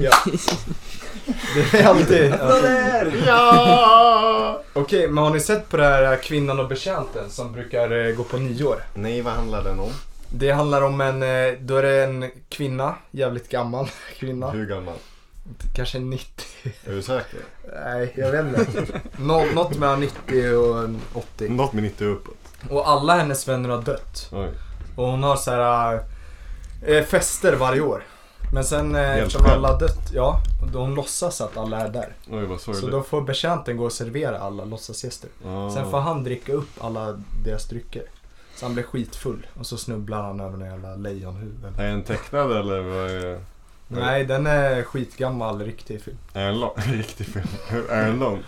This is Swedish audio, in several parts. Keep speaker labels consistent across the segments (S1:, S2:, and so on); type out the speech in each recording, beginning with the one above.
S1: Ja. Det är alltid... Ja! Okej, men har ni sett på det här eh, Kvinnan och betjänten som brukar eh, gå på nyår?
S2: Nej, vad handlar den om?
S1: Det handlar om en, eh, då är det en kvinna, jävligt gammal kvinna.
S2: Hur gammal?
S1: Kanske 90.
S2: Är du säker?
S1: Nej, jag vet inte. Mm. Nå, något mellan 90 och 80.
S2: Något med 90 uppåt.
S1: Och alla hennes vänner har dött.
S2: Oj.
S1: Och hon har så här eh, fester varje år. Men sen eh,
S2: Helt
S1: eftersom
S2: själv.
S1: alla dött, ja, då hon låtsas att alla är där.
S2: Oj, vad
S1: Så
S2: sorgligt.
S1: då får betjänten gå och servera alla låtsasgäster.
S2: Ah.
S1: Sen får han dricka upp alla deras drycker. Så han blir skitfull och så snubblar han över några jävla lejonhuvud.
S2: Är den tecknad eller vad är...
S1: Nej, den är skitgammal riktig film.
S2: Är den lång? Riktig film. Är den lång?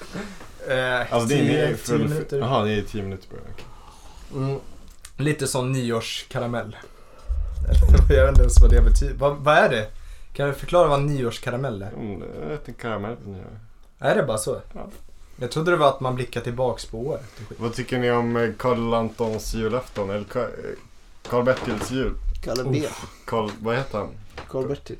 S1: Eh,
S2: Alltså det är
S1: tio-
S2: mer
S1: tio minuter.
S2: Jaha, det är 10 minuter bara. Okej.
S1: Mm. Lite som nyårskaramell. Eller, jag vet inte ens vad det betyder. Vad, vad är det? Kan du förklara vad nyårskaramell är?
S2: Mm, Jag äter en karamell på nyår.
S1: Är det bara så?
S2: Ja.
S1: Jag trodde det var att man blickar tillbaks på året. och skit.
S2: Vad tycker ni om eh, Karl Antons julafton? Eller Ka- eh, Karl-Bertils jul?
S3: Kalle B.
S2: Karl... Vad heter han?
S3: Karl-Bertil.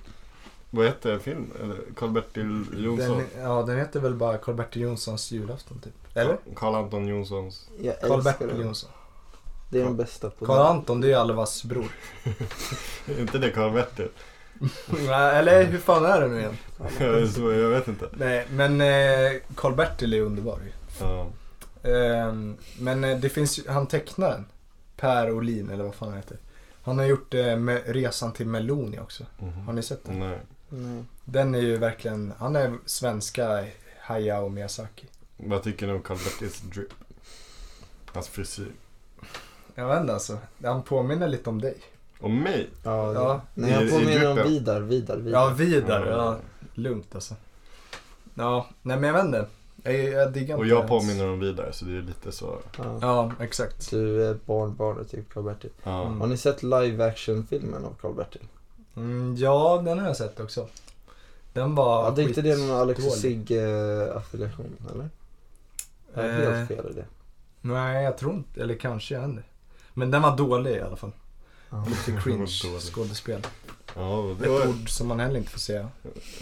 S2: Vad heter filmen? Eller Karl-Bertil Jonsson?
S1: Den, ja, den heter väl bara Karl-Bertil Jonssons julafton typ. Eller?
S2: Karl Anton Jonssons.
S3: Jag älskar
S1: Karl-Bertil
S3: den.
S1: Jonsson.
S3: Det är den bästa på
S1: Karl Anton, det är ju Alvas bror.
S2: Är inte det Karl-Bertil?
S1: Nej, Eller hur fan är det nu igen?
S2: Så, jag vet inte.
S1: Nej, men eh, Karl-Bertil är underbar ju.
S2: Ja.
S1: Ehm, men eh, det finns ju, han tecknaren, Per Olin eller vad fan han heter. Han har gjort eh, med Resan till Meloni också. Har
S2: Mhm.
S1: ni sett den?
S2: Nej.
S3: Nej.
S1: Den är ju verkligen, han är svenska Hayao Miyazaki.
S2: Vad tycker ni om Karl-Bertils drip? Hans frisyr.
S1: Jag vet inte alltså, han påminner lite om dig.
S2: Om mig?
S3: Ja,
S1: Ja.
S3: Nej,
S2: I-
S3: han
S2: i
S3: påminner om
S2: gruppen.
S3: Vidar, Vidar,
S1: Ja,
S3: Vidar.
S1: Vidar.
S2: Ja.
S1: Ja, lugnt alltså. Ja, nej men jag vet inte. Jag, jag diggar inte
S2: Och jag
S1: hans-
S2: påminner om vidare så det är lite så.
S3: Ja.
S1: Ja, exakt.
S3: Du är barnbarnet till Karl-Bertil.
S2: Ja.
S1: Mm.
S3: Har ni sett live action-filmen av Karl-Bertil?
S1: Mm, ja, den har jag sett också. Den var
S3: Ja, det är inte det någon Alex och
S1: skitdålig.
S3: Sigge-affiliation, eller? Jag är
S1: Eh,
S3: helt fel i det.
S1: Nej, jag tror inte. Eller kanske jag inte. Men den var dålig i alla fall.
S3: Ja.
S1: Lite
S2: var
S1: cringe
S2: dålig.
S1: skådespel.
S2: Ja, det
S1: Ett
S2: var...
S1: ord som man heller inte får säga.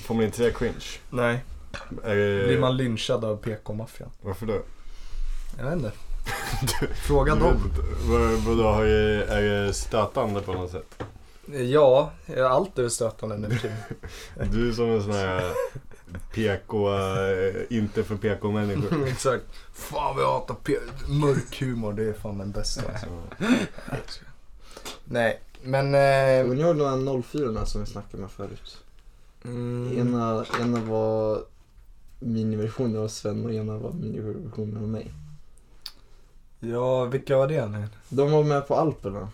S2: Får man inte säga cringe?
S1: Nej. Blir
S2: Eh,
S1: man lynchad av PK-maffian?
S2: Varför då?
S1: Jag vet inte. Fråga
S2: Du
S1: dem.
S2: vet inte. Vad- Vadå, har jag- är jag stötande på något sätt?
S1: Ja, allt är väl stötande nu för tiden.
S2: Du är som en sån här PK, eh, inte för PK-människor.
S1: Exakt. Fan vad jag hatar P- mörk humor. Det är fan den bästa. Alltså.
S2: Ja.
S1: Nej, men... Eh,
S3: Kommer ni ihåg de här 04 som vi snackade med förut?
S1: mm,
S3: Ena, ena var miniversionen av Sven och ena var miniversionen av mig.
S1: ja, vilka var det nu?
S3: De var med på Alperna.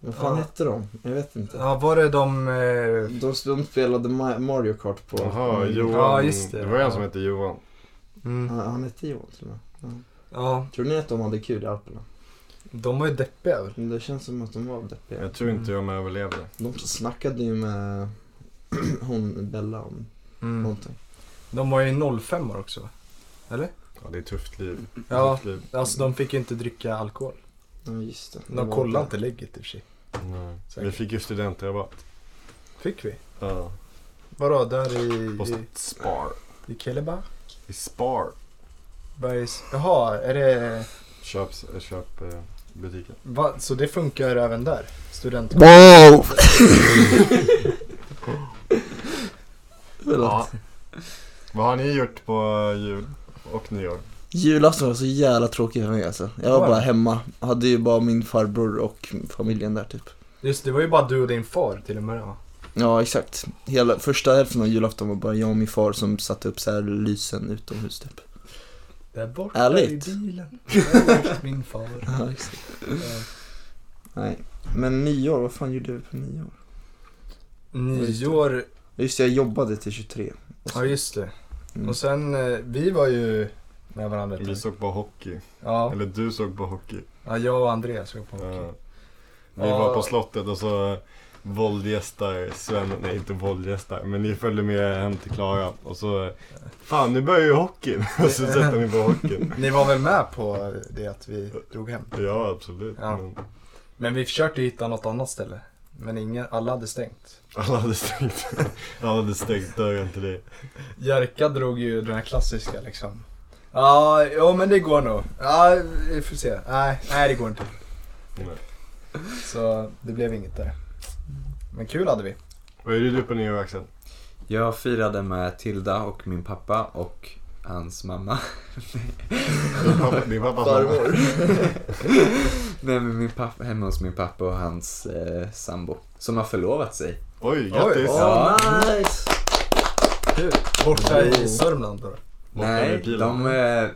S3: Vad fan
S1: Ja.
S3: hette de? Jag vet inte.
S1: Ja, var det de... Eh,
S3: De, de spelade Ma- Mario Kart på...
S2: Jaha,
S3: Mm.
S2: Johan.
S1: Ja, just det.
S2: det var en som
S1: Ja.
S2: hette Johan.
S1: mm,
S3: Han, han hette Johan till och med.
S1: ja,
S3: Tror ni att de hade kul i Alperna?
S1: de var ju deppiga väl?
S3: Men Det känns som att de var deppiga.
S2: Jag tror inte jag överlevde.
S3: De snackade ju med hon Bella om
S1: Mm.
S3: någonting.
S1: De var ju 05 också va? Eller?
S2: Ja, det är ett tufft liv.
S1: Ja,
S2: Tufft liv.
S1: alltså de fick ju inte dricka alkohol.
S3: Ja just det. Det
S1: De
S3: var
S1: kollade
S3: det.
S1: inte lägget i och för sig.
S2: Nej. Vi
S1: Säkert.
S2: fick ju studentrabatt.
S1: Fick vi?
S2: Ja.
S1: Vadå, där i...
S2: På
S1: i,
S2: Spar.
S1: i Keliba?
S2: I Spar.
S1: Bergs... Jaha, är det...
S2: Köp, köp eh, butiken.
S1: Va? Så det funkar även där? Student...
S3: Wow!
S2: Ja. Vad har ni gjort på eh, jul och nyår?
S3: Julafton var så jävla tråkig för mig alltså. Jag var
S1: Var
S3: bara
S1: det?
S3: hemma. Hade ju bara min farbror och familjen där typ.
S1: Just det, var ju bara du och din far till och med va?
S3: Ja exakt. Hela första hälften av julafton var bara jag och min far som satte upp så här lysen utomhus typ.
S1: Där borta
S3: Ärligt?
S1: i bilen. Där borta min far.
S3: Ja exakt.
S1: Eh,
S3: Nej. Men nyår, vad fan gjorde vi på nyår?
S1: Nyår...
S3: Just det, jag jobbade till 23.
S1: Ja just det.
S3: Mm.
S1: Och sen, eh, vi var ju med varandra. ett
S2: Vi
S1: tag.
S2: såg på hockey.
S1: Ja,
S2: Eller du såg på hockey.
S1: ja jag och Andreas var på hockey.
S2: Ja. Vi var på slottet och så våldgästar Sven, nej inte våldgästar, men ni följde med hem till Klara och så Fan nu börjar ju hockeyn! Och så sätter ni på hockeyn.
S1: Ni var väl med på det att vi drog hem?
S2: Ja absolut.
S1: Ja.
S2: Men,
S1: Men vi försökte hitta något annat ställe. Men ingen, alla hade stängt.
S2: Alla hade stängt, alla hade stängt dörren till dig.
S1: Jerka drog ju den här klassiska liksom. Ja, ja men det går nog. Ja, vi får se. Nej, nej det går inte.
S2: Nej.
S1: Så det blev inget där. Men kul hade vi.
S2: Vad är det du på nyår Axel?
S4: Jag firade med Tilda och min pappa och hans mamma.
S2: Din pappa, din pappa
S3: Farmor.
S4: Nej, men min pappa, hemma hos min pappa och hans eh, sambo. Som har förlovat sig.
S2: Oj, grattis!
S1: Oj,
S4: oj. Ja.
S3: nice!
S1: Kul. Borta
S3: Oh.
S1: i Sörmland då.
S2: Borta
S4: Nej,
S2: med pilen.
S4: de, eh,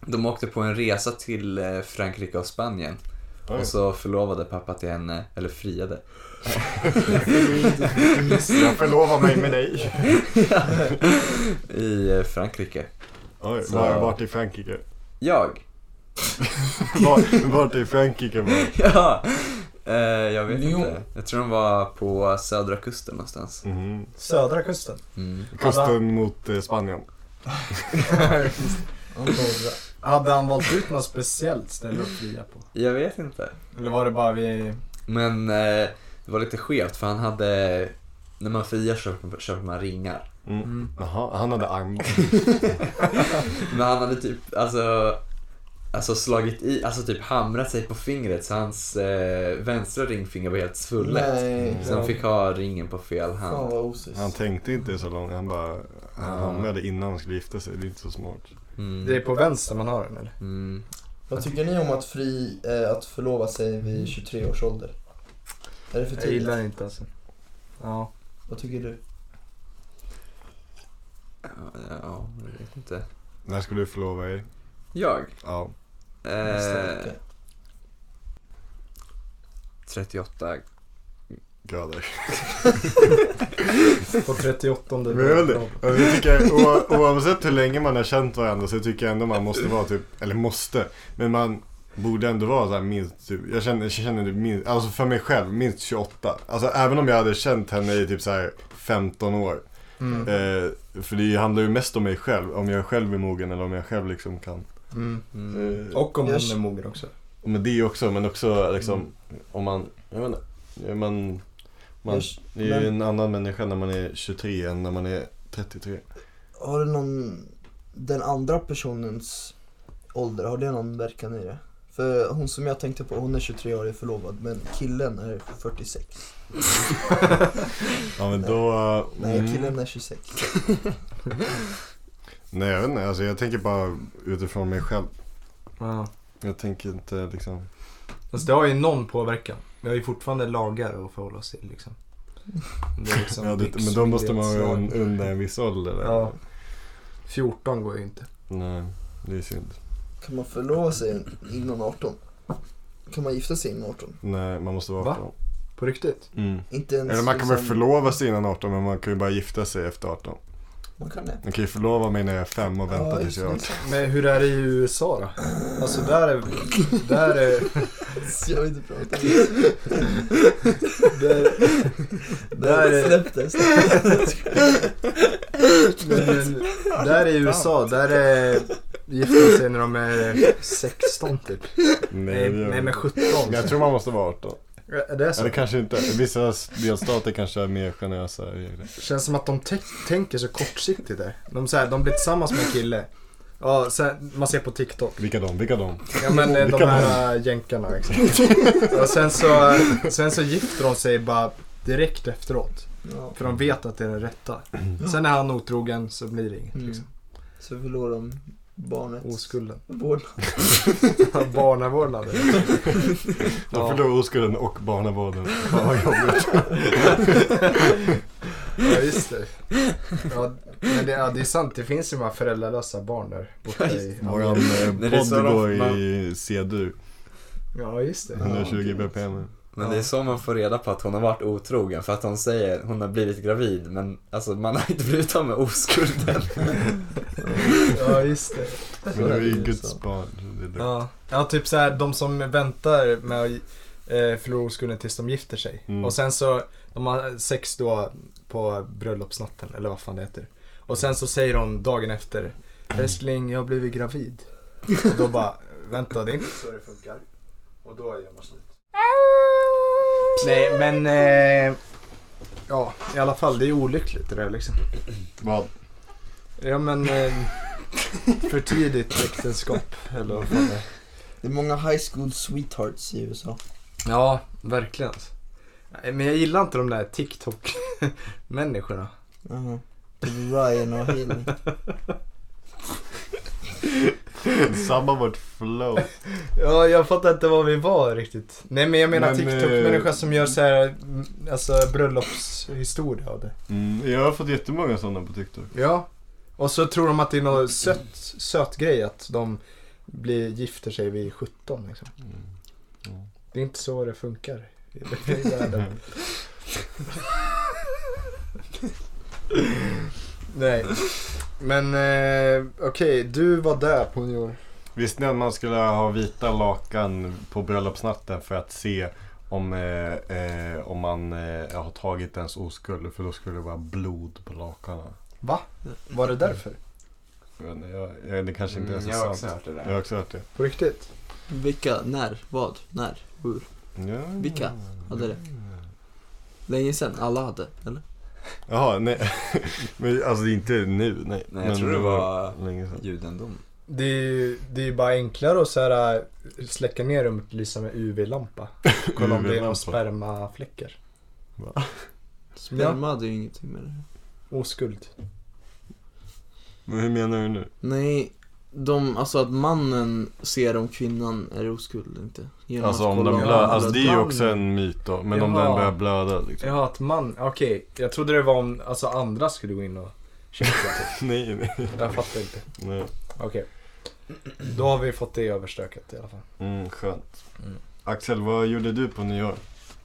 S4: de åkte på en resa till eh, Frankrike och Spanien.
S2: Oj.
S4: Och så förlovade pappa till henne, eller friade.
S2: Jag förlovar mig med dig.
S4: I eh, Frankrike.
S2: Oj,
S4: Så-
S2: var, vart i Frankrike?
S4: Jag?
S2: Var, vart i Frankrike var det?
S4: Ja! Eh, jag vet
S3: Jo.
S4: inte. Jag tror de var på södra kusten någonstans.
S2: Mhm.
S1: Södra kusten.
S4: Mm.
S1: Alla-
S2: Kusten mot eh, Spanien.
S1: hade han valt ut något speciellt ställe att fria på?
S4: Jag vet inte.
S1: Eller var det bara vi...
S4: Men eh, det var lite skevt för han hade, när man friar köper, köper man ringar.
S2: Mm. Jaha, han hade armband.
S4: Men han hade typ, alltså, alltså slagit i, alltså typ hamrat sig på fingret så hans eh, vänstra ringfinger var helt svullet.
S3: Nej,
S4: Så han fick ha ringen på fel
S3: fan
S4: hand.
S3: vad osis.
S2: Han tänkte inte så långt, han bara han
S4: Ja.
S2: hamnade innan han skulle gifta sig. Det är inte så smart.
S1: Det är
S4: Mm.
S1: på vänster man har den eller?
S4: Mm.
S3: Vad tycker ni om att, fri, eh, att förlova sig vid 23 års ålder? Är det för
S1: Jag
S3: tidigt?
S1: gillar det inte alltså. Ja.
S3: Vad tycker du?
S4: Ja, ja, jag vet inte.
S2: När skulle du förlova dig?
S4: Jag?
S2: Ja.
S3: Nästa
S4: Eh,
S3: vecka.
S4: 38.
S2: Grader.
S1: På 38
S2: Men jag vet inte. Alltså, jag tycker, o- oavsett hur länge man har känt varandra så tycker jag ändå man måste vara typ, eller måste, men man borde ändå vara så här minst, typ, jag känner, jag känner det minst, alltså för mig själv, minst 28. Alltså även om jag hade känt henne i typ så här 15 år.
S1: Mm.
S2: Eh, för det handlar ju mest om mig själv, om jag själv är mogen eller om jag själv liksom kan.
S1: Mm.
S4: Mm.
S2: Eh,
S1: Och om hon
S3: Jag-
S1: är mogen också.
S2: Men det också, men också liksom om man, jag vet inte, man, man
S3: Hörs-
S2: det är ju en annan människa när man är 23 än när man är 33.
S3: Har det någon, den andra personens ålder, har det någon verkan i det? För hon som jag tänkte på, hon är 23 år och är förlovad men killen är 46.
S2: Ja men då...
S3: Nej,
S2: mm.
S3: killen är 26.
S2: Nej jag vet inte, alltså jag tänker bara utifrån mig själv.
S1: Ja.
S2: Jag tänker inte liksom...
S1: Alltså det har ju någon påverkan. Vi har ju fortfarande lagar att förhålla oss till liksom. Det är liksom
S2: Ja, det, men då måste man vara un- under en viss ålder. eller?
S1: Ja. 14 går ju inte.
S2: Nej, det är synd.
S3: Kan man förlova sig innan 18? Kan man gifta sig innan 18?
S2: Nej, man måste vara
S1: Va?
S2: 18.
S1: På riktigt.
S2: Mm.
S3: Inte ens
S2: Eller man kan väl
S3: liksom-
S2: förlova sig innan 18 men man kan ju bara gifta sig efter 18.
S3: Man kan det.
S2: Man kan ju förlova mig när jag är 5 och vänta
S3: Ja,
S2: tills jag är 18.
S3: just
S1: Men hur är det i USA då? Alltså där är... Där är...
S3: det. Jag vill inte prata om det.
S1: Där, där är...
S3: Släpp det. släpp det.
S1: Men, där i USA, där är gifta sig när de är 16 typ. Nej,
S2: det gör
S1: nej men
S2: man inte.
S1: 17.
S2: Men jag tror man måste vara 18.
S1: Är det så?
S2: Eller kanske inte. Vissa delstater kanske är mer generösa regler.
S1: Känns som att de te- tänker så kortsiktigt där. De, så här, de blir tillsammans med en kille. Ja, så här, man ser på TikTok.
S2: Vilka de? Vilka de?
S1: Ja men eh, de
S2: Vilka
S1: här eh, jänkarna liksom. Och sen så, sen så gifter de sig bara direkt efteråt.
S3: Ja.
S1: För de vet att det är den rätta. Sen är han otrogen så blir det inget.
S3: Mm.
S1: Liksom.
S3: Så förlorar de barnet.
S1: Oskulden.
S3: Vårdnad.
S1: Barnavårdnaden.
S2: De
S1: Ja.
S2: förlorar oskulden och barnavården. Fan vad jobbigt.
S1: Ja just det. Ja, men det, ja, det är sant, det finns ju de här föräldralösa barn där borta i...
S2: Våran
S4: Nej,
S2: eh,
S4: det är så
S2: podd
S4: de-
S2: går
S4: man-
S2: i C-dur.
S1: Ja just det.
S2: 120
S3: Ja, det är
S2: bpm.
S4: Men
S1: Ja.
S4: det är så man får reda på att hon har varit otrogen för att hon säger hon har blivit gravid men alltså man har inte blivit av med oskulden.
S1: Ja just det.
S2: Men det är ju
S3: Så.
S2: Guds barn. Det är det.
S1: Ja, ja typ så här, de som väntar med att eh, förlora oskulden tills de gifter sig.
S2: Mm.
S1: Och sen så, de har sex då på bröllopsnatten eller vad fan det heter. Och sen så säger de dagen efter, älskling jag har blivit gravid. Och då bara, vänta det är inte så det funkar. Och då gör man slut. Nej, men... Eh, ja, i alla fall. Det är olyckligt det där liksom.
S2: Vad?
S1: Ja, men... Eh, för tidigt äktenskap. Eller vad fan det är.
S3: Det är många high school sweethearts i USA.
S1: Ja, verkligen. Nej, Men jag gillar inte de där TikTok-människorna.
S3: Jaha. Ryan och Haley.
S2: Samma vårt flow.
S1: Ja, jag fattar inte var vi var riktigt. Nej, men jag menar
S2: Men,
S1: TikTok-människa
S2: eh,
S1: som gör så här, mm, alltså bröllopshistoria av det.
S2: Mm, jag har fått jättemånga sådana på TikTok.
S1: Ja. Och så tror de att det är någon söt, söt grej att de blir, gifter sig vid 17 liksom. Det är inte så det funkar i i världen. Nej. Men eh, okej, du var där på nyår.
S2: Visste ni att man skulle ha vita lakan på bröllopsnatten för att se om, eh, eh, om man eh, har tagit ens oskuld? För då skulle det vara blod på lakanen.
S1: Va? Var det därför?
S2: Jag vet inte, jag- jag- Det kanske inte är så
S4: Mm, jag har också
S2: sant.
S4: hört det
S2: Jag har
S4: där.
S2: också hört det.
S1: På riktigt?
S5: Vilka, när, vad, när, hur,
S2: Ja.
S5: vilka hade det? Länge sedan, alla hade, eller?
S2: Jaha, nej. Men alltså det är inte nu, nej.
S4: Nej, jag
S2: Men
S4: tror det var
S2: länge sedan.
S4: judendom.
S1: Det är ju det är ju bara enklare att så här, äh, släcka ner rummet och lysa med UV-lampa. Kolla om det är
S2: UV-lampa.
S1: någon spermafläckar.
S5: Sperma hade ju ingenting med det
S1: Oskuld.
S2: Men hur menar du nu?
S5: Nej, de, alltså att mannen ser om kvinnan är oskuld eller inte. Genom
S2: Alltså,
S5: att
S2: om
S5: kolla
S2: den
S1: Ja,
S2: blöder, alltså
S5: den
S2: det är ju
S1: den-
S2: också en myt då. Men om
S1: Jaha.
S2: den börjar blöda liksom.
S1: Jaha, att man, okej. Jag trodde det var om alltså, andra skulle gå in och checka. typ.
S2: Nej, nej.
S1: Jag fattar inte.
S2: nej.
S1: Okej. Då har vi fått det överstökat i alla fall.
S2: Mm, skönt.
S1: Mm.
S2: Axel, vad gjorde du på nyår?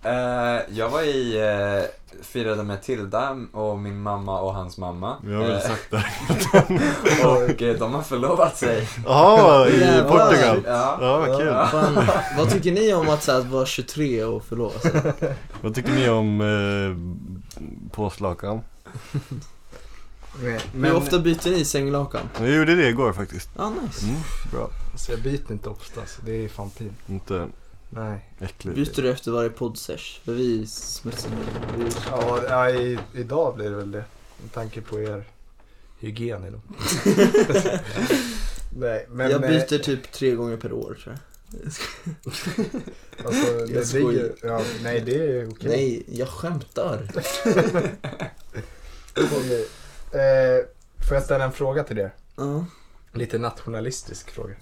S4: Eh, jag var i, eh, firade med Tilda och min mamma och hans mamma.
S2: Vi har väl
S4: Eh,
S2: sagt det.
S4: och eh, de har förlovat sig.
S2: Jaha, i
S5: Jävlar.
S2: Portugal?
S4: Ja.
S2: Ja, vad kul.
S5: Fan, vad tycker ni om att, så här, vara 23 och förlova sig?
S2: Vad tycker ni om eh, påslakan?
S5: Hur ofta byter ni sänglakan?
S2: Jag gjorde det igår faktiskt.
S5: Ah, nice.
S2: Mm, bra.
S1: Alltså, jag byter inte ofta, så det är fan pin.
S2: Inte
S1: Nej.
S2: äckligt.
S5: Byter du efter varje poddsesh? För vi smutsar ner. Vi-
S1: Ja, ja i, idag blir det väl det. Med tanke på er hygien i dem. Nej, men...
S5: jag
S1: eh,
S5: byter typ tre gånger per år tror jag.
S1: Alltså, det
S5: Jag
S1: ligger-
S5: skojar.
S1: ja, nej, det är okej.
S5: Nej, jag skämtar.
S1: Okej. Eh, får jag ställa en fråga till er?
S5: Ja.
S1: Lite nationalistisk fråga.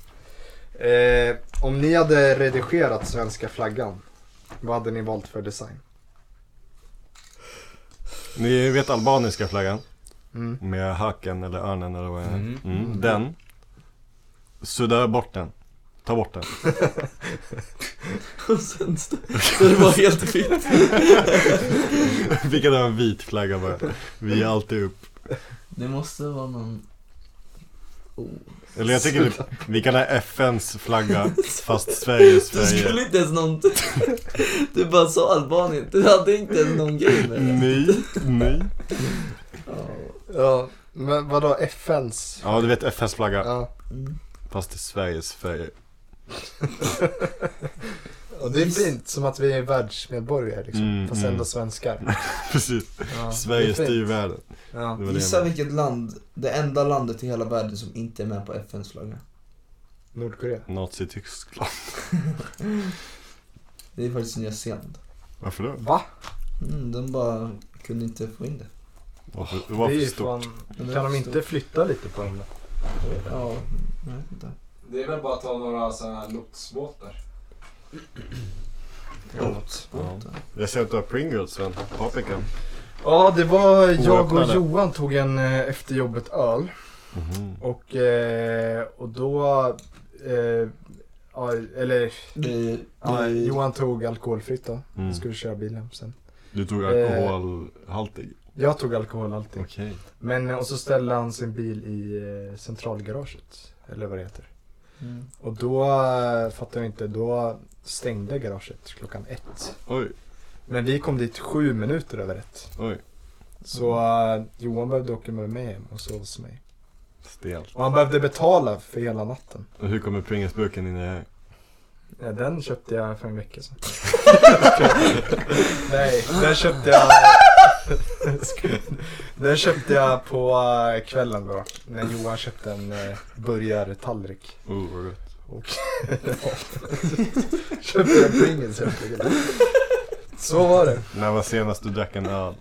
S1: Eh, om ni hade redigerat svenska flaggan, vad hade ni valt för design?
S2: Ni vet albaniska flaggan?
S1: Mm.
S2: Med haken eller örnen eller vad det är.
S4: Mm.
S2: Mm. Den. Sudda bort den. Ta bort den.
S5: Och sen så så det var helt fritt.
S2: Vi kan ha en vit flagga bara. Vi är alltid upp.
S5: Det måste vara någon... Oh.
S2: Eller jag tycker typ, vi kan ha FNs flagga fast Sveriges
S5: Du
S2: flagga.
S5: skulle inte ens någon... Du bara sa Albanien. Du hade inte ens någon grej med det.
S2: Nej, nej.
S1: Ja, men vadå FNs?
S2: Ja, du vet FNs flagga
S1: Ja.
S5: Mm.
S2: fast i Sveriges färger.
S1: Och det är fint, som att vi är världsmedborgare liksom,
S2: Mm,
S1: fast
S2: mm.
S1: ändå svenskar.
S2: Precis.
S1: Ja,
S2: Sverige
S1: det är fint.
S2: styr världen.
S1: Ja.
S2: Det var det jag
S3: Gissa vilket land, det enda landet i hela världen som inte är med på FNs flagga.
S1: Nordkorea.
S2: menade. Nazityskland.
S3: Det är faktiskt Nya Zeeland.
S2: Varför då?
S1: Va?
S3: Mm, de bara kunde inte få in det.
S2: Varför,
S1: det är
S2: varför
S1: ju
S2: stort?
S1: Fan, kan de inte flytta lite på den där?
S3: Ja, jag vet inte.
S1: Det är väl bara att ta några sådana här lotsbåtar.
S2: Ja. Jag ser att du har Pringles Sven. Paprikan.
S1: Ja, det var jag och
S2: Oöppnade.
S1: Johan tog en eh, efter jobbet öl. Och, eh, och då... Eh, ja, eller
S3: Det,
S1: ja,
S3: det,
S1: Johan tog alkoholfritt då.
S2: Mm.
S1: Skulle köra bil hem sen.
S2: Du tog alkoholhaltig?
S1: Jag tog alkohol alltid.
S2: Okej.
S1: Men eh, och så ställde han sin bil i eh, centralgaraget. Eller vad det heter.
S3: mm.
S1: Och då eh, fattar jag inte. Då stängde garaget klockan ett.
S2: Oj,
S1: Men vi kom dit sju minuter över ett.
S2: oj.
S1: Så eh, Johan behövde åka med mig hem och sova hos mig.
S2: Stelt.
S1: Och han behövde betala för hela natten.
S2: Och hur kommer Pringlesburken in i det här?
S1: Ja, den köpte jag för en vecka sedan. Nej, den köpte jag... den köpte jag på eh, kvällen då. När Johan köpte en eh, burgartallrik.
S2: Oh, vad gott.
S1: Och köpte en Pringles helt enkelt. Så var det.
S2: När var senast du drack en öl?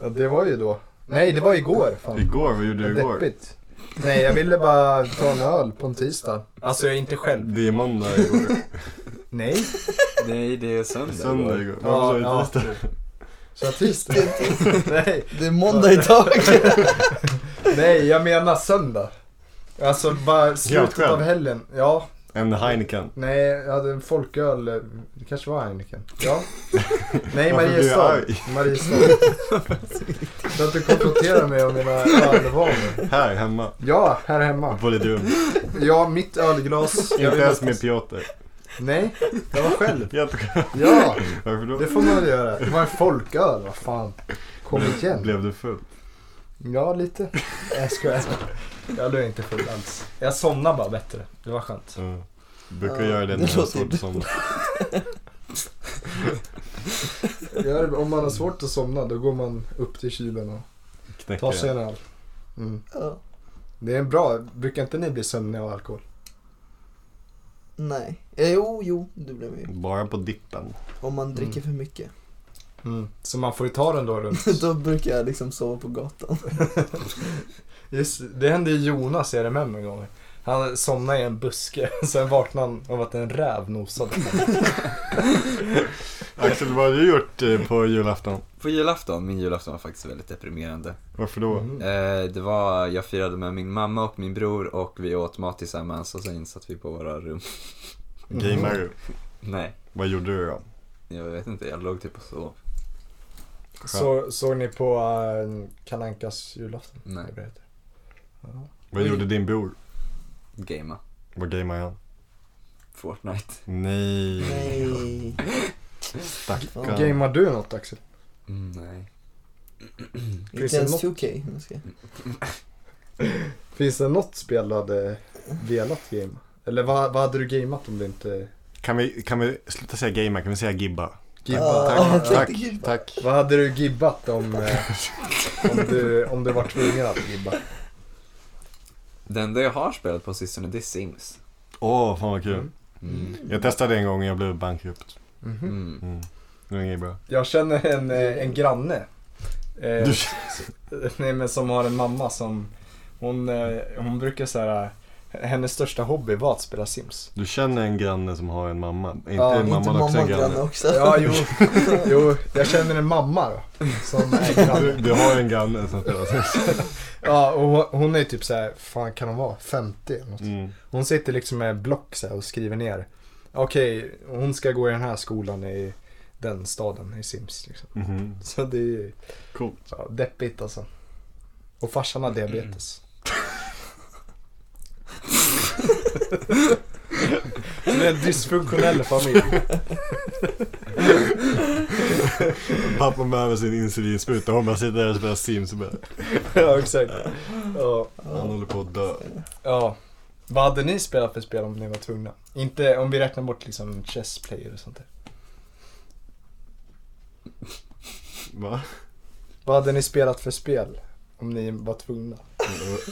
S1: Ja, det var ju då. Nej, det var igår. Fan.
S2: Igår, vad gjorde du igår?
S1: Deppigt. Nej, jag ville bara ta en öl på en tisdag. Alltså, jag är inte själv.
S2: Det är måndag igår.
S1: Nej.
S4: Nej, det är söndag.
S2: Söndag igår.
S1: Ja,
S2: Ja,
S1: ja.
S2: ja, ja.
S1: Så jag tisdag? Nej.
S3: Det är måndag idag.
S1: Nej, jag menar söndag. Alltså bara slutet
S2: själv?
S1: av helgen. Ja,
S2: En Heineken.
S1: nej, jag hade en folköl. eh, Det kanske var Heineken. Ja. Nej,
S2: Varför blir jag
S1: Mariestad.
S2: arg?
S1: Mariestad. Så att du konfronterar mig om mina ölvanor.
S2: Här hemma.
S1: Ja, här hemma.
S2: På lite rum.
S1: Ja, mitt ölglas. Jag
S2: Inte
S1: vill
S2: ens
S1: att-
S2: med Piotr.
S1: Nej, jag var själv.
S2: Jättekonstigt.
S1: Ja,
S2: Varför då?
S1: det får man väl göra. Det var en folköl, vad fan. Kom igen.
S2: Blev du full?
S1: Ja, lite. Jag skojar. Jag blev inte full alls. Jag somnade bara bättre. Det var skönt.
S2: Ja. Brukar
S3: Ja,
S2: göra det
S3: det
S2: när jag har
S3: låter
S2: svårt att somna.
S1: Ja, det- om man har svårt att somna då går man upp till kylen och
S2: Knäcka
S1: tar sig en
S2: det.
S1: öl. Mm.
S3: Ja.
S1: Det är en bra, brukar inte ni bli sömniga av alkohol?
S3: Nej. Eh, Jo, jo, det blir vi.
S2: Bara på dippen.
S3: Om man dricker för mycket.
S1: Mm. Så man får ju ta den då runt.
S3: Då brukar jag liksom sova på gatan.
S1: Just, det hände ju Jonas i RMM en gång. Han somnade i en buske, sen vaknade han av att en räv nosade.
S2: Axel, vad har du gjort eh, på julafton?
S4: På julafton, min julafton var faktiskt väldigt deprimerande.
S2: Varför då?
S1: Mm.
S4: Eh, det var, jag firade med min mamma och min bror och vi åt mat tillsammans och sen satt vi på våra rum.
S2: Gamear du?
S4: Nej,
S2: Vad gjorde du då?
S4: jag vet inte, jag låg typ och sov.
S1: Så, såg ni på uh, Kalankas julafton?
S4: Nej.
S1: Det heter.
S2: Vad gjorde din bror?
S4: Gamea.
S2: Vad gamear han?
S4: Fortnite.
S2: Nej,
S3: Nej.
S2: stackarn.
S1: Gamear du något Axel?
S4: Mm, nej.
S3: Inte ens 2K. Jag ska-
S1: Finns det något spel du hade velat gamea? Eller vad, vad hade du gameat om det inte...
S2: Kan vi, kan vi sluta säga gamer, kan vi säga gibba?
S1: Gibba.
S3: Ah,
S2: tack,
S3: jag
S2: tack,
S3: tänkte gibba.
S2: tack.
S1: Vad hade du gibbat om, eh, om, du, om du var tvungen att gibba?
S4: Det enda jag har spelat på sistone, det är Sims.
S2: Åh, fan vad kul.
S4: Mm.
S2: Jag testade en gång och jag blev bankrupt.
S1: Mhm.
S4: Mm.
S2: Mm. Det var inget bra.
S1: Jag känner en, eh, en granne. Eh,
S2: Du,
S1: nej, men som har en mamma som, hon, eh, hon brukar så här, eh, hennes största hobby var att spela Sims.
S2: du känner en granne som har en mamma? Inte
S1: Ja,
S2: mamman
S3: Inte
S2: också
S3: mamma
S2: en
S3: och granne
S2: granne?
S3: också.
S1: Ja, jo, jo, jag känner en mamma då, som är
S2: Du,
S1: granne.
S2: du har en granne som spelar sex.
S1: Ja, och hon- hon är typ så här, fan kan hon vara, 50 eller något.
S2: Mm.
S1: Hon sitter liksom med block så här och skriver ner. Okej, hon ska gå i den här skolan i den staden i Sims. Liksom.
S2: Mhm.
S1: Så det är ju
S2: Coolt.
S1: ja, deppigt alltså. Och farsan har diabetes. Så det är en dysfunktionell familj.
S2: Pappa behöver sin insulinspruta och hon bara sitter där och spelar Sims och bara,
S1: ja, exakt. Ja,
S2: han håller på att dö.
S1: ja. Vad hade ni spelat för spel om ni var tvungna? Inte om vi räknar bort liksom chess player och sånt där.
S2: Va?
S1: Vad hade ni spelat för spel om ni var tvungna?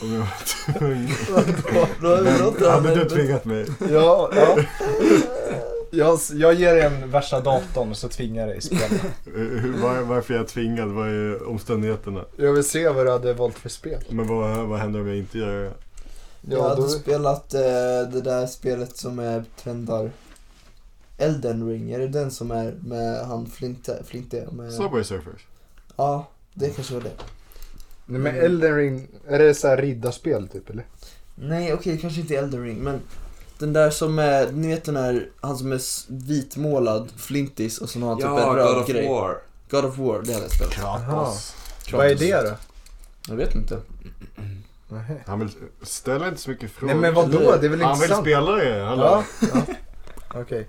S2: Om jag var tvungen.
S3: Då överlåter han
S2: Hade du
S3: det.
S2: tvingat mig?
S1: Ja, ja. Jag, jag ger dig en värsta datorn och så tvingar jag dig spela.
S2: Hur- Var, varför jag är tvingad? Vad är omständigheterna?
S1: Jag vill se vad du hade valt för spel.
S2: Men vad, vad händer om jag inte gör det?
S1: Ja,
S3: Jag hade
S1: då-
S3: spelat eh, det där spelet som är trendar. Elden ring, är det den som är med han Flinte? Flinte med...
S2: Subway Surfers?
S3: Ja, det kanske var det.
S1: Nej men Elden Ring, är det så här riddarspel typ eller?
S3: Nej okej, kanske inte Elden ring men den där som är, ni vet den här, han som är s- vitmålad, flintis och sen har han typ
S4: Ja,
S3: en
S4: God
S3: röd
S4: of
S3: grej.
S4: War.
S3: God of War, det hade jag spelat.
S1: Kratos.
S2: Kratos.
S1: Vad är det då?
S3: Jag vet inte.
S2: Han vill ställa inte så mycket
S1: Nej
S2: frågor.
S1: men vadå, det är väl
S2: Han vill
S1: intressant?
S2: spela det, hallå?
S1: Ja, ja. Okej.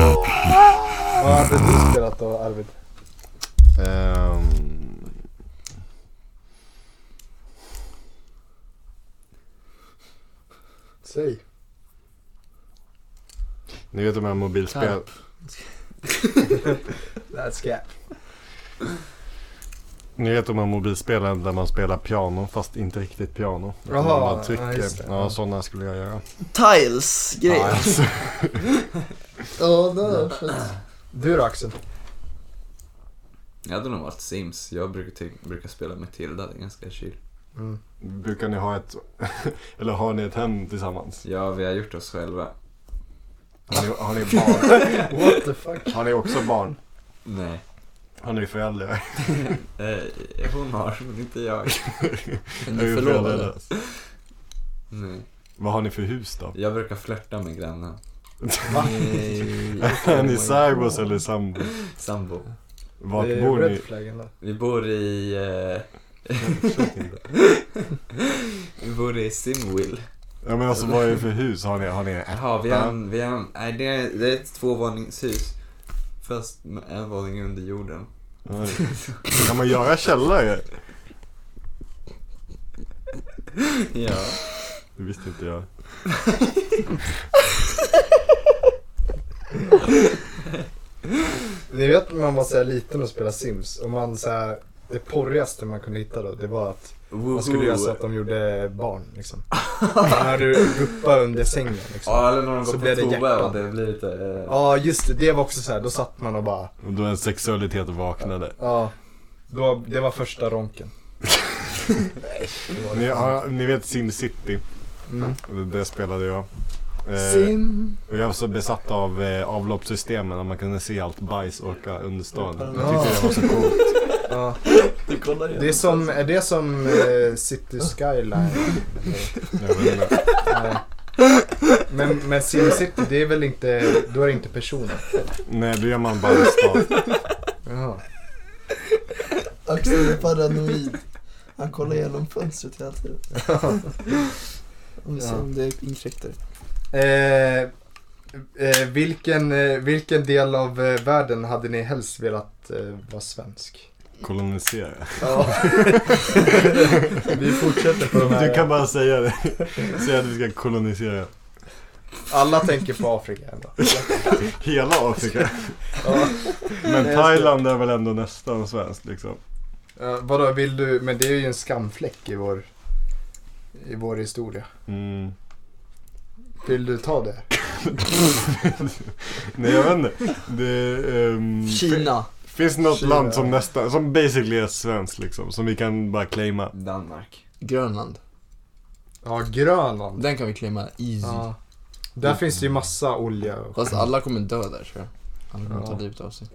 S1: Vad hade du spelat då Arvid?
S2: Ehm.
S1: Säg.
S2: Ni vet de här mobilspel...
S1: That's gap.
S2: Ni vet de här mobilspelen där man spelar piano fast inte riktigt piano. Utan
S1: Jaha,
S2: man bara trycker.
S1: ja, just det.
S2: ja, sådana skulle jag göra.
S5: Tiles
S2: Ja,
S5: grejer.
S2: alltså.
S1: Ja, det är fint. Du då Axel?
S4: Jag hade nog valt Sims. Jag brukar, ty- brukar spela Matilda, det är ganska chill.
S1: Mm.
S2: Brukar ni ha ett... Eller har ni ett hem tillsammans?
S4: Ja, vi har gjort oss själva.
S2: Har ni, har ni barn?
S1: What the fuck?
S2: Har ni också barn?
S4: Nej.
S2: Har ni föräldrar?
S4: Eh, hon har, men inte jag.
S5: Är
S2: Är
S5: ni
S2: vi
S5: förlovade?
S2: föräldralösa?
S4: Nej.
S2: Vad har ni för hus då?
S4: Jag brukar flörta med grannen.
S5: Nej.
S2: Är ni särbos eller sambo?
S4: Sambo.
S2: Vart
S1: det är
S2: bor
S1: red
S2: ni?
S1: flag ändå.
S4: Vi bor i... Eh, vi bor i Simwill.
S2: Ja men alltså vad är det för hus? Har ni, har ni en
S4: Jaha, vi har en... Vi har en nej, det är, det är ett tvåvåningshus. Fast med en våning under jorden.
S2: Ja. Kan man göra källare?
S4: Ja.
S2: Det visste inte jag.
S1: Ni vet när man var så här liten och spelade Sims och man så här, det porrigaste man kunde hitta då det var att man skulle göra så att de gjorde barn liksom. när du guppade under sängen liksom.
S4: Ja, eller när de
S1: Så
S4: går
S1: blir det
S4: på toa
S1: hjärtan.
S4: och det blir lite... Eh,
S1: Ja just det, det var också så här, då satt man och bara
S2: Och då en sexualitet vaknade.
S1: Ja, då, det var första ronken.
S2: Ni, har, ni vet SimCity?
S1: Mm.
S2: Det, det spelade jag. Eh,
S1: Sim.
S2: och jag var så besatt av eh, avloppssystemen, att man kunde se allt bajs åka under stan. Jag
S1: Ja.
S2: tyckte det var så coolt.
S1: Ja.
S5: Du kollar igen.
S1: Det är som, är det som eh, City Skyline?
S2: Jag vet inte.
S1: Nej. Men, men SimCity, det är väl inte, då är det inte personer?
S2: Nej, då gör man bara en stad.
S1: Jaha.
S3: Axel är paranoid. Han kollar igenom fönstret hela tiden. Om vi ser
S1: Ja.
S3: om det inkräktar.
S1: Eh, eh, vilken, eh, vilken del av eh, världen hade ni helst velat eh, vara svensk?
S2: Kolonisera.
S1: Ja. Vi fortsätter på de här.
S2: Du kan bara säga det. Säga att vi ska kolonisera
S1: Alla tänker på Afrika ändå.
S2: hela Afrika.
S1: Ja. Nej,
S2: Men
S1: jag ska-
S2: Thailand är väl ändå nästan svenskt liksom.
S1: Ja, Eh, vadå, vill du? Men det är ju en skamfläck i vår, i vår historia.
S2: Mm.
S1: Vill du ta det?
S2: Nej jag vet inte. Det, ehm,
S5: Kina.
S2: fi- Finns det något
S1: Kina.
S2: land som nästan, som basically är svenskt liksom, som vi kan bara claima?
S4: Danmark.
S5: Grönland.
S1: Ja, Grönland.
S5: Den kan vi claima easy.
S1: Ja. Där finns det ju massa olja och
S5: Fast alla kommer dö där tror jag. Alla kommer ta
S1: Ja.
S5: livet av sig.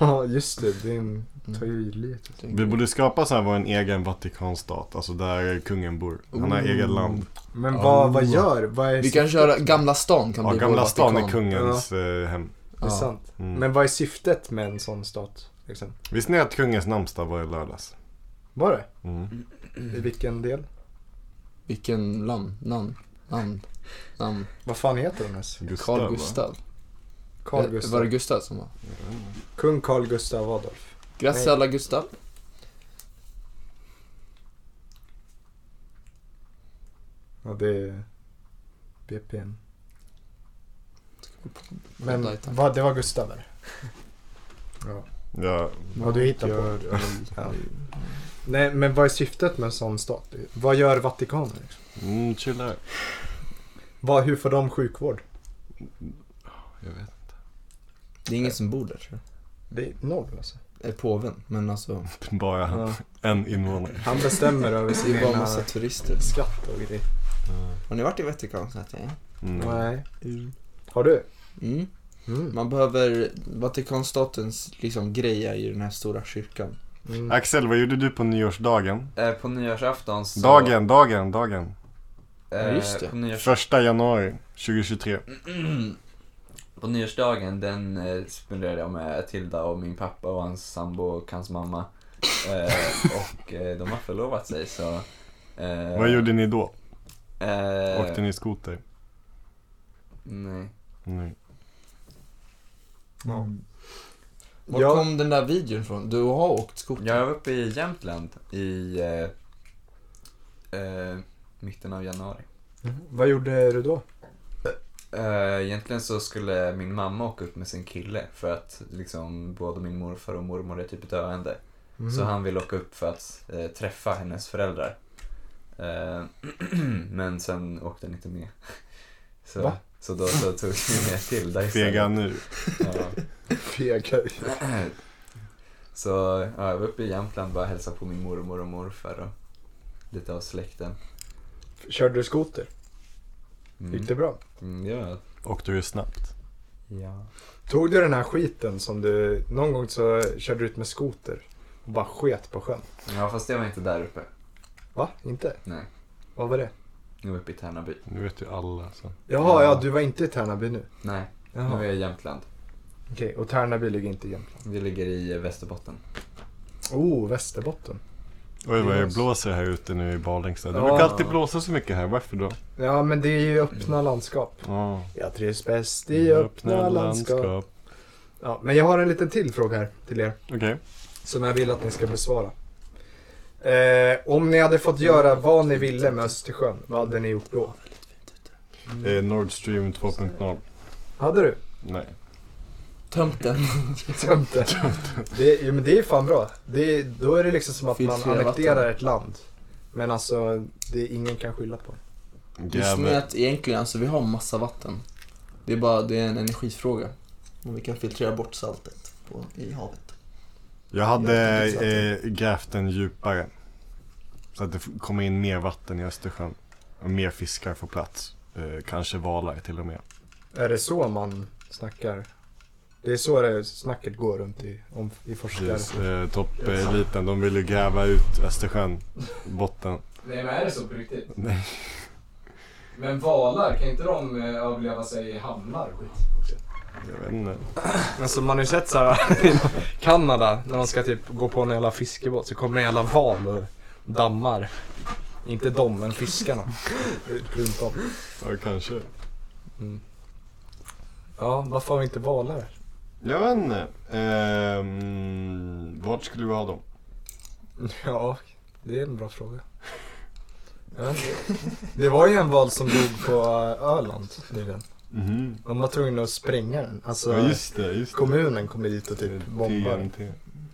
S1: Ja, just det. Din
S5: Mm.
S1: tar ju livet.
S2: Vi borde skapa så här vår egen Vatikanstat, alltså där kungen bor. Han har
S5: Ooh.
S2: eget land.
S1: Men
S5: Ja.
S1: vad, vad gör? Vad är
S5: Vi kan köra, Gamla stan kan
S2: Ja,
S5: bli
S2: Gamla
S5: vår
S2: stan är
S5: Vatikan.
S2: kungens eh, hem.
S1: Det är sant.
S2: Mm.
S1: Men vad är syftet med en sån stat? Liksom?
S2: Visste ni att kungens namnsdag var i lördags?
S1: Var det?
S2: Mm.
S1: I vilken del?
S5: Vilken namn? Namn? Namn? Namn?
S1: Vad fan heter den ens?
S2: Gustav,
S5: Carl
S2: va?
S5: Gustav?
S1: Carl
S5: Eh,
S1: Gustav.
S5: Var det Gustav som var?
S1: Kung Carl Gustav Adolf.
S5: Grattis
S1: Nej.
S5: alla Gustav.
S1: Ja, det är BPN. Men
S5: Nej, tack.
S1: vad, det var Gustav där. Ja.
S2: Ja,
S1: Vad du hittar på. Ja. Nej, men vad är syftet med en sån stat? Vad gör Vatikanen? liksom?
S2: mm, chilla.
S1: Vad, hur får de sjukvård?
S2: Jag vet.
S5: Det är ingen som bor där tror
S1: Det är noll alltså.
S5: jag. Är påven, men alltså.
S2: Bara han.
S1: Ja.
S2: En invånare.
S1: Han bestämmer över
S5: Det
S1: sin
S5: är bara
S1: egna
S5: massa turister.
S1: skatt och grejer.
S5: Har ni varit i Vatikanstaten?
S2: Mm.
S1: Nej. Har du?
S5: Mm.
S1: Mm.
S5: Man behöver, Vatikanstatens liksom grej är ju den här stora kyrkan.
S1: Mm.
S2: Axel, vad gjorde du på nyårsdagen?
S4: Eh, på nyårsafton så... eh,
S2: Dagen, dagen, dagen.
S5: Ja, just det.
S4: På, nyårs,
S2: Första januari 2023.
S4: på nyårsdagen, den eh, spenderade jag med Tilda och min pappa och hans sambo och hans mamma. Eh, och eh, de har förlovat sig så... Eh,
S2: Vad gjorde ni då?
S4: Eh,
S2: Åkte ni skoter?
S4: Nej.
S2: Nej.
S5: Var
S1: Ja.
S5: kom den där videon från? Du har åkt skoter?
S4: Jag var uppe i Jämtland i... Eh, eh, mitten av januari.
S1: Mm. Vad gjorde du då?
S4: Eh, Egentligen så skulle min mamma åka upp med sin kille för att liksom både min morfar och mormor är typ döende.
S1: Mhm. Mm.
S4: Så han vill åka upp för att eh, träffa hennes föräldrar. Eh, men sen åkte han inte med. Så,
S1: Va?
S4: så då så tog vi med Tilda
S2: Fega nu.
S4: Ja.
S1: Fegar.
S4: Så ja, jag var uppe i Jämtland bara hälsade på min mormor och morfar och lite av släkten.
S1: Körde du skoter? Gick
S4: Mm.
S1: det bra?
S4: Mm, ja.
S2: Och du är snabbt.
S4: ja.
S1: Tog du den här skiten som du, någon gång så körde du ut med skoter och bara sket på sjön?
S4: Ja, fast jag var inte där uppe.
S1: Va? Inte?
S4: Nej,
S1: Vad var det?
S4: jag var uppe i Tärnaby.
S2: Nu vet ju alla. Så.
S1: Jaha, ja,
S4: Ja.
S1: du var inte i Tärnaby nu?
S4: Nej, nu
S1: Jaha.
S4: var jag i Jämtland.
S1: Okej, och Tärnaby ligger inte i Jämtland.
S4: Vi ligger i eh, Västerbotten.
S1: Oh, Västerbotten.
S2: Oj vad det blåser här ute nu i Balingsta. Det
S1: Ja.
S2: brukar alltid blåsa så mycket här. Varför då?
S1: Ja, men det är ju öppna landskap.
S2: Ja.
S1: Jag trivs bäst i Mm. öppna landskap. Ja, men jag har en liten till fråga här till er.
S2: Okej.
S1: Som jag vill att ni ska besvara. Eh, om ni hade fått göra vad ni ville med Östersjön, vad hade ni gjort då? Mm.
S2: Eh, Nord Stream 2.0.
S1: Hade du?
S2: Nej.
S5: Tömt den.
S1: Tömt det? det jo, men det är fan bra. Det är, då är det liksom som att man
S5: Filtrera
S1: annekterar
S5: vatten.
S1: ett land. Men alltså, det är ingen kan skylla på det.
S5: Just nu
S2: Jävlar.
S5: att egentligen, alltså vi har massa vatten. Det är bara, det är en energifråga.
S3: Om vi kan filtrera bort saltet på, i havet.
S2: Jag hade
S3: Jag tänkte
S2: eh, grävt den djupare. Så att det f- kommer in mer vatten i Östersjön. Och mer fiskar får plats. Eh, kanske valar till och med.
S1: Är det så man snackar? Det är så det snacket går runt i, om, i forskare.
S2: Precis, eh, Toppeliten, de vill ju gräva ut Östersjön, botten.
S4: Nej men är det så på riktigt?
S2: Nej.
S4: Men valar, kan inte de eh, överleva sig i hamnar och skit?
S2: Jag vet inte.
S1: Alltså man har ju sett såhär i Kanada när man ska typ gå på en jävla fiskebåt så kommer en jävla val och dammar. Inte dem, men fiskarna. Runt om.
S2: Ja, kanske.
S1: Ja, varför har vi inte valar?
S2: Jag vet inte. Ehm, vart skulle vi ha dem?
S1: Ja, det är en bra fråga. Ja. Det var ju en val som dog på eh, Öland nyligen.
S2: Mhm.
S1: De var tvungna att spränga den. Alltså,
S2: Ja, just det. Just det.
S1: kommunen kommer dit och typ bombar.
S2: TNT.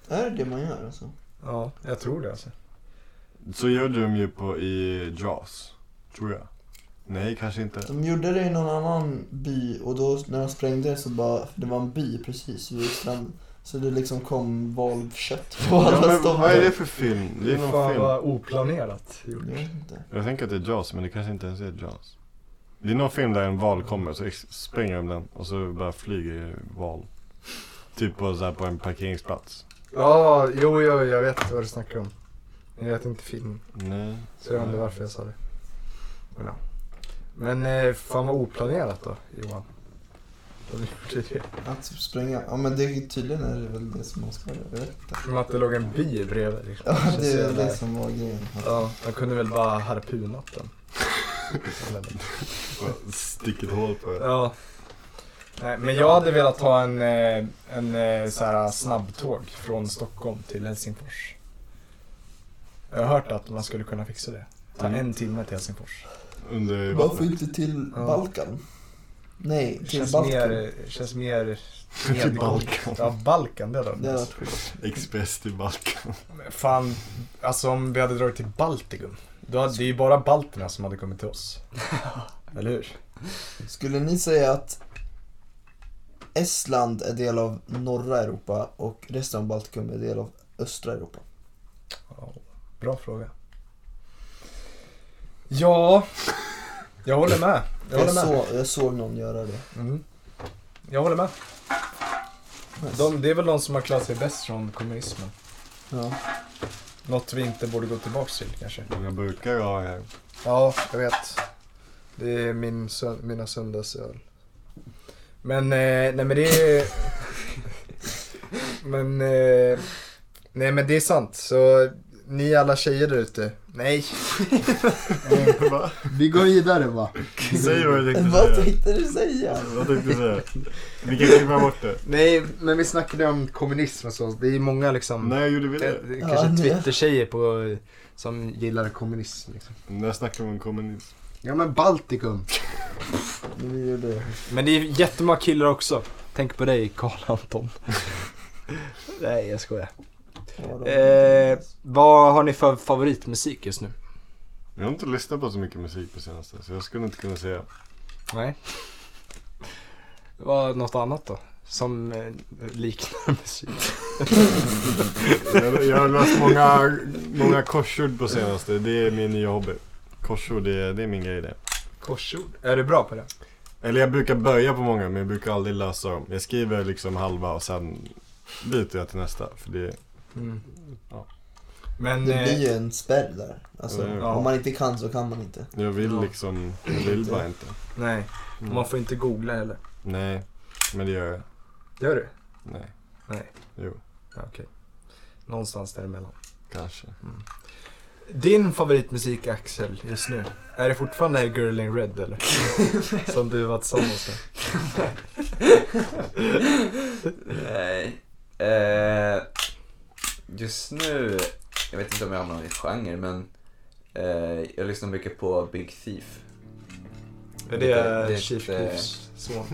S3: Är det det man gör alltså?
S1: Ja, jag tror det alltså.
S2: Så gjorde de ju på i Jaws, tror jag. Nej, kanske inte.
S3: De gjorde det i någon annan by och då när de sprängde så bara, det var en by precis vid stranden. Så det liksom kom valkött på
S2: Ja,
S3: alla
S2: men, vad är det
S3: stånd.
S2: för film? Det
S1: Det
S2: är
S1: är
S2: någon
S1: fan
S2: film.
S1: vad oplanerat gjort.
S3: Jag vet inte.
S2: Jag tänker att det är Jaws, men det kanske inte ens är Jaws. Det är någon film där en val kommer, så ex- spränger de den och så bara flyger val. Typ på, så här, på en parkeringsplats.
S1: Ja, jo, jo, jag vet vad du snackar om. Men Jag vet inte filmen,
S2: Nej.
S1: så jag undrar varför jag sa det. Men, ja. Men eh, fan vad oplanerat då, Johan. De gjorde det.
S3: Att spränga, ja men det är tydligen är det väl det som man ska göra. Jag vet inte.
S1: Som att det låg en by bredvid. Liksom.
S3: Ja,
S1: känns
S3: det är
S1: så
S3: väl det
S1: jävla-
S3: som var grejen.
S1: Ja, de kunde väl bara harpunat den.
S2: Bara Stick ett hål på det.
S1: ja. Nej, men jag hade velat ha en, eh, en eh, så här, snabbtåg från Stockholm till Helsingfors. Jag har hört att man skulle kunna fixa det. Ta
S2: Mm.
S1: en timme till Helsingfors.
S2: Under
S3: Varför
S2: vattnet.
S3: inte till
S1: Ja.
S3: Balkan? Nej,
S1: Det
S3: till
S1: känns
S3: Balkan.
S1: mer, känns mer...
S2: Till Typ Balkan.
S1: Ja, Balkan det då.
S3: Det hade varit sjukt.
S2: Express till Balkan.
S1: Men Fan, alltså om vi hade dragit till Baltikum. Då hade det är ju bara balterna som hade kommit till oss. Eller hur?
S3: Skulle ni säga att Estland är del av norra Europa och resten av Baltikum är del av östra Europa?
S1: Ja, Bra fråga. Ja, jag håller med. Jag håller
S3: Jag,
S1: med.
S3: så, jag såg någon göra det.
S1: Mm. Jag håller med.
S3: Nice.
S1: De, det är väl de som har klarat sig bäst från kommunismen.
S3: Ja.
S1: Något vi inte borde gå tillbaka till kanske.
S2: Jag brukar ju ha här.
S1: Ja, jag vet. Det är min sö- mina söndagsöl. Men, eh, nej men det är... men, eh, nej men det är sant. Så ni alla tjejer där ute. Nej,
S2: Va?
S1: vi går vidare va.
S2: Säg vad du tänkte
S3: Vad
S2: säga.
S3: tänkte du säga?
S2: Vad tänkte du säga? Vi kan klippa bort det.
S1: Nej, men vi snackade om kommunism och så. Det är många liksom...
S2: När gjorde vi
S1: eh,
S2: det?
S1: Kanske
S3: Ja, nu.
S1: Twitter-tjejer på, som gillar kommunism. Liksom.
S2: När snackade vi om kommunism?
S1: Ja men Baltikum.
S3: Nu blir det det.
S1: Men det är jättemånga killar också. Tänk på dig Karl Anton. Nej jag skojar.
S3: Ja, då.
S1: Eh, vad har ni för favoritmusik just nu?
S2: Jag har inte lyssnat på så mycket musik på senaste, så jag skulle inte kunna säga.
S1: Nej. Vad något annat då? Som eh, liknar musik.
S2: Jag, jag har läst många, många korsord på senaste. Det är min nya hobby. Korsord, det är, det är min grej det.
S1: Korsord. Är du bra på det?
S2: Eller jag brukar börja på många, men jag brukar aldrig lösa dem. Jag skriver liksom halva och sen byter jag till nästa. För det,
S1: Mm.
S2: Ja.
S1: Men...
S3: Det blir
S1: Eh,
S3: ju en spärr där. Alltså,
S2: Ja.
S3: om man inte kan så kan man inte.
S2: jag vill
S1: Ja.
S2: liksom, jag vill bara inte.
S1: nej.
S2: Mm.
S1: Man får inte googla heller.
S2: Nej, men det gör jag.
S1: Gör du?
S2: Nej.
S1: Nej.
S2: Jo,
S1: Ja, Okej. Någonstans däremellan.
S2: kanske.
S1: Din favoritmusik Axel just nu? Är det fortfarande Girl in Red eller? Som du var tillsammans med?
S4: Nej. Eh, just nu, jag vet inte om jag har någon genre, men eh, jag lyssnar mycket på Big Thief.
S1: Är
S4: Det-
S1: det,
S4: det-
S1: Chief
S4: det-
S1: Keefs son?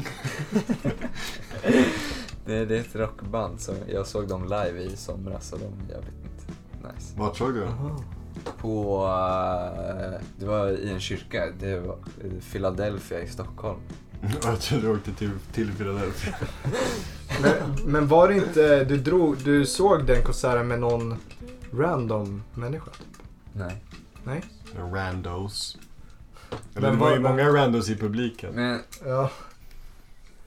S4: Det, det är ett rockband som jag såg dem live i somras och de är jävligt nice.
S2: Vart såg du den?
S4: På, eh, det var i en kyrka, det var eh, Philadelphia i Stockholm.
S2: Jag trodde du åkte till, till Philadelphia.
S1: Men, men var det inte, du, drog, du såg den konserten med någon random människa?
S4: Nej.
S2: Randos. Eller
S1: Men
S2: det var ju
S1: vad-
S2: många randos i publiken.
S4: Men,
S1: Ja.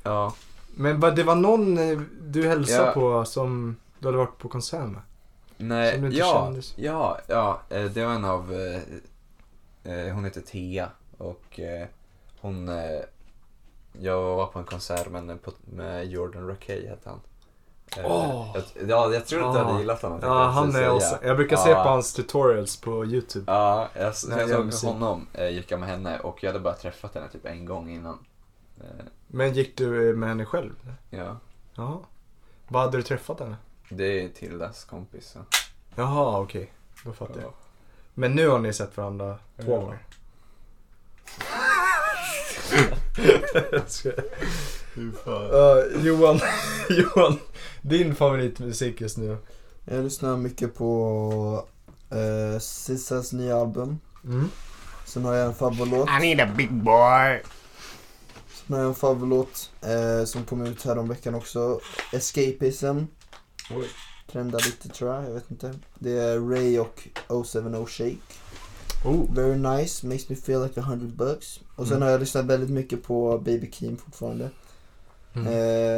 S4: ja.
S1: Men va- det var någon eh, du hälsade
S4: Ja.
S1: på som du hade varit på konsert med?
S4: Nej,
S1: Som du inte
S4: ja,
S1: kände så.
S4: ja, ja, eh, det var en av, eh, eh, hon heter Thea och eh, hon, eh, jag var på en konsert med, henne på, med Jordan Rockey hette han. Eh,
S1: Åh.
S4: jag, ja, jag tror inte jag
S1: Ah.
S4: hade gillat honom. tänkte
S1: Ja,
S4: jag
S1: han
S4: precis
S1: är
S4: säga.
S1: också, jag brukar se
S4: Ja.
S1: på hans tutorials på YouTube.
S4: Ja, jag, så
S1: Nej,
S4: jag
S1: jag
S4: såg
S1: musik.
S4: honom, eh, gick jag med henne och jag hade bara träffat henne typ en gång innan. Eh,
S1: Men gick du eh, med henne själv?
S4: ja,
S1: Ja. Vad hade du träffat henne?
S4: det är Tildas kompis. Så.
S1: Jaha, okej. Då fattar jag.
S4: Ja.
S1: Men nu har ni sett varandra två
S4: Ja.
S1: gånger? Jag skojar.
S2: Fy fan.
S1: Eh, Johan, Johan, din favoritmusik just nu?
S3: Jag lyssnar mycket på uh, Sissas nya album.
S1: Mm.
S3: Sen har jag en favoritlåt.
S2: I need a big boy.
S3: Sen har jag en favoritlåt eh, som kom ut häromveckan också. Escapism.
S1: Oj.
S3: Trendar lite tror jag, jag vet inte. Det är Ray och 070 Shake.
S1: Oh.
S3: Very nice, makes me feel like a hundred bucks. Och sen
S1: Mm.
S3: har jag lyssnat väldigt mycket på Baby Keem fortfarande.
S1: Mm.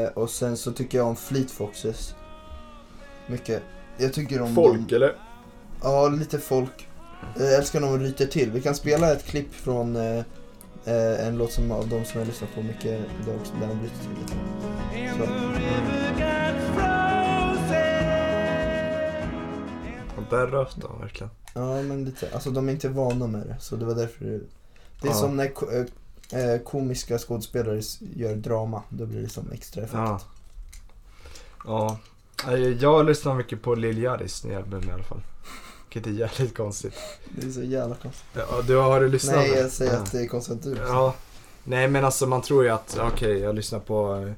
S3: Eh, och sen så tycker jag om Fleet Foxes. Mycket. Jag tycker om dem.
S1: Folk eller?
S3: Ja, lite folk. Eh, Jag älskar när de ryter till. Vi kan spela ett klipp från eh, eh, en låt som av de som jag lyssnar på mycket idag också, där de ryter till lite. Så.
S1: Och där röt han verkligen.
S3: Ja, men lite. Alltså de är inte vana med det, så det var därför det... Det är
S1: Ja.
S3: som när ko- eh, eh, komiska skådespelare s- gör drama. Då blir det som extra effekt.
S1: Ja. Ja. Nej, Jag lyssnar mycket på Lil Yaris nya album i alla fall. Vilket är jävligt konstigt.
S3: Det är så jävla konstigt.
S1: Ja, du har du lyssnat?
S3: Nej,
S1: nu?
S3: jag säger
S1: Ja.
S3: att det är konstigt. Du.
S1: Ja. Nej men alltså man tror ju att, okej jag lyssnar på eh,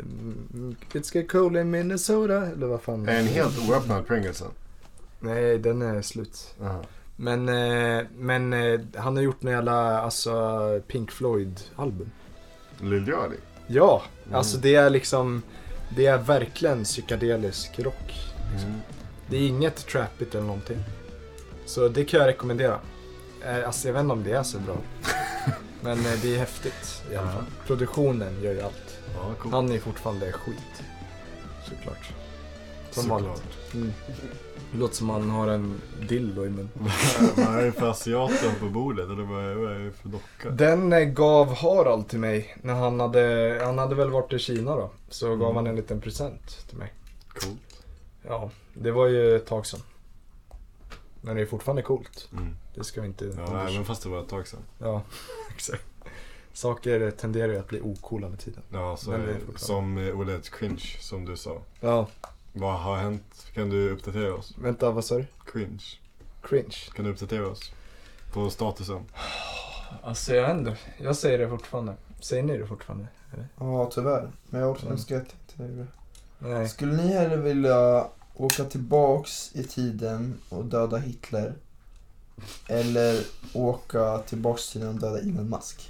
S1: mm, It's get cool in Minnesota eller vad fan.
S2: En helt oöppnad Pringlesen.
S1: Nej den är slut.
S2: Jaha.
S1: Men, eh, men eh, han har gjort en jävla alltså, Pink Floyd album.
S2: Lill Yardie.
S1: Ja,
S2: Mm.
S1: alltså det är liksom, det är verkligen psykedelisk rock.
S2: Mm.
S1: Det är inget trappigt eller någonting. Så det kan jag rekommendera. Eh, Alltså jag vet inte om det är så bra. Men eh, det är häftigt i alla fall. Produktionen gör ju allt.
S2: Ja, coolt.
S1: Han är fortfarande skit. Såklart. Som vanligt. Mm. Det låter som han har en dildo i munnen.
S2: Vad är det för asiater på bordet? Eller vad är, vad är det för docka?
S1: Den eh, gav Harald till mig när han hade, han hade väl varit i Kina då. Så gav
S2: Mm.
S1: han en liten present till mig.
S2: Coolt.
S1: Ja, det var ju ett tag sedan. Men det är fortfarande coolt. Det ska vi inte...
S2: Mm. Ja, nej, men fast det var ett tag sedan.
S1: Ja, exakt. Saker tenderar ju att bli ocoola med tiden.
S2: Ja, så
S1: Men
S2: är
S1: det är
S2: det.
S1: fortfarande-
S2: som eh, ordet cringe, som du sa.
S1: Ja,
S2: Vad har hänt? Kan du uppdatera oss?
S1: vänta vad sa du?
S2: Cringe.
S1: Cringe.
S2: Kan du uppdatera oss? På statusen?
S1: Alltså jag ändå. Jag säger det fortfarande. Säger ni det fortfarande?
S3: Ja, tyvärr. Men jag också
S1: Mm.
S3: önskar att jag inte gjorde det.
S1: Nej.
S3: Skulle ni hellre vilja åka tillbaks i tiden och döda Hitler? Eller åka tillbaks i tiden och döda Elon Musk?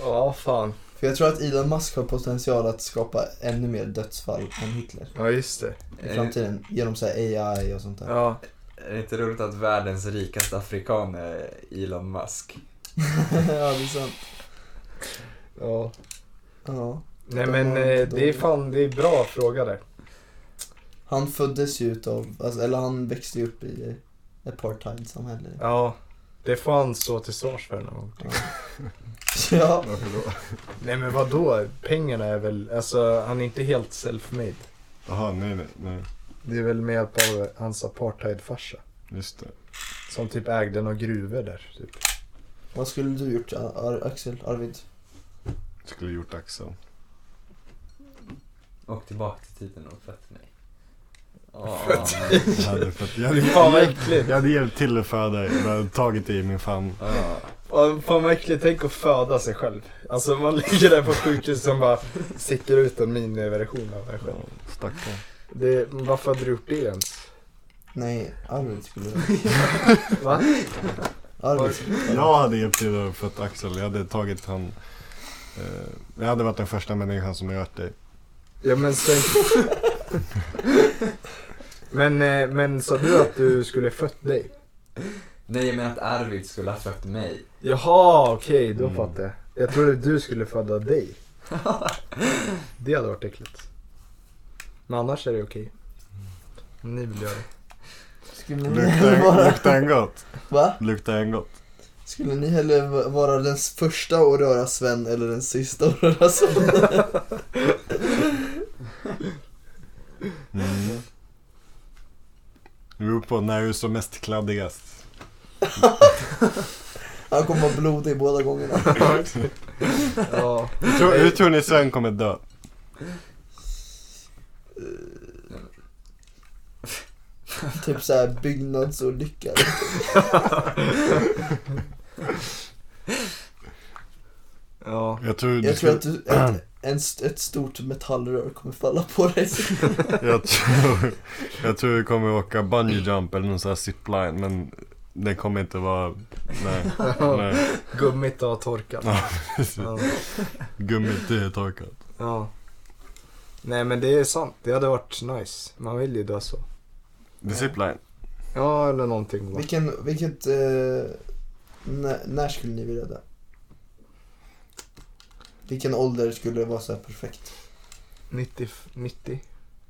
S1: Ja, fan.
S3: För jag tror att Elon Musk har potential att skapa ännu mer dödsfall än Hitler
S1: Ja, just det.
S3: i framtiden. Genom så här AI och sånt där.
S1: Ja.
S4: Eh, Är det inte roligt att världens rikaste afrikan är Elon Musk?
S3: ja, det är sant.
S1: ja.
S3: Ja.
S1: Nej
S3: De
S1: men
S3: var
S1: eh,
S3: inte
S1: det är
S3: dåliga.
S1: fan, det är bra fråga där.
S3: Han föddes ju utav, alltså, eller han växte ju upp i apartheidsamhälle.
S1: Ja. Det får han stå till svars för någon gång.
S3: Ja.
S2: Varför då?
S1: Nej men vadå? Pengarna är väl, alltså han är inte helt self-made.
S2: Jaha, nej, nej, nej.
S1: Det är väl med hjälp av hans apartheidfarsa.
S2: Just det.
S1: Som typ ägde några gruvor där. Typ.
S3: Vad skulle du gjort Ar- Ar- Axel, Arvid?
S2: Skulle gjort Axel.
S4: Åk tillbaka till tiden och fött mig. Åh.
S2: Jag hade, fått- jag
S1: Det
S2: hade,
S1: är fan vad
S2: jag,
S1: äckligt.
S2: jag hade hjälpt till att föda dig, men jag hade tagit dig i min famn.
S4: Åh.
S1: Ja, Fan vad äckligt, tänk att föda sig själv. Alltså man ligger där på sjukhus som bara sticker ut en miniversion av en själv.
S2: Stackarn.
S1: Det, varför hade du gjort det ens?
S3: Nej, Arvid skulle
S1: Va?
S3: Arvid skulle
S2: Jag hade hjälpt till att fött Axel. Jag hade tagit han... Eh, jag hade varit den första människan som rört dig.
S1: Ja men sen... men, eh, men sa du att du skulle fött dig?
S4: Nej, jag menar att Arvid skulle ha fött mig.
S1: Jaha, okej då
S2: Mm.
S1: fattar jag. Jag trodde du skulle föda dig. Det hade varit äckligt. Men annars är det okej. Om Mm. ni vill göra det.
S3: Skulle ni hellre
S2: Luktar
S3: vara...
S2: luktar en gott?
S3: Va?
S2: Luktar en gott?
S3: Skulle ni hellre va- vara den första att röra Sven eller den sista att röra Sven?
S2: Mm. Det beror på när du är som mest kladdigast.
S3: Han kommer vara blodig båda gångerna.
S1: Ja.
S2: Hur tror, hur tror ni Sven kommer dö?
S3: Typ såhär byggnadsolycka.
S1: ja.
S2: Jag tror, du
S3: Jag tror
S2: skulle-
S3: att du, ett, en, st- ett stort metallrör kommer falla på dig.
S2: jag, tror, jag tror du kommer åka bungee jump eller någon sån här zipline men det kommer inte vara... Nej. nej.
S1: Gummit har torkat.
S2: Ja,
S1: Ja.
S2: Gummit är torkat.
S1: ja. Nej men det är sant, det hade varit nice. Man vill ju dö så.
S2: Det är zipline.
S1: Ja eller någonting. va?
S3: Vilken, vilket, eh, när, när skulle ni vilja dö? Vilken ålder skulle vara så här perfekt?
S1: 90, 90?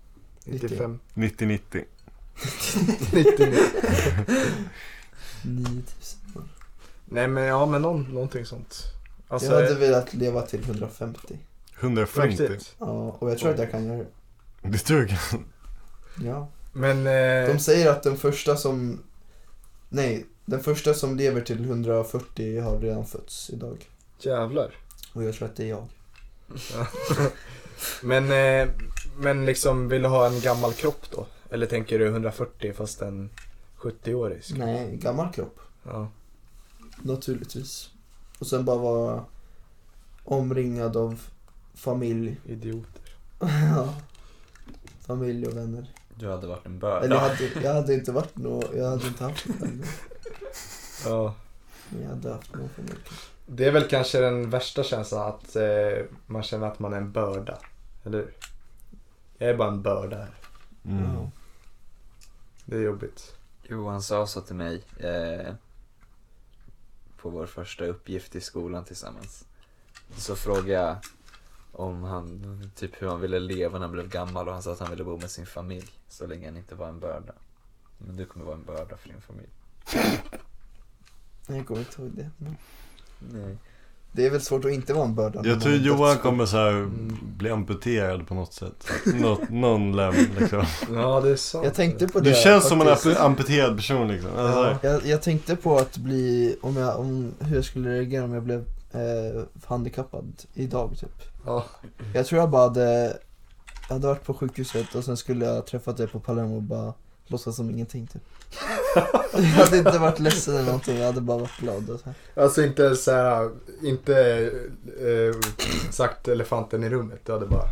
S1: 95?
S2: 90-90.
S1: 90.
S3: 9000 år.
S1: Nej men ja men någon, någonting sånt. Alltså,
S3: jag hade velat leva till 150.
S1: på
S2: 150.
S1: riktigt.
S3: Ja, och jag tror att jag kan göra det.
S2: Det tror jag.
S3: Ja.
S1: Men
S3: De
S1: eh,
S3: säger att den första som... Nej, den första som lever till 140 har redan fötts idag.
S1: jävlar.
S3: Och jag tror att det är jag.
S1: Men, eh, men liksom vill du ha en gammal kropp då? Eller tänker du 140 fast en 70-årig? ska-
S3: Nej, gammal kropp.
S1: Ja.
S3: Naturligtvis. Och sen bara vara omringad av familj.
S1: Idioter.
S3: Ja. familj och vänner.
S4: Du hade varit en
S3: Eller jag
S4: börda.
S3: hade, jag hade inte varit nå, jag hade inte haft någon familj.
S1: Ja.
S3: Men jag hade haft någon familj.
S1: Det är väl kanske den värsta känslan att eh, man känner att man är en börda. Eller hur? Jag är bara en börda här.
S2: Mm.
S3: Ja.
S1: Det är jobbigt.
S4: Johan sa så till mig eh, på vår första uppgift i skolan tillsammans. Så frågade jag om han, typ hur han ville leva när han blev gammal och han sa att han ville bo med sin familj så länge han inte var en börda. Men du kommer vara en börda för din familj.
S3: Jag kommer inte ihåg det. Men
S4: Nej.
S3: Det är väl svårt att inte vara en börda. när
S2: Jag
S3: man
S2: tror
S3: har
S2: Johan
S3: dödsfall.
S2: kommer så här
S3: Mm.
S2: bli amputerad på något sätt. Nå, någon lem liksom.
S1: Ja det är sant.
S3: Jag tänkte på det.
S2: Du känns som en
S3: faktiskt.
S2: amp- amputerad person liksom. Alltså,
S1: Ja.
S3: jag, jag tänkte på att bli, om jag, om, hur jag skulle reagera om jag blev eh, handikappad idag typ.
S1: Ja.
S3: Jag tror jag bara hade, jag hade varit på sjukhuset och sen skulle jag träffat dig på Palermo och bara låtsas som ingenting typ. Jag hade inte varit ledsen eller någonting, jag hade bara varit glad. Och så här.
S1: Alltså inte så här, inte eh, sagt elefanten i rummet. Du hade bara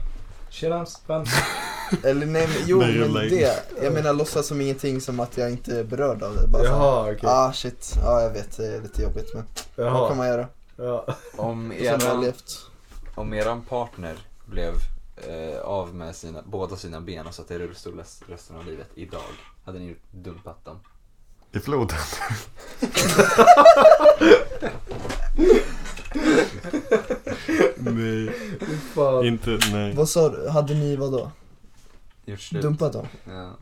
S1: Tjena, spänn.
S3: Eller nej, men, jo
S2: Nej, jag
S3: men
S2: lägger.
S3: det. Jag menar låtsas som ingenting som att jag inte är berörd av det. Bara så här,
S1: Jaha, okej.
S3: ah shit, ja jag vet det är lite jobbigt men vad kan
S1: Jaha.
S3: man göra?
S1: Ja.
S4: Om
S3: Som jag har
S4: eran,
S3: levt.
S4: om eran partner blev eh, av med sina, båda sina ben och satt i rullstol rest- resten av livet idag, hade ni dumpat dem?
S2: I floden. nej,
S1: Fan.
S2: inte nej.
S3: Vad sa du? Hade ni vad då?
S4: Gjort slut?
S3: Dumpat dem?
S4: Ja.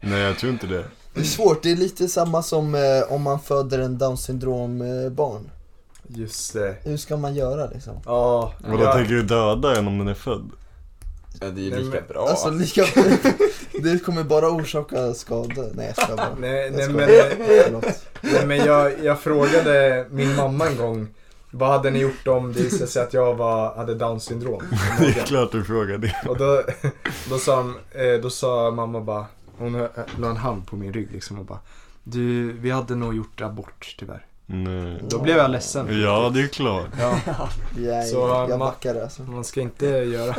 S2: Nej, jag tror inte det.
S3: Det är svårt, det är lite samma som eh, om man föder en down syndrom eh, barn.
S1: Just det.
S3: Hur ska man göra liksom?
S1: Ja.
S2: Vadå,
S1: ja.
S2: tänker du döda en om den är född?
S4: ja, det är ju
S1: Nej,
S4: lika
S1: men-
S4: bra.
S3: Alltså lika Det kommer bara orsaka skador. Nej jag skojar bara.
S1: Nej,
S3: Jag
S1: nej, men,
S3: skojar. Förlåt.
S1: nej men jag, jag frågade min mamma en gång. Vad hade ni gjort om det visade sig att jag var, hade down syndrom?
S2: Det är klart du frågar det.
S1: Och då, då, sa, han- eh, då sa mamma bara, hon eh, la en hand på min rygg liksom och bara Du, vi hade nog gjort abort tyvärr.
S2: Nej.
S1: Då blev jag ledsen.
S2: Ja, det är klart.
S1: Ja,
S3: Jag,
S1: Så,
S3: jag
S1: ma-
S3: backar alltså.
S1: man ska inte göra,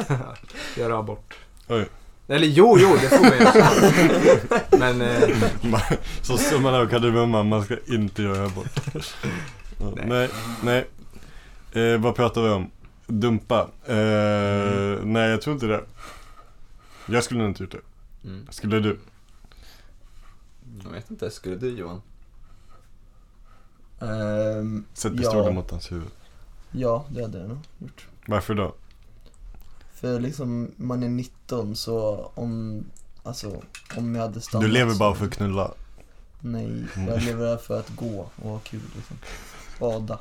S1: göra abort.
S2: Oj.
S1: Eller jo, jo, det får man göra. Men eh,
S2: Man- Så summan av kardemumman, man ska inte göra abort. Ja, nej, nej. Eh, vad pratar vi om? Dumpa? Eh, Nej, jag tror inte det. Jag skulle nog inte gjort det.
S4: Mm.
S2: Skulle du?
S4: Jag vet inte, skulle du Johan?
S3: Ehm,
S2: Sätt
S3: Ja.
S2: pistolen mot hans huvud.
S3: ja det hade jag nog gjort.
S2: Varför då?
S3: För liksom man är 19 så om, alltså om jag hade stannat.
S2: Du lever
S3: så-
S2: bara för att knulla.
S3: Nej, jag lever här för att gå och ha kul liksom. Bada.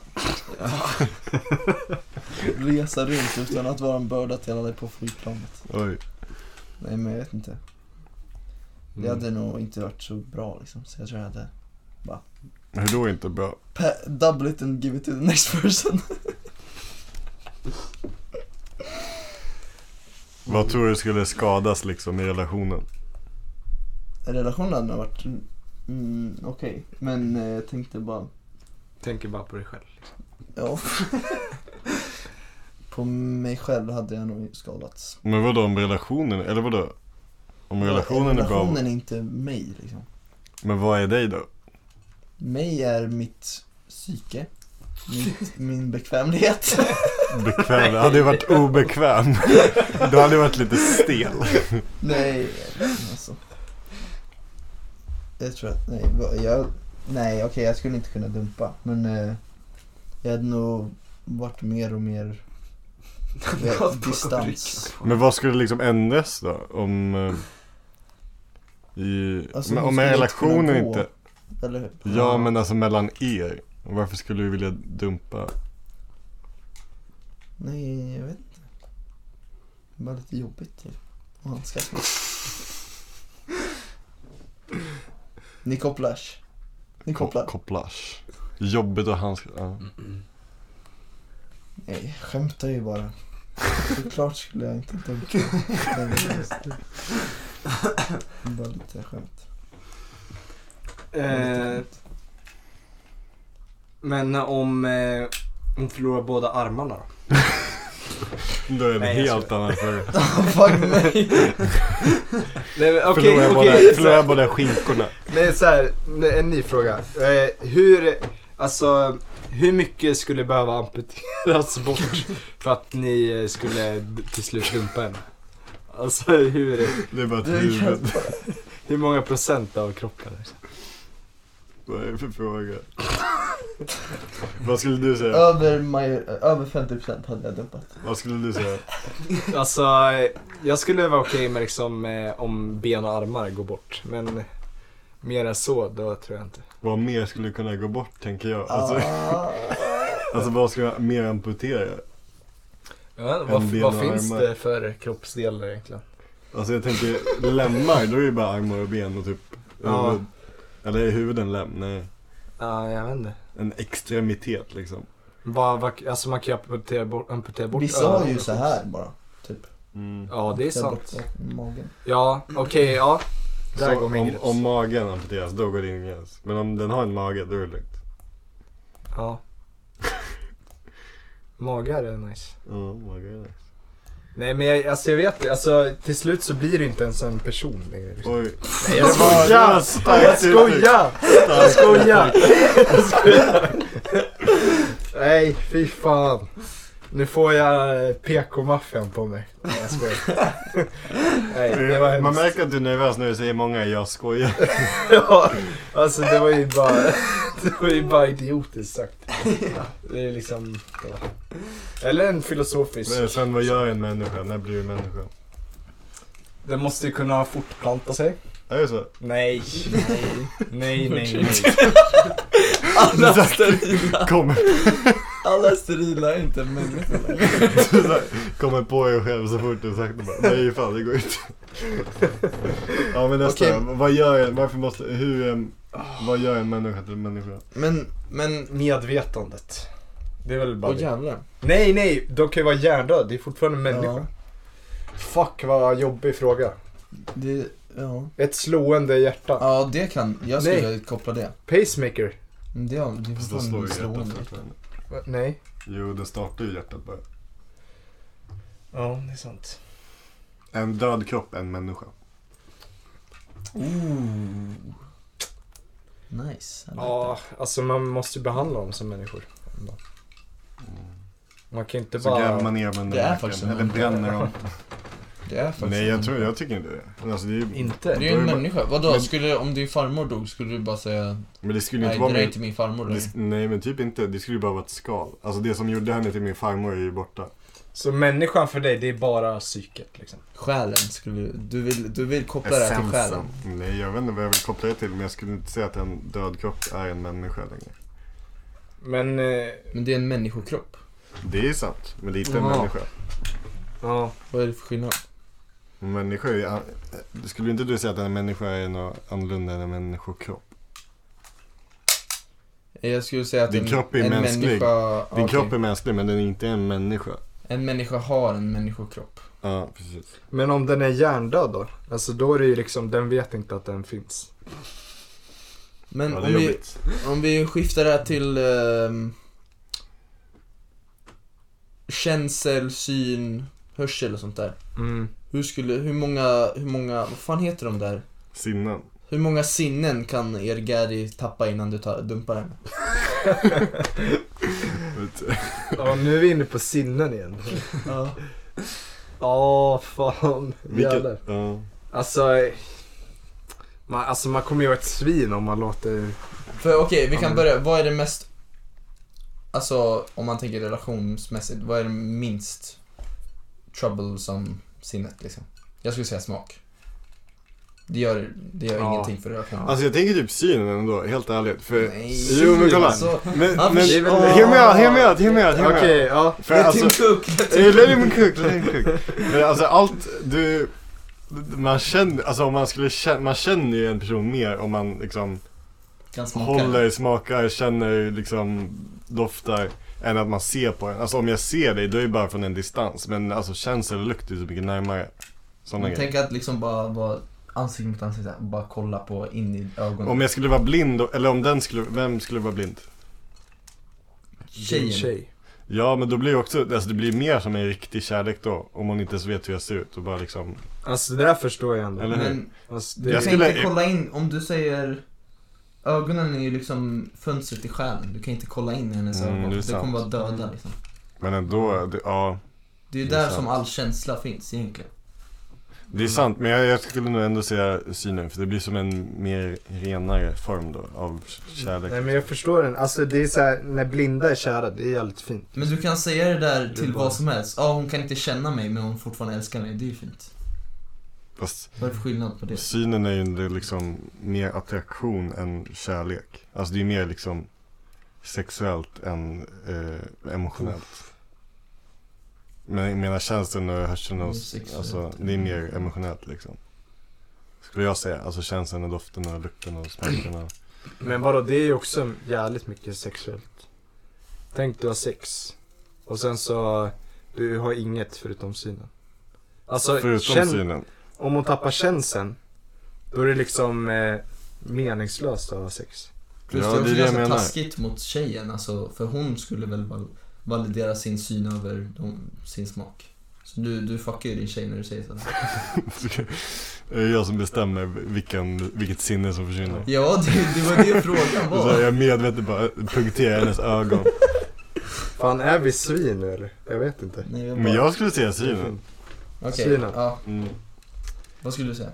S3: Resa runt utan att vara en börda till alla på flygplanet.
S2: Oj.
S3: Nej men jag vet inte. Det
S2: Mm.
S3: hade nog inte varit så bra liksom, så jag tror jag hade
S2: Hur då inte bra?
S3: pa- double it and give it to the next person.
S2: Vad tror du skulle skadas liksom i relationen?
S3: Relationen hade nog varit mm, okej, men eh, jag tänkte bara,
S1: tänker bara på dig själv.
S3: ja. På mig själv hade jag nog skadats.
S2: Men vadå om relationen, eller vadå? Om relationen är bra,
S3: Relationen är inte mig liksom.
S2: men vad är dig då?
S3: Mig är mitt psyke, mitt, min bekvämlighet.
S2: Bekväm? Hade ju varit obekväm. Du hade ju varit lite stel.
S3: Nej, alltså. Jag tror att, nej, vad- jag, nej okej jag skulle inte kunna dumpa. Men eh, jag hade nog varit mer och mer eh, distans.
S2: Men vad skulle liksom ändras då? Om... eh, I,
S3: Alltså,
S2: men,
S3: hon
S2: om
S3: skulle
S2: relationen
S3: inte kunna gå.
S2: inte...
S3: Eller hur?
S2: Ja, men alltså mellan er. Varför skulle du vilja dumpa?
S3: Nej, jag vet inte. Det var lite jobbigt typ. att handskas med. Ni kopplar. Ni kopplar.
S2: Kopplage. Jobbigt att handska... Ja.
S3: Nej, jag skämtar ju bara. Såklart skulle jag inte dumpa. Bara lite skämt.
S1: Eh, men om eh, hon förlorar båda armarna då?
S2: Då är det
S1: Nej, jag
S2: helt annan fråga.
S3: Fuck mig.
S1: Nej, men okej,
S2: Förlorar
S1: okej.
S2: båda- Förlorar båda skinkorna.
S1: Nej, så här, nej, en ny fråga. Eh, hur, alltså, hur mycket skulle behöva amputeras bort för att ni eh, skulle d- till slut dumpa henne? Alltså hur,
S2: Det är bara ett
S3: Det är
S2: huvud.
S1: hur många procent av kroppen? liksom?
S2: Vad är det för fråga? Vad skulle du säga?
S3: Över, major, över 50% hade jag dumpat.
S2: Vad skulle du säga?
S1: Alltså, eh, jag skulle vara okej med liksom eh, om ben och armar går bort, men mer än så, då tror jag inte.
S2: Vad mer skulle kunna gå bort tänker jag? Alltså,
S3: Ah.
S2: alltså vad ska jag mer amputera?
S1: Ja,
S2: vad- En
S1: vad
S2: ben vad och
S1: finns
S2: finns armar.
S1: det
S2: det
S1: för kroppsdelar egentligen?
S2: Alltså jag tänker lemmar, då är det bara armar och ben och typ
S1: Ja.
S2: huvud. Eller är huvuden lem? Nej.
S1: Ja, jag vet inte.
S2: En extremitet liksom.
S1: Vad, vad, alltså man kan ju amputera bort, amputera bort
S3: Vissa har ju
S1: öronen.
S3: så här bara. Typ.
S2: Mm.
S1: Ja, det är
S3: Där
S1: sant.
S3: borta, Magen.
S1: Ja, okej, ja. Där
S2: Så
S1: går min
S2: om,
S1: gräns.
S2: om magen amputeras, då går din gräns. Men om den har en mage, då är det lugnt.
S1: Ja. Magar är nice.
S2: Ja, mage är nice.
S1: Nej men jag, alltså jag vet alltså till slut så blir det inte ens en person längre. liksom.
S2: Oj.
S1: Nej,
S2: det
S1: jag
S2: var- det
S1: skojar!
S2: var starkt
S1: Jag skojar! Jag skojar! Jag skojar! Nej, fy fan. Nu får jag eh, PK-maffian på mig. Nej, jag skojar. Nej, det var
S2: Man
S1: hemskt.
S2: märker att du är nervös när du säger många jag skojar.
S1: Ja, alltså det var ju bara, det var ju bara idiotiskt sagt. Det är liksom, ja. Eller en filosofisk.
S2: Men sen vad gör en människa? När blir du människa?
S1: Den måste ju kunna fortplanta sig.
S2: Är det så?
S1: Nej. Nej, nej, nej.
S3: Alla sterila,
S2: Kommer,
S3: alla sterila är inte människor längre.
S2: så här, kommer på er själv så fort du sagt det bara. Nej fan det går inte. Ja men nästa.
S4: Okej.
S2: Vad gör en, varför måste, hur, em, vad gör en människa till en människa?
S4: Men, men,
S1: Medvetandet. Det är väl bara
S3: Åh
S1: det.
S3: jävlar.
S1: Nej, nej, de kan ju vara hjärndöda. Det är fortfarande en människa.
S4: Ja.
S1: Fuck vad jobbig fråga.
S4: det, ja.
S1: Ett slående hjärta.
S4: Ja, det kan, jag skulle
S1: Nej.
S4: koppla det.
S1: Pacemaker.
S4: Men Det, är- det är
S2: Fast då slår
S4: fortfarande
S2: ju hjärtat
S4: slående.
S2: fortfarande.
S1: Va? Nej.
S2: Jo det startar ju hjärtat bara.
S1: Ja, det är sant.
S2: En död kropp, en människa.
S4: Ooh. Nice. I like
S1: Ja, alltså man måste ju behandla dem som människor. ändå. Man kan inte
S2: Mm. Så
S1: bara...
S2: gräver man ner dem
S4: Det är
S2: under
S4: faktiskt
S2: marken.
S4: en
S2: Eller bränner dem.
S4: that. Det är faktiskt
S2: Nej jag tror, jag tycker inte det. Men Alltså, det är ju,
S1: Inte?
S2: Då
S3: Det
S2: är
S3: är ju en
S2: bara-
S3: människa. Vadå,
S2: Men-
S3: skulle, om din farmor dog skulle du bara säga
S2: men det skulle ju
S3: nej
S2: inte
S3: det
S2: vara
S3: där är typ-
S2: min,
S3: inte min farmor
S2: det,
S3: längre.
S2: sk- Nej men typ inte. Det skulle ju bara vara ett skal. Alltså det som gjorde henne till min farmor är ju borta.
S1: Så människan för dig, det är bara psyket liksom.
S3: Själen skulle du, du vill, du vill koppla det här till själen.
S2: Nej, jag vet inte vad jag vill koppla det till, men jag skulle inte säga att en död kropp är en människa längre.
S1: Men, eh,
S3: Men det är en människokropp.
S2: Det är sant, men det är inte en
S3: Ja.
S2: människa.
S1: ja.
S3: Vad är det för skillnad?
S2: En människa är ju an- eh, Skulle inte du säga att en människa är något annorlunda än en människokropp?
S3: Jag skulle säga att
S2: Din
S3: en,
S2: kropp är
S3: en
S2: mänsklig.
S3: människa... ja,
S2: Din
S3: okej.
S2: kropp är mänsklig, men den är inte en människa.
S3: En människa har en människokropp.
S2: Ja, precis.
S1: Men om den är hjärndöd då? Alltså då är det ju liksom, den vet inte att den finns.
S3: Men
S2: ja, det
S3: om,
S2: är
S3: vi,
S2: jobbigt.
S3: om vi skiftar det här till ehm, känsel, syn, hörsel och sånt där.
S1: Mm.
S3: Hur skulle, hur många, hur många, vad fan heter de där?
S2: Sinnen.
S3: Hur många sinnen kan er Gary tappa innan du tar, dumpar henne?
S2: Vet-
S1: Ja, nu är vi inne på sinnen igen.
S3: Ja.
S1: Ja, fan. Jävlar.
S2: Vilket, ja.
S1: Alltså, eh, man, alltså man kommer ju vara ett svin om man låter...
S3: För okej, vi
S1: Ja,
S3: kan
S1: men-
S3: börja. Vad är det mest, alltså om man tänker relationsmässigt, vad är det minst troublesome sinnet liksom? Jag skulle säga smak. Det gör, det gör
S1: Ja.
S3: ingenting för relationen.
S2: Alltså jag tänker typ synen ändå, helt ärligt. För...
S3: Nej.
S2: Jo men kolla.
S3: Alltså,
S2: Men,
S3: han
S2: men,
S3: försöker-
S2: hear me out, hear me out, hear me out, hear me
S1: Okej,
S2: out.
S1: ja.
S2: För
S3: det är
S2: alltså-
S3: Tim Cook. det är Tim
S2: Eh, Let him cook, let him cook. Men alltså allt du... Man känner, alltså om man skulle känna, man känner ju en person mer om man liksom
S3: Cook. Kan smaka.
S2: håller, smakar, känner, liksom doftar. Än att man ser på en. Alltså om jag ser dig, då är det bara från en distans. Men alltså känsel och lukt är så mycket närmare. Sådana
S3: Men
S2: grejer.
S3: tänk att liksom bara vara ansikte mot ansikte och bara kolla på in i ögonen.
S2: Om jag skulle vara blind, och- eller om den skulle, vem skulle vara blind?
S3: Tjejen.
S1: Din Tjej.
S2: Ja men då blir det också, alltså det blir mer som en riktig kärlek då. Om hon inte ens vet hur jag ser ut och bara liksom,
S1: Alltså det där förstår jag ändå.
S2: eller hur?
S3: Men
S1: Alltså,
S3: jag
S1: det,
S2: Jag
S3: tänkte
S2: skulle-
S3: kolla in, om du säger Ögonen är ju liksom fönstret till själen, du kan inte kolla in i hennes
S2: Mm,
S3: ögon.
S2: det är
S3: Det, kommer
S2: sant.
S3: vara döda liksom.
S2: Men ändå, det, ja.
S3: Det är ju
S2: Det är
S3: där
S2: sant.
S3: som all känsla finns egentligen.
S2: Det är sant, men jag, jag skulle nog ändå säga synen för det blir som en mer renare form då av kärlek.
S1: nej men jag förstår den. Alltså det är så här, när blinda är kära, det är jävligt fint.
S3: Men du kan säga det där
S1: är
S3: till
S1: bara-
S3: vad som helst. Ja, hon kan inte känna mig men hon fortfarande älskar mig. Det är ju fint.
S2: Fast
S3: Vad är det för skillnad på det?
S2: synen är ju ändå liksom mer attraktion än kärlek. Alltså det är mer liksom sexuellt än eh, emotionellt. Men jag menar känslan och hörseln och
S3: Sexuellt.
S2: alltså det är mer emotionellt liksom. Skulle jag säga. Alltså känslan och doften och lukten och smaken och...
S1: Men vadå, det är ju också jävligt mycket sexuellt. Tänk du har sex. Och sen så, du har inget förutom synen. Alltså,
S2: Förutom
S1: känn,
S2: synen.
S1: om hon tappar känseln, Då är det liksom eh, meningslöst att ha sex.
S6: Plus
S2: Ja,
S6: det är
S2: det
S6: också
S2: är det jag
S6: ganska
S2: menar.
S6: taskigt mot tjejen, alltså, för hon skulle väl val- validera sin syn över de, sin smak. Så du, du fuckar ju din tjej när du säger sådär.
S2: Det är jag som bestämmer vilken, vilket sinne som försvinner.
S6: Ja, det, det var det frågan
S2: Så jag
S6: var.
S2: är medvetet bara punkterar hennes ögon.
S1: Fan, är vi svin nu eller? Jag vet inte.
S6: Nej, jag bara,
S2: Men jag skulle säga synen.
S6: Okej,
S1: Synen.
S6: ja,
S2: Mm.
S6: vad skulle du säga?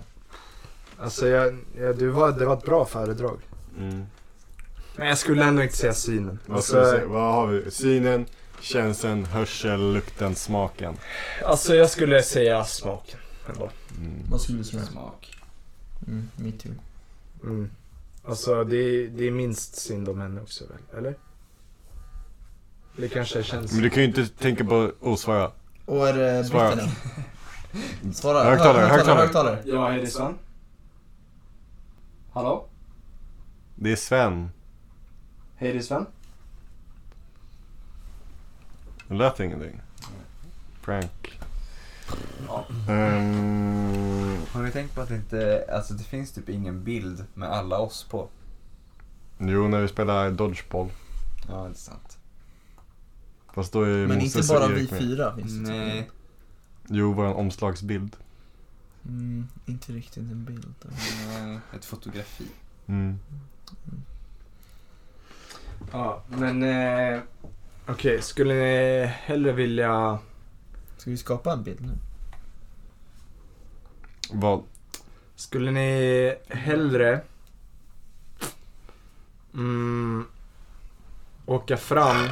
S1: Alltså, jag, jag, du var, det var ett bra föredrag.
S2: Mm.
S1: Men jag skulle ändå inte säga synen.
S2: Vad, ska vi
S1: Alltså,
S2: säga? Vad har vi? Synen, känslan, hörseln, lukten, smaken.
S1: alltså jag skulle säga smaken. ändå.
S2: Mm.
S6: Vad skulle du säga?
S4: Smak.
S6: Mm, me too.
S1: Mm. Alltså det är, det är minst synd om henne också väl, eller? Det kanske känns...
S2: Men du kan ju inte tänka på att svara.
S6: Och är det
S2: Svara.
S6: britterna? Svara.
S2: Högtalare,
S6: Hö-
S2: högtalare.
S6: högtalare.
S4: Ja, Hedison. Hallå?
S2: Det är Sven.
S4: Hej, det är Sven.
S2: Det lät ingenting. Prank.
S4: Ja.
S2: Ehm,
S4: Har ni tänkt på att det inte, alltså det finns typ ingen bild med alla oss på?
S2: jo, när vi spelar dodgeball.
S4: Ja, det är sant.
S2: Fast då är
S6: Men
S2: Moses
S6: inte
S2: och
S6: bara vi
S2: Erik med.
S6: fyra finns det
S4: Nej.
S2: Jo, vår omslagsbild.
S6: Mm, inte riktigt en bild.
S4: Nej, Ett fotografi.
S2: Mm.
S1: Ja, men... Eh... Okej, skulle ni hellre vilja...
S6: Ska vi skapa en bild nu?
S2: Vad?
S1: Skulle ni hellre... Mm, åka fram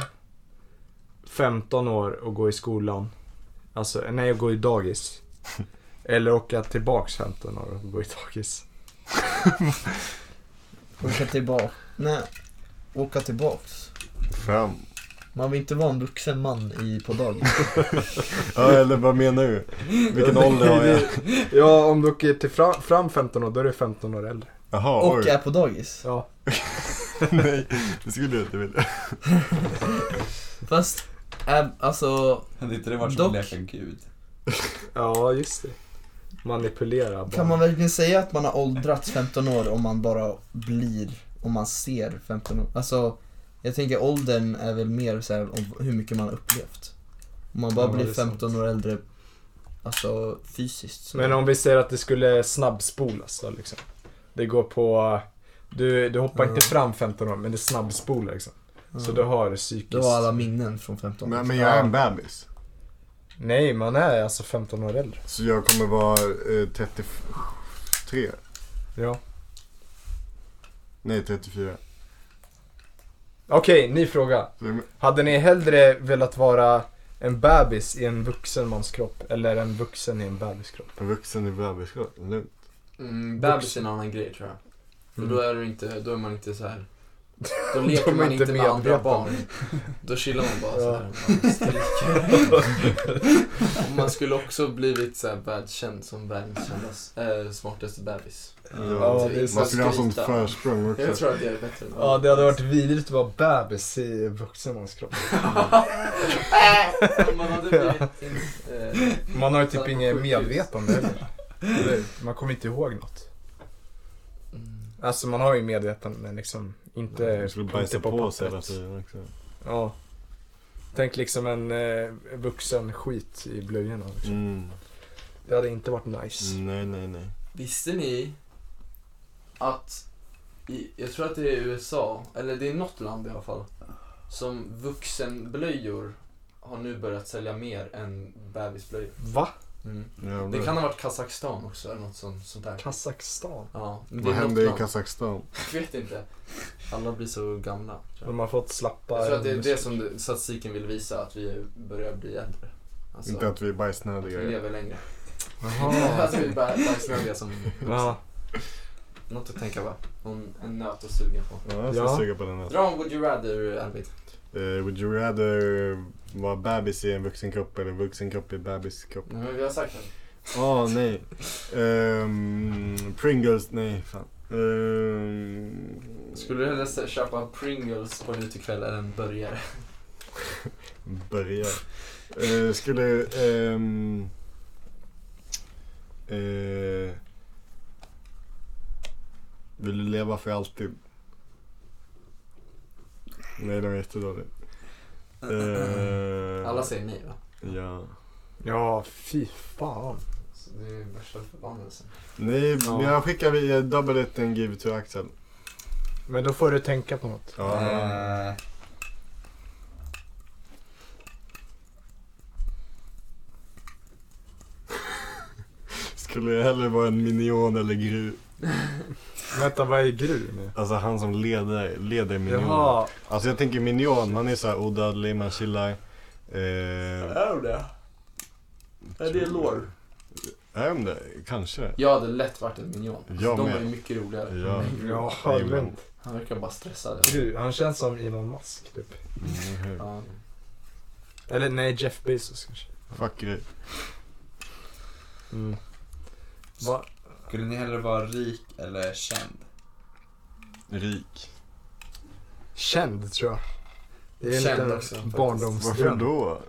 S1: 15 år och gå i skolan. Alltså, nej, och gå i dagis. Eller åka tillbaks 15 år och gå i dagis.
S6: Åka tillbaka. Nej, åka tillbaks.
S2: Fram.
S6: Man vill inte vara en vuxen man i, på dagis.
S2: Ja, eller vad menar du? Vilken ålder har jag?
S1: Ja, om du åker till fram, fram 15 år, då är du 15 år äldre.
S2: Jaha,
S6: Och
S2: oj.
S6: är på dagis.
S1: Ja.
S2: Nej, det skulle jag inte vilja.
S6: Fast, är, alltså,
S4: Hade inte det varit som
S6: Dock-
S4: att leka gud?
S1: Ja, just det. Manipulera barn.
S6: kan man verkligen säga att man har åldrats 15 år om man bara blir, om man ser 15 år? Alltså, jag tänker åldern är väl mer så här, om hur mycket man har upplevt. Om man bara
S1: Ja, det
S6: blir
S1: är sant.
S6: 15 år äldre, alltså fysiskt. Så.
S1: Men om vi säger att det skulle snabbspolas då liksom. Det går på... Du, du hoppar
S6: Mm.
S1: inte fram 15 år, men det snabbspolar liksom.
S6: Ja.
S1: Så du har psykiskt...
S6: Du har alla minnen från 15 år.
S2: Men, men jag är en bebis.
S1: Nej, man är alltså 15 år äldre.
S2: Så jag kommer vara eh, 33.
S1: Ja.
S2: Nej, 34.
S1: Okej, ny fråga.
S2: Så jag-
S1: Hade ni hellre velat vara en bebis i en vuxen mans kropp eller en vuxen i en bebiskropp?
S2: En vuxen i bebiskropp. Lugnt.
S3: Mm, bebis är en annan grej tror jag. För
S6: Mm.
S3: då är, du inte, då är man inte så här. Då leker
S1: är
S3: man
S1: man
S3: inte
S1: inte
S3: med andra
S1: medveten.
S3: barn. Då chillar man bara
S1: Ja.
S3: så här. och bara skriker. Och man skulle också blivit så här världskänd som världens kändas- eh, smartaste bebis.
S1: Ja, det är
S2: Man
S1: sant.
S2: skulle ha sånt
S3: Skryta.
S2: försprång också.
S3: Jag tror att det är bättre. än-
S1: Ja, det hade varit vidrigt att vara bebis i en vuxen mans kropp.
S3: Man hade blivit... In, eh,
S1: Man har ju typ inget
S3: Sjukhus.
S1: medvetande heller. Eller, Man kommer inte ihåg något.
S3: mm.
S1: Alltså man har ju medvetande men liksom inte...
S2: Man skulle
S1: inte
S2: bajsa på sig hela
S1: pappret.
S2: tiden också.
S1: Ja. Tänk liksom en eh, vuxen skit i blöjorna. Liksom.
S2: Mm.
S1: Det hade inte varit nice.
S2: Nej, nej, nej.
S3: Visste ni att, i, jag tror att det är USA, eller det är något land i alla fall, som vuxenblöjor har nu börjat sälja mer än bebisblöjor.
S1: Va?
S2: Jävlar.
S3: Det kan ha varit Kazakstan också, eller något sånt, sånt där.
S1: Kazakstan?
S3: Ja, det är
S2: Vad händer i
S3: något land.
S2: Kazakstan?
S3: Jag vet inte. Alla blir så gamla. Tror jag.
S1: De har fått slappa...
S3: jag tror att det är det som du- statistiken vill visa, att vi börjar bli äldre. Alltså,
S2: Inte att vi är
S3: att vi
S2: bajsnödiga.
S3: lever längre.
S1: Jaha.
S3: alltså vi är bara bajsnödiga som
S1: Ja.
S3: Något att tänka på. En, en nöt att suga på.
S2: Ja, jag ska
S1: Ja.
S2: suga på den här.
S3: Dra om Would You Rather, Arvid.
S2: Eh, would you rather vara bebis i en vuxen kropp eller vuxen kropp i bebis kropp?
S3: Nej, men vi har sagt det.
S2: Åh, nej. Ehm, Pringles, nej fan. Ehm,
S3: Skulle du hellre se- köpa Pringles på en utekväll eller en burgare?
S2: Börja. Eh, skulle... ehm, eh, leva för alltid. Nej, den var jättedålig. Eh,
S3: Alla säger nej va?
S2: Ja.
S1: Ja, fy fan.
S3: Så det är värsta förbannelsen.
S2: Nej,
S1: Ja.
S2: jag skickar vi double it and give to Axel.
S1: Men då får du tänka på något.
S2: Ja.
S4: Eh,
S2: Skulle jag hellre vara en minion eller gru?
S1: Vänta, vad är Gru nu?
S2: Alltså han som leder, leder minion.
S1: Jaha,
S2: Alltså jag tänker minion, man är såhär odödlig, man chillar. Eh,
S3: Är du det? Är det lår?
S2: är de det? Kanske.
S3: Jag hade lätt varit en minion. Alltså,
S2: Jag
S3: de
S2: med.
S3: var ju mycket roligare.
S2: Ja.
S1: ja,
S2: Amen.
S1: men
S3: Han verkar bara stressad.
S1: Gru, han känns som Elon Musk typ.
S2: Mhm.
S3: Ja.
S1: Eller nej, Jeff Bezos kanske.
S2: Fuck grej.
S1: Mm. Va?
S4: skulle ni hellre vara rik eller känd?
S2: Rik.
S1: Känd tror jag. Det är
S3: Känd
S1: en
S3: också,
S1: liten
S2: Varför
S3: faktiskt.
S1: barndomsdröm.
S2: då?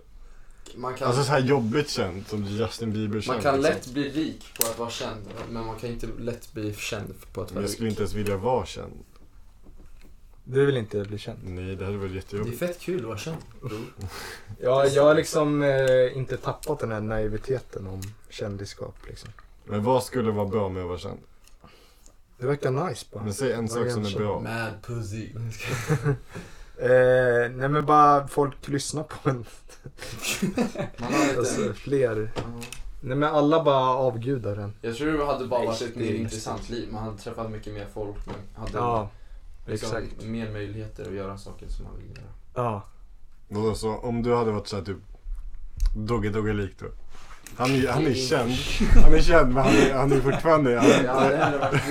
S3: Man kan,
S2: Alltså så här jobbigt känt som Justin Bieber känt.
S3: man kan
S2: liksom.
S3: lätt bli rik på att vara känd, men man kan inte lätt bli känd på att
S2: Men
S3: vara
S2: jag skulle
S3: rik.
S2: inte ens vilja vara känd.
S1: Du vill inte bli känd?
S2: Nej, det hade varit
S3: Det är
S2: jättejobbigt.
S3: fett kul att vara känd, bror.
S1: Ja, jag har liksom eh, inte tappat den här naiviteten om kändisskap liksom.
S2: Men vad skulle vara bra med att vara känd?
S1: Det verkar nice bara.
S2: Men säg en sak som är bra.
S3: Mad pussy.
S1: Eh, nej men bara folk lyssnar på en.
S3: Man har lite...
S1: Alltså fler.
S3: Ja.
S1: Nej men alla bara avgudar den.
S3: Jag tror det hade bara varit ett
S1: Det är
S3: mer
S1: nästan.
S3: intressant liv. Man hade träffat mycket mer folk. Man hade
S1: Ja,
S3: liksom
S1: exakt.
S3: mer möjligheter att göra saker som man vill göra.
S1: Ja.
S2: Vadå, så om du hade varit såhär typ Dogge Dogge lik då? Han är, han är känd, han är känd men han är, han är fortfarande... Han
S3: Jag hade hellre varit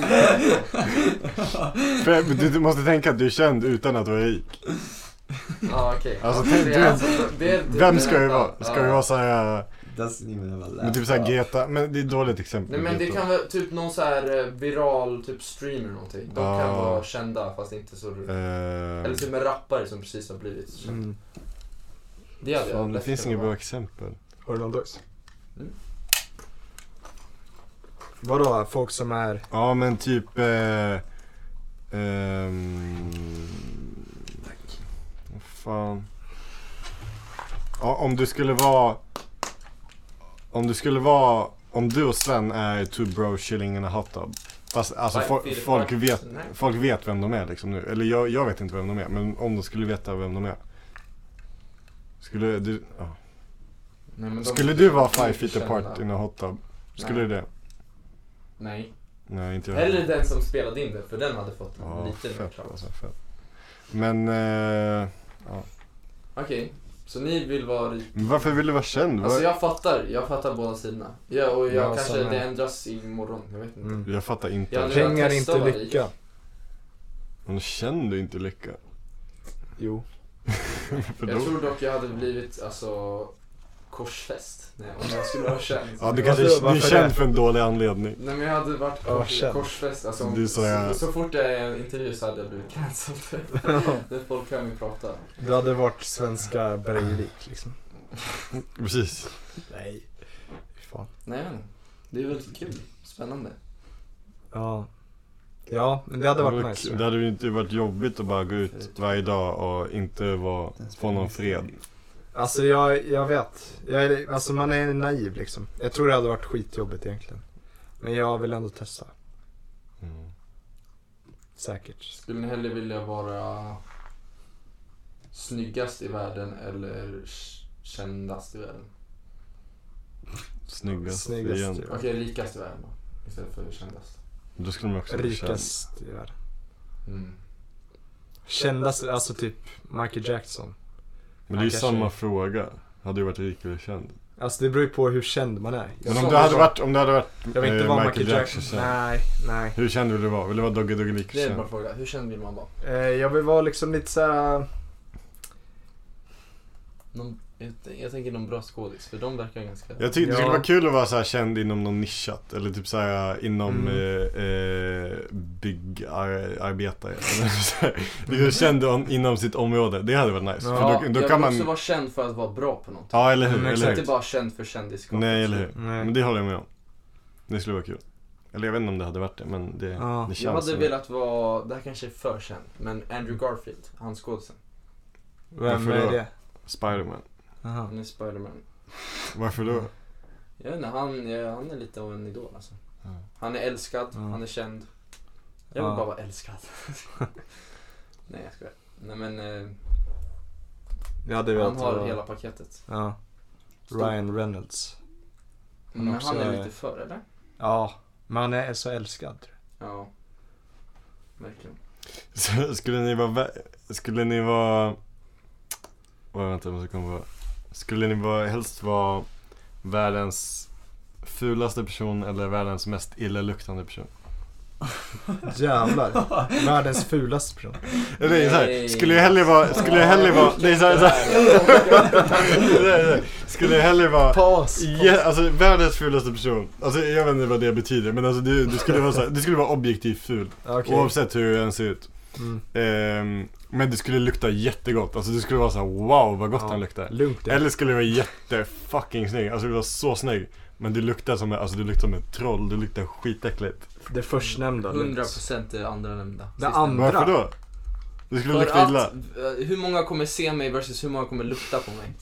S2: för, men du, du måste tänka att du är känd utan att vara rik.
S3: Ja, okej.
S2: Alltså,
S3: Det
S2: tänk-
S3: är
S2: du-
S3: det är typ
S2: Vem
S3: det
S2: ska vi
S3: enda.
S2: vara? Ska
S3: Ja.
S2: vi vara såhär...
S4: Doesn't even have a
S2: Men typ såhär Greta, men det är ett dåligt exempel.
S3: Nej men det
S2: Greta.
S3: kan vara typ någon så här eh, viral typ streamer någonting. De
S2: Ja.
S3: kan vara kända fast inte så
S2: Eh,
S3: Eller typ en rappare som precis har blivit känd.
S1: Mm.
S3: Det hade jag
S2: fan, det
S3: lätt
S2: finns
S3: kunnat
S2: inget bra
S3: vara.
S2: exempel.
S1: Har du någon dags?
S3: Mm.
S1: Vadå, folk som är...
S2: Ja men typ... Eh, ehm, vad fan. Ja, om du skulle vara... Om du skulle vara... Om du och Sven är two bro chilling in a hot tub. Fast alltså
S3: Five
S2: fo-
S3: feet
S2: folk,
S3: apart.
S2: vet,
S3: Nej.
S2: folk vet vem de är liksom nu. Eller jag, jag vet inte vem de är, men om de skulle veta vem de är. Skulle du, ja.
S3: Nej, men de-
S2: skulle du vara
S3: de är
S2: five
S3: inte
S2: feet apart
S3: kända.
S2: in a hot tub? Skulle
S3: Nej.
S2: du det?
S3: Nej.
S2: Nej, inte jag.
S3: Eller den som spelade in det, för den hade fått
S2: Ja,
S3: lite mer
S2: fett
S3: krav.
S2: alltså, fett. Men eh,
S3: Okej, så ni vill vara rik.
S2: varför vill du vara känd?
S3: Alltså
S2: Var-
S3: jag fattar, jag fattar båda sidorna. Ja, och jag
S1: Ja,
S3: kanske,
S1: samma.
S3: det ändras imorgon, jag vet inte.
S1: Mm.
S2: jag... fattar inte.
S3: Ja, nu-
S1: Pengar är
S3: testa
S1: inte
S3: att vara
S1: lycka.
S2: Men känner du inte lycka?
S1: Jo.
S2: För
S3: Jag
S2: då...
S3: tror dock jag hade blivit, alltså, korsfäst. Nej, om jag skulle vara känd.
S2: Ja, du
S1: Varför-
S2: kanske du är
S1: Alltså, varför
S2: känd
S1: det?
S2: för en dålig anledning.
S3: Nej men jag hade varit
S1: Ja,
S3: kors,
S1: känd.
S3: korsfäst, alltså, om-
S2: Det är så jag-
S3: så, så fort jag är i en intervju så hade jag blivit cancelled. När folk hör mig prata.
S1: Du hade varit svenska Breivik liksom.
S2: Precis.
S1: Nej. Fan.
S3: Nej men, det är väldigt kul. Spännande.
S1: Ja. Ja, men det hade varit
S2: var-
S1: nice. tror
S2: Det
S1: jag.
S2: hade ju inte varit jobbigt att bara gå ut varje dag och inte vara, få någon fred.
S1: Alltså jag, jag vet. Jag är, alltså man är naiv liksom. Jag tror det hade varit skitjobbigt egentligen. Men jag vill ändå testa.
S2: Mm.
S1: Säkert.
S3: Skulle ni hellre vilja vara snyggast i världen eller k- kändast i världen?
S2: Snyggast,
S1: Snyggast,
S2: igen.
S1: ja.
S3: Okej, rikast i världen då. Istället för kändast.
S2: Då skulle man också vara känd.
S1: Rikast i världen.
S3: Mm.
S1: Kändast, alltså typ Michael Jackson.
S2: Men det är ju
S1: Han
S2: samma
S1: kanske-
S2: fråga. Hade du varit rik eller känd?
S1: Alltså det beror ju på hur känd man är.
S2: Men
S1: Jag,
S2: om
S3: sa
S2: du
S3: det
S2: hade
S3: så.
S2: varit, om du hade varit
S1: jag vill inte
S2: eh,
S1: vara
S2: Michael
S1: Michael Jackson.
S2: Jackson.
S1: Nej, nej.
S2: Hur känd vill du vara? Vill du vara Dogge Dogge Lik
S3: Det är en
S2: känd?
S3: bra fråga. Hur känd vill man vara?
S1: Eh, jag vill vara liksom lite såhär...
S3: Någon, jag, jag tänker någon bra skådis, för de verkar ganska...
S2: Jag tyckte det skulle
S1: Ja.
S2: vara kul att vara så här känd inom någon nischat eller typ så här inom
S1: Mm.
S2: eh, eh, byggarbetare. eller så här. Det är känd om, inom sitt område, det hade varit nice.
S1: Ja,
S2: för då, då
S3: jag
S2: kan
S3: vill också
S2: man...
S3: vara känd för att vara bra på något.
S2: Ja, eller hur?
S1: Mm,
S2: eller
S1: exakt.
S3: Inte
S2: hur?
S3: bara känd för kändisskap.
S2: Nej, eller hur?
S1: Nej.
S2: Men det håller jag med om. Det skulle vara kul. Eller jag vet inte om det hade varit det, men det,
S1: Ja.
S2: det
S3: Jag
S2: känns
S3: hade
S2: som-
S3: velat vara, det här kanske är för känt, men Andrew Garfield, han skådisen.
S1: Vem
S2: Varför
S1: är
S2: då?
S1: det?
S2: Spiderman.
S1: Aha.
S3: Han är Spiderman.
S2: Varför då?
S3: Jag vet inte, han, ja, han är lite av en idol alltså.
S2: Ja.
S3: Han är älskad,
S1: Ja.
S3: han är känd. Jag vill
S1: Ja.
S3: bara vara älskad. Nej jag skojar. Nej men, eh,
S1: Jag hade velat
S3: han har
S1: vara-
S3: hela paketet.
S1: Ja. Ryan Reynolds. Han
S3: Men
S1: också
S3: han är
S1: är-
S3: lite för eller?
S1: Ja, men han är så älskad. tror
S3: Ja. Verkligen.
S2: Så Skulle ni vara... vä- Skulle ni vara... Oj, vänta, jag måste komma på. Skulle ni vara, helst vara världens fulaste person eller världens mest illaluktande person?
S1: jag. Jävlar. Världens fulaste person.
S2: Eller det är så här,
S3: Nej.
S2: skulle jag hellre vara... Skulle jag hellre vara... Det är så här, så här. Det är så här, Skulle jag hellre vara...
S1: Paus.
S2: Ja, alltså världens fulaste person. Alltså jag vet inte vad det betyder men alltså du, du skulle vara så här, du skulle vara objektivt ful.
S1: Okej.
S2: Oavsett hur den ser ut.
S1: Mm.
S2: Ehm, men det skulle lukta jättegott. Alltså du skulle vara så här, wow vad gott
S1: Ja.
S2: han luktar.
S1: Lugnt det.
S2: Eller skulle du vara jättefucking snygg. Alltså du var så snygg. Men du luktar som, en- alltså, du luktar som ett troll. Du luktar skitäckligt.
S1: Det förstnämnda. lugnt.
S3: 100% det andra nämnda.
S1: Det
S3: Sista.
S1: andra.
S2: Varför då? Du skulle
S3: För
S2: lukta illa.
S3: att, eh, hur många kommer se mig versus hur många kommer lukta på mig?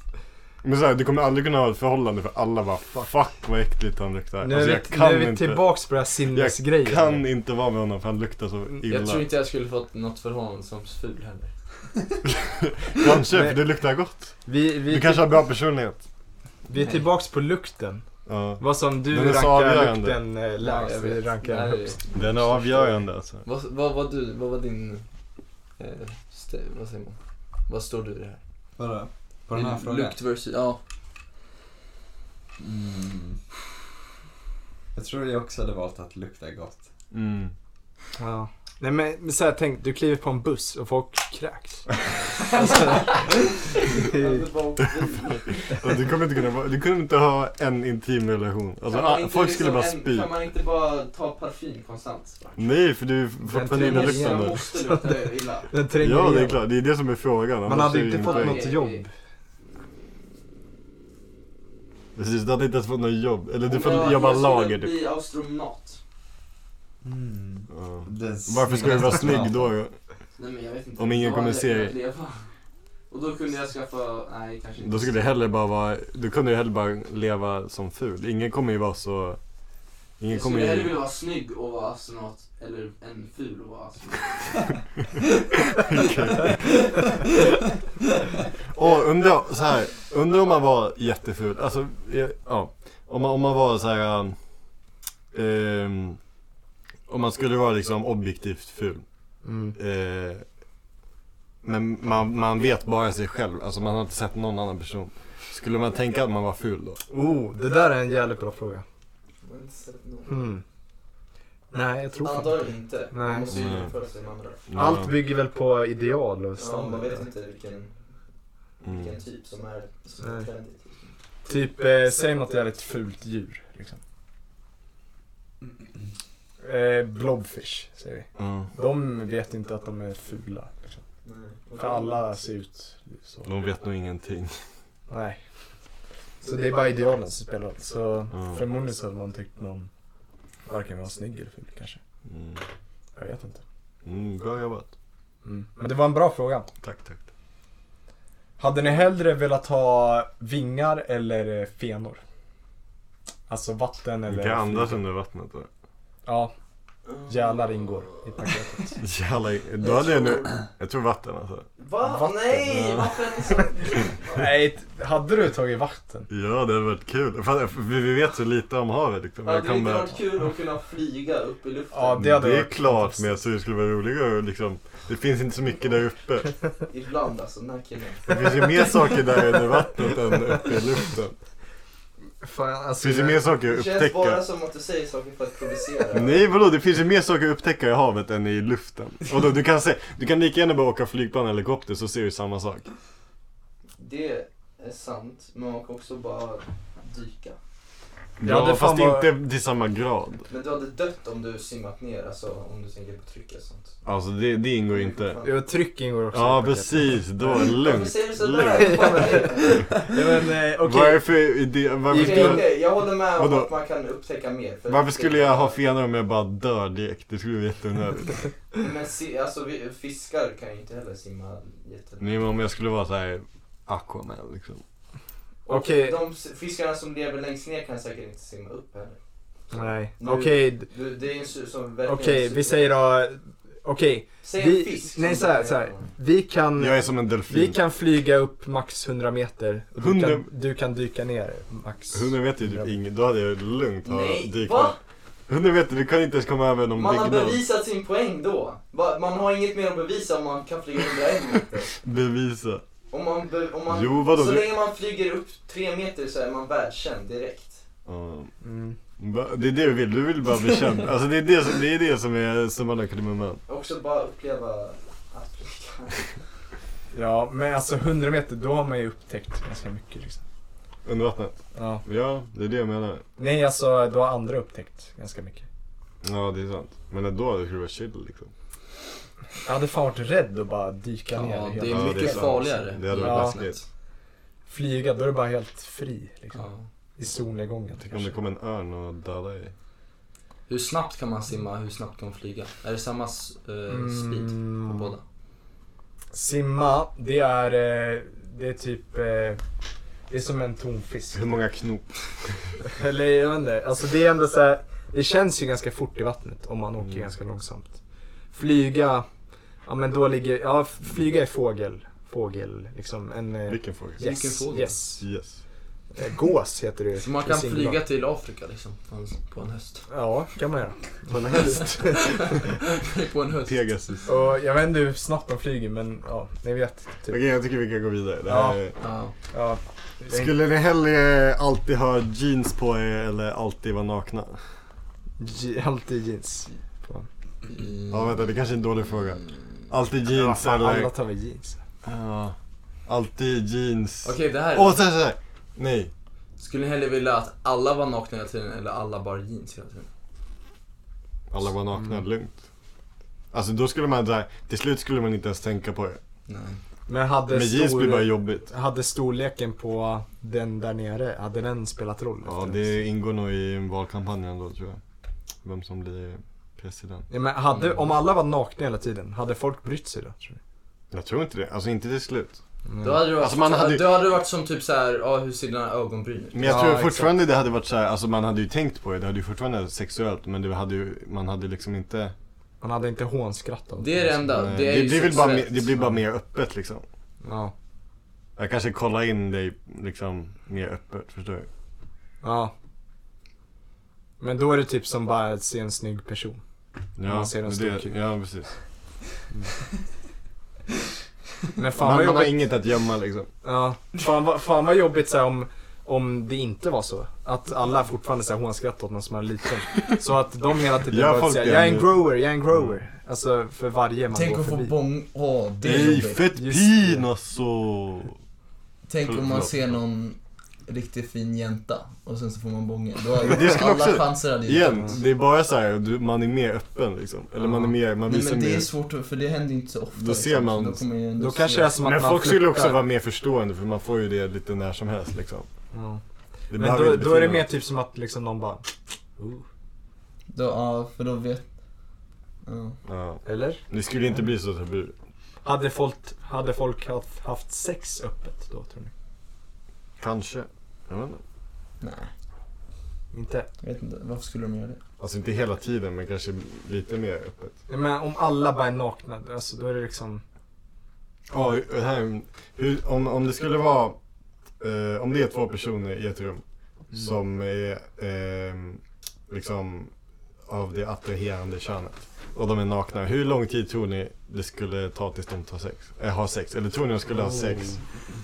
S2: Men så här, du kommer aldrig kunna ha ett förhållande för alla bara fuck vad äckligt han luktar.
S1: Nu är
S2: alltså,
S1: vi,
S2: jag kan
S1: nu är vi
S2: inte.
S1: tillbaks på det här sinnesgrejen.
S2: Kan inte vara med honom för han luktar så
S1: Mm,
S2: illa.
S3: Jag tror inte jag skulle fått något förhållande som ful heller.
S2: Kanske, för
S1: Nej.
S2: det luktar gott.
S1: Vi, vi,
S2: Du kanske har bra personlighet.
S1: vi är tillbaks på lukten.
S2: Ja.
S1: Vad som
S2: Den är
S1: du
S2: så
S1: rankar
S2: avgörande.
S1: lukten eh, lägst. Vi rankar den högst.
S2: Den är avgörande alltså.
S3: Vad, vad var du, vad var din... Eh, st- vad säger man? Vad står du i det här?
S7: Vadå? På den här
S3: Din
S7: frågan?
S3: Lukt versus, ja.
S4: Mm. Jag tror jag också hade valt att lukta gott.
S2: Mm.
S1: Ja. Nej men, men så här, tänk, du kliver på en buss och folk kräks. Alltså, det
S3: alltså,
S1: är-
S2: Och Du kommer inte kunna vara- du kommer inte ha en intim relation. Alltså,
S3: Kan man
S2: ah,
S3: inte
S2: folk skulle
S3: liksom
S2: bara
S3: en-
S2: spy.
S3: Kan man inte bara ta parfym konstant?
S2: Nej, för du är fortfarande
S1: Den
S3: Jag
S1: tränger
S3: måste, jag
S2: illaluktande.
S1: igenom.
S3: måste lukta illa.
S1: den tränger
S2: Ja, det är
S1: igenom.
S2: klart. Det är det som är frågan.
S1: Man
S2: Annars
S1: hade
S2: är det
S1: inte
S2: ingen
S1: fått
S2: poäng.
S1: något jobb.
S2: Precis, du hade inte ens fått något jobb. Eller du får
S3: Jag-
S2: jobba
S3: jag skulle
S2: lager typ.
S3: bli astronaut.
S7: Mm.
S2: Ja.
S7: Den
S2: Varför ska du vara
S7: snyggaste
S2: snygg då? då?
S3: Nej, men jag vet inte.
S2: Om ingen
S3: Då hade
S2: kommer
S3: jag
S2: se
S3: kunnat
S2: er.
S3: leva. Och då kunde jag skaffa, nej kanske inte.
S2: Då skulle du hellre bara vara, du kunde ju hellre bara leva som ful. Ingen kommer ju vara så... Ingen
S3: Jag
S2: kommer
S3: skulle hellre
S2: ju...
S3: vilja vara snygg och vara astronaut, eller en ful och vara astronaut.
S2: Åh, undra, så här, undra om man var jätteful. Alltså, eh, ja. Om man, om man var så här... um, ehm, om man skulle vara liksom objektivt ful.
S1: Mm.
S2: Eh, men man, man vet bara sig själv. Alltså man har inte sett någon annan person. Skulle man tänka att man var ful då?
S1: Oh, det där är en jävligt bra fråga. Mm. Nej, jag tror fan
S3: Antagligen inte.
S1: Nej.
S3: Man måste ju
S2: Nej.
S3: jämföra sig med andra.
S1: Allt bygger väl på ideal och
S3: Ja, man
S1: standard.
S3: vet inte vilken,
S2: Mm.
S3: vilken typ som är, som är
S1: Nej.
S3: trendig.
S1: typ, eh, säg något jävligt fult djur. Liksom. Eh, blobfish, säger vi.
S2: Ja.
S1: De vet inte att de är fula. Liksom. För alla ser ut så.
S2: De vet nog ingenting.
S1: Nej. Så det är bara idealen som spelar roll. Så
S2: Ja.
S1: förmodligen så hade man tyckt någon varken var snygg eller ful kanske.
S2: Mm.
S1: Jag vet inte.
S2: Mm, bra jobbat.
S1: Mm. Men det var en bra fråga.
S2: Tack, tack.
S1: Hade ni hellre velat ha vingar eller eh, fenor? Alltså vatten
S2: Du
S1: eller...
S2: kan andas under vattnet då.
S1: Ja, gälar ingår i paketet.
S2: Jävlar, då hade jag nu... Jag tror vatten alltså.
S3: Va?
S1: Vatten.
S3: Nej! Varför är ni så...
S1: Nej, t- hade du tagit vatten?
S2: Ja, det hade varit kul. Fan, Vi vi vet så lite om havet. Liksom.
S3: Hade
S2: Jag
S3: det inte
S2: kommer...
S3: varit kul att kunna flyga upp i luften?
S1: Ja, det hade
S2: det är
S1: varit
S2: klart,
S1: fantastiskt.
S2: men jag tror det skulle vara roligare att liksom... Det finns inte så mycket där uppe.
S3: Ibland alltså, den här killen.
S2: Det finns ju mer saker där under vattnet än uppe i luften.
S1: Fan,
S2: Det
S1: alltså,
S2: finns ju mer saker att
S3: Det känns bara
S2: upptäcka.
S3: som att du säger saker för att provocera.
S2: Nej vadå, det finns ju mer saker att upptäcka i havet än i luften. Och då, du, kan se, du kan lika gärna bara åka flygplan eller helikopter så ser du samma sak.
S3: Det är sant, men man kan också bara dyka.
S1: Jag hade
S2: Ja, fast
S1: fan bara-
S2: inte till samma grad.
S3: Men du hade dött om du simmat ner, alltså om du tänker på tryck och sånt.
S2: Alltså det, det ingår ju inte.
S1: Jo, tryck ingår också. i
S2: Ja,
S1: paketet.
S2: precis. Då är det
S3: Varför
S2: lugnt.
S3: säger du
S2: Lugnt.
S3: sådär? Fan, vad är
S1: Ja, men, eh, okej.
S2: Varför, är det,
S3: det?
S2: varför,
S3: Okej,
S2: skulle,
S3: okej, jag håller med om
S2: Vadå?
S3: att man kan upptäcka mer. för-
S2: varför skulle jag ha fenor om jag bara dör direkt? Det skulle vara jätteonödigt.
S3: Men se, alltså vi- fiskar kan ju inte heller simma jättelångt.
S2: Nej, men om jag skulle vara så här Aquaman liksom.
S3: Och
S1: Okej.
S3: De s- fiskarna som lever längst ner kan säkert inte simma upp heller.
S1: Nej.
S3: Nu-
S1: Okej, d-
S3: Du, det är en su- som verkligen...
S1: okej, vi säger då... Okej,
S3: Säg
S1: vi-
S3: en fisk.
S1: nej,
S3: som
S1: så här,
S3: dör
S1: så här.
S3: heller.
S1: vi kan...
S2: Jag är som en
S1: Vi
S2: delfin.
S1: kan flyga upp max 100 meter. Och du,
S2: 100
S1: kan, du kan dyka ner max.
S2: Hunden vet ju typ inget. Då hade jag lugnt ha
S3: Nej,
S2: dykt
S3: va?
S2: ner. Hunden vet ju, du kan inte ens komma över någon
S3: Man har
S2: byggnad.
S3: bevisat sin poäng då. Va- Man har inget mer att bevisa om man kan flyga 101 meter.
S2: Bevisa.
S3: Om man, be- om man,
S2: Jo, vadå?
S3: så
S2: Du-
S3: länge man flyger upp tre meter så är man världskänd direkt.
S2: Ja.
S1: Mm.
S2: Va? Det är det du vill, du vill bara bli känd. Alltså det är det som, det är det som är summan av kardemumman.
S3: Också bara uppleva att flyga.
S1: Ja, men alltså 100 meter, då har man ju upptäckt ganska mycket liksom.
S2: Under vattnet.
S1: Ja.
S2: Ja, det är det jag menar.
S1: Nej, alltså då har andra upptäckt ganska mycket.
S2: Ja, det är sant. Men då skulle det vara chill liksom.
S1: Jag hade fan varit rädd att bara dyka ner.
S8: Ja,
S1: helt.
S8: det
S2: Ja,
S8: är
S2: det är
S8: mycket
S2: sant.
S8: farligare.
S2: Det hade varit
S8: Ja.
S2: läskigt.
S1: Flyga, då är du bara helt fri liksom.
S8: Ja.
S1: I solnedgången.
S2: Om det
S1: kanske.
S2: kom en örn och dödade dig.
S8: Hur snabbt kan man simma? Hur snabbt kan man flyga? Är det samma s- eh, speed på
S1: Mm.
S8: båda?
S1: Simma, det är, eh, det är typ... eh, Det är som en tonfisk.
S2: Hur många knop?
S1: Eller jag vet inte. Alltså det är ändå så här, Det känns ju ganska fort i vattnet om man åker
S2: Mm.
S1: ganska långsamt. Flyga. Ja men då ligger, ja f- flyga är fågel. Fågel liksom. En eh,
S2: Vilken fågel?
S8: Ja.
S1: yes,
S8: fågel?
S1: yes.
S2: Yes.
S1: Eh, Gås heter det ju
S8: Så man
S1: i
S8: kan
S1: singular.
S8: flyga till Afrika liksom, på en, på en höst.
S1: Ja, kan man göra. På en häst.
S8: på en höst.
S2: Pegasus.
S1: Och jag vet inte hur snabbt de flyger men ja, ni vet.
S2: Okej,
S1: Typ.
S2: jag tycker vi kan gå vidare. Det här
S1: Ja.
S2: är...
S8: Ja.
S1: Ja,
S2: Skulle ni hellre alltid ha jeans på er eller alltid vara nakna?
S1: Ge- alltid jeans. På.
S8: Mm.
S3: Mm.
S2: Ja, vänta, det kanske är en dålig fråga. Alltid
S1: Ja,
S2: jeans
S1: fan, alla
S2: eller...
S1: tar väl jeans.
S2: Ja. Alltid jeans.
S8: Okej, det här är...
S2: Åh, så här, så här. Nej.
S8: Skulle ni hellre vilja att alla var nakna hela tiden eller alla bar jeans hela tiden?
S2: Alla var nakna,
S1: Mm.
S2: lugnt. Alltså då skulle man där, till slut skulle man inte ens tänka på det.
S8: Nej.
S2: Mm.
S1: Men hade
S2: Men jeans blir
S1: stor-
S2: bara jobbigt.
S1: Hade storleken på den där nere, hade den spelat roll?
S2: Ja,
S1: efter
S2: det ingår nog i en valkampanj ändå tror jag. Vem som blir president.
S1: Ja, men hade,
S2: Mm.
S1: Om alla var nakna hela tiden, hade folk brytt sig då? Tror Mm.
S2: Jag tror inte det, alltså inte till slut.
S1: du?
S8: Då hade du varit,
S2: Alltså, man hade ju-
S8: då hade du varit som typ så här, ja hur ser dina ögonbryn ut?
S2: Men jag
S1: Ja,
S2: tror fortfarande det hade varit så här, alltså man hade ju tänkt på det, det hade ju fortfarande varit sexuellt men det hade ju, man hade liksom inte...
S1: Man hade inte hånskrattat.
S8: Det är det enda,
S2: Nej,
S8: det är ju
S2: blir väl bara, mer-
S8: sexuellt.
S2: det blir bara mer öppet liksom.
S1: Ja.
S2: Jag kanske kollar in dig liksom mer öppet, förstår du?
S1: ja. Men då är det typ som bara att se en snygg person. Man ser en
S2: men
S1: stor
S2: det,
S1: kuk.
S2: ja precis.
S1: Men fan
S2: Man,
S1: vad
S2: man har
S1: jobbigt,
S2: inget att gömma liksom.
S1: ja. fan, vad- fan vad jobbigt så här, om, om det inte var så. Att alla fortfarande så här, hånskrattar åt någon som är liten. Så att de hela tiden
S2: Gör
S1: bara
S2: folk Mm.
S1: säger
S2: det
S1: jag är en
S2: nu?"
S1: grower, jag är en grower. Alltså för varje man
S3: Tänk
S1: går
S3: att få
S1: förbi.
S3: bång... Åh, det är
S2: Nej,
S3: jobbigt.
S2: fett
S1: Just
S2: pin
S1: det.
S2: alltså!
S3: Tänk om man
S2: Förlåt.
S3: ser någon riktigt fin jänta och sen så får man bången. Då har
S2: Det skulle
S3: alla
S2: också-
S3: chanser hade ju
S2: Igen, det är bara så här, du, man är mer öppen liksom. Eller man är mer, man
S3: Nej
S2: visar
S3: men det
S2: mer...
S3: är svårt för det händer ju inte så ofta.
S2: Då ser man-
S3: så Då, kommer jag ändå
S1: Då
S3: se-
S1: kanske det är som att
S2: Men
S1: man
S2: folk skulle
S1: flörtar.
S2: också vara mer förstående för man får ju det lite när som helst liksom.
S1: Ja.
S2: Det
S1: Men
S2: behöver
S1: då,
S2: inte
S1: då är det
S2: betyda
S1: mer
S2: något.
S1: typ som att liksom någon bara... "Ooh."
S3: Då, ja, för då vet... Ja.
S2: Ja.
S1: Eller?
S2: Det skulle inte bli så tabu.
S1: Hade folk, hade folk haft, haft sex öppet då tror ni?
S2: Kanske. Jag vet inte.
S3: Nej,
S1: Inte?
S3: jag vet inte. Varför skulle de göra det?
S2: Alltså inte hela tiden men kanske lite mer öppet.
S1: Nej, Men om alla bara är nakna, alltså då är det liksom...
S2: Ja, det här, är- hur, om, om det skulle vara... Eh, om det är två personer i ett rum som är ehm, liksom av det attraherande könet och de är nakna. Hur lång tid tror ni det skulle ta tills de tar sex? Eh, har sex? Eller tror ni de skulle ha
S1: Oh.
S2: sex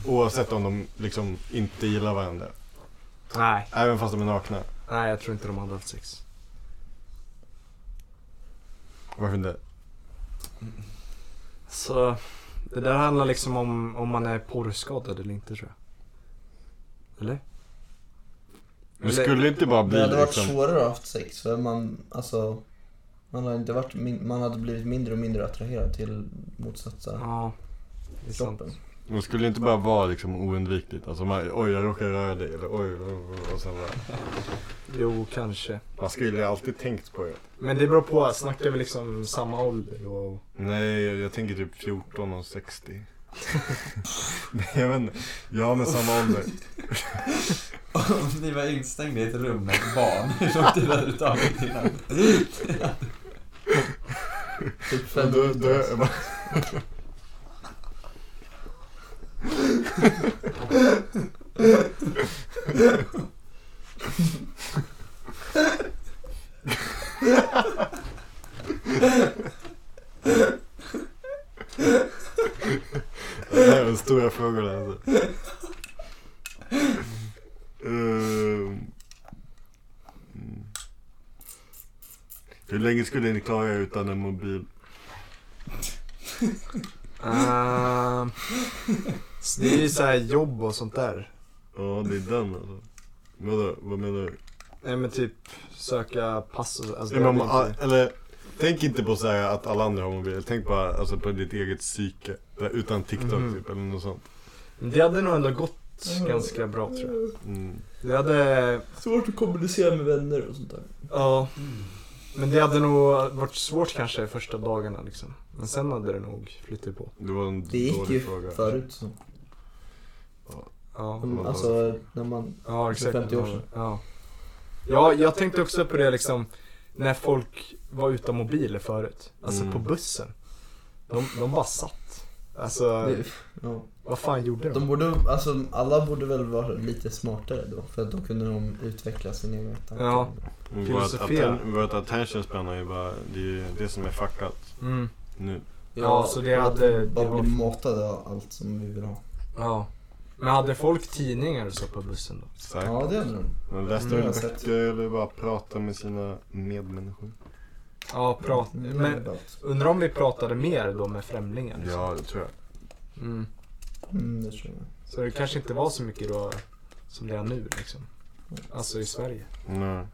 S2: oavsett om de liksom inte gillar varandra?
S1: Nej,
S2: Även fast de är nakna?
S1: nej jag tror inte de hade haft sex.
S2: Varför inte?
S1: Så det där handlar liksom om om man är porrskadad eller inte tror jag. Eller?
S2: Det skulle inte bara
S3: Det
S2: bli
S3: hade varit
S2: liksom...
S3: svårare att ha haft sex för man, alltså, man hade, inte varit, min- man hade blivit mindre och mindre attraherad till motsatta
S1: Ja, det är sant.
S3: kroppen.
S2: Det skulle inte bara vara liksom oundvikligt. Alltså man, oj jag råkar röra dig eller oj, oj, oj och sen bara,
S1: Jo, kanske.
S2: Man skulle ju alltid tänkt på det.
S1: Men det beror på, snackar vi liksom samma ålder? Och...
S2: Nej, jag, jag tänker typ 14 och 60. Nej jag vet inte. Ja men samma ålder.
S4: Om ni var instängda i ett rum med ett barn, hur lång tid hade det tagit innan?
S3: Typ fem
S2: Då, då,
S3: minuter.
S2: jag bara, det här är stora frågor det här, alltså. Ehm. Mm. Hur länge skulle ni klara er utan en mobil?
S1: Ehm, så det är ju så här jobb och sånt där.
S2: Ja, det är den alltså. Vadå, vad menar du?
S1: Nej men typ söka pass och alltså, det
S2: Ja, men,
S1: hade
S2: man,
S1: inte-
S2: ah, eller, tänk inte på så här att alla andra har mobil. Tänk bara alltså, på ditt eget psyke. Det där Utan TikTok
S1: Mhm.
S2: typ, eller något sånt.
S1: Men Det hade nog ändå gått ganska bra tror jag.
S2: Mm.
S1: Det hade,
S3: Svårt att kommunicera med vänner och sånt där.
S1: ja. Men det hade nog varit svårt kanske första dagarna liksom. Men sen hade det nog flyttat på.
S2: Det var en
S3: Det gick ju
S2: dålig fråga.
S3: förut så.
S1: Ja,
S3: Mm, Alltså när man,
S1: ja exakt.
S3: 50 år sedan.
S1: Ja. ja, jag tänkte också på det liksom när folk var utan mobiler förut. Alltså
S2: Mm.
S1: på bussen. De, de bara satt. Alltså,
S3: det, ja.
S1: vad fan gjorde de?
S3: De borde, alltså alla borde väl vara lite smartare då för att då kunde de utveckla sin egen tanke.
S1: Ja.
S2: Och Mm, Vårt,
S1: Filosofera.
S2: atten, vårt attention span är ju bara, det är ju det som är fuckat
S1: Mm.
S2: nu.
S1: Ja, så det
S3: att
S1: hade...
S3: vi
S1: Det
S3: bara
S1: var,
S3: bli matade av allt som vi vill ha.
S1: ja. Men hade folk tidningar och så på bussen då?
S2: Säkert.
S3: Ja det hade de.
S2: Man läste
S1: Mm,
S2: väl
S3: jag har sett.
S2: böcker eller bara prata med sina medmänniskor.
S1: Ja, prat...
S3: Mm,
S1: Men
S3: överallt.
S1: undrar om vi pratade mer då med främlingar? liksom.
S2: Ja, det tror jag.
S1: Mm.
S3: Mm, det tror jag.
S1: Så det kanske inte var så mycket då som det är nu liksom. Alltså i Sverige.
S2: Nej.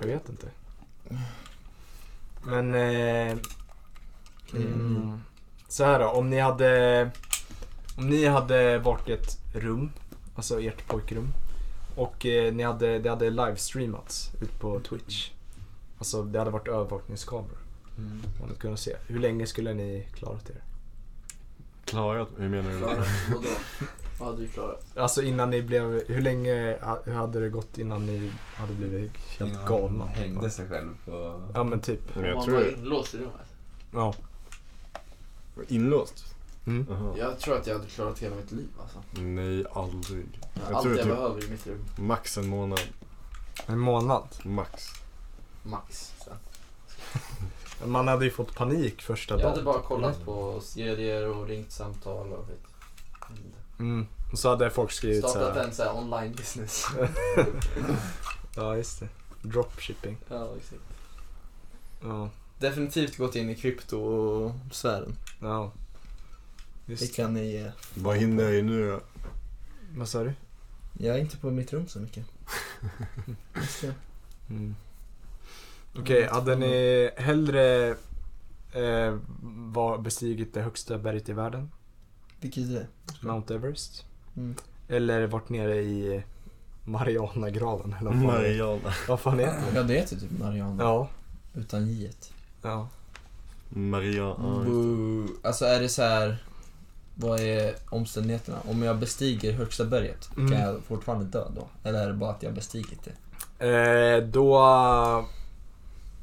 S1: Jag vet inte. Men... Eh, mm, så här då, om ni hade... Om ni hade varit i ett rum, alltså ert pojkrum. Och eh, ni hade, det hade livestreamats ut på Twitch. Alltså det hade varit övervakningskameror.
S7: Mm.
S1: Man hade kunnat se. Hur länge skulle ni klarat er?
S2: Klarat hur menar du?
S9: Klara, vadå? Vad hade vi klarat?
S1: Alltså innan ni blev... Hur länge ha- hur hade det gått innan ni hade blivit helt
S4: Innan
S1: galna?
S4: han hängde sig själv på...
S1: Ja men typ.
S2: Men
S9: Om
S2: jag
S9: man
S2: tror
S9: var
S2: det.
S9: inlåst i rummet?
S1: Ja.
S2: Inlåst?
S1: Mm.
S2: Jaha.
S9: Jag tror att jag hade klarat hela mitt liv alltså.
S2: Nej, aldrig. Jag
S9: Allt
S2: tror
S9: jag
S2: typ-
S9: behöver i mitt rum,
S2: Max en månad.
S1: En månad.
S2: Max.
S9: max. Sen.
S1: Man hade ju fått panik första
S9: Jag
S1: dagen.
S9: hade bara kollat på serier och ringt samtal och vet.
S1: Mm. Och så hade folk skrivit så
S9: Startat
S1: här.
S9: en sån här online business.
S1: Ja, just det. Dropshipping.
S9: ja, exakt.
S1: Ja.
S3: Definitivt gått in i kryptosfären.
S1: ja.
S3: Det
S1: Just.
S3: kan ni ge.
S2: Vad hinner jag ju nu då?
S1: Vad sa du?
S3: Jag är inte på mitt rum så mycket. Just det.
S1: Mm. Okej,
S5: Mm.
S1: hade ni hellre eh, var, bestigit det högsta berget i världen,
S3: Vilket är det?
S1: Mount Everest?
S3: Mm.
S1: Eller varit nere i Marianagraven? Eller vad fan,
S2: Mariana.
S1: vad fan heter det?
S5: Ja, det heter typ Mariana.
S1: Ja.
S3: Utan jiet.
S1: ja.
S2: Mariana.
S1: Mm.
S5: Boo. Alltså är det så här... Vad är omständigheterna? Om jag bestiger högsta berget,
S1: Mm.
S5: kan jag fortfarande dö då? Eller är det bara att jag bestigit det?
S1: Eh, då...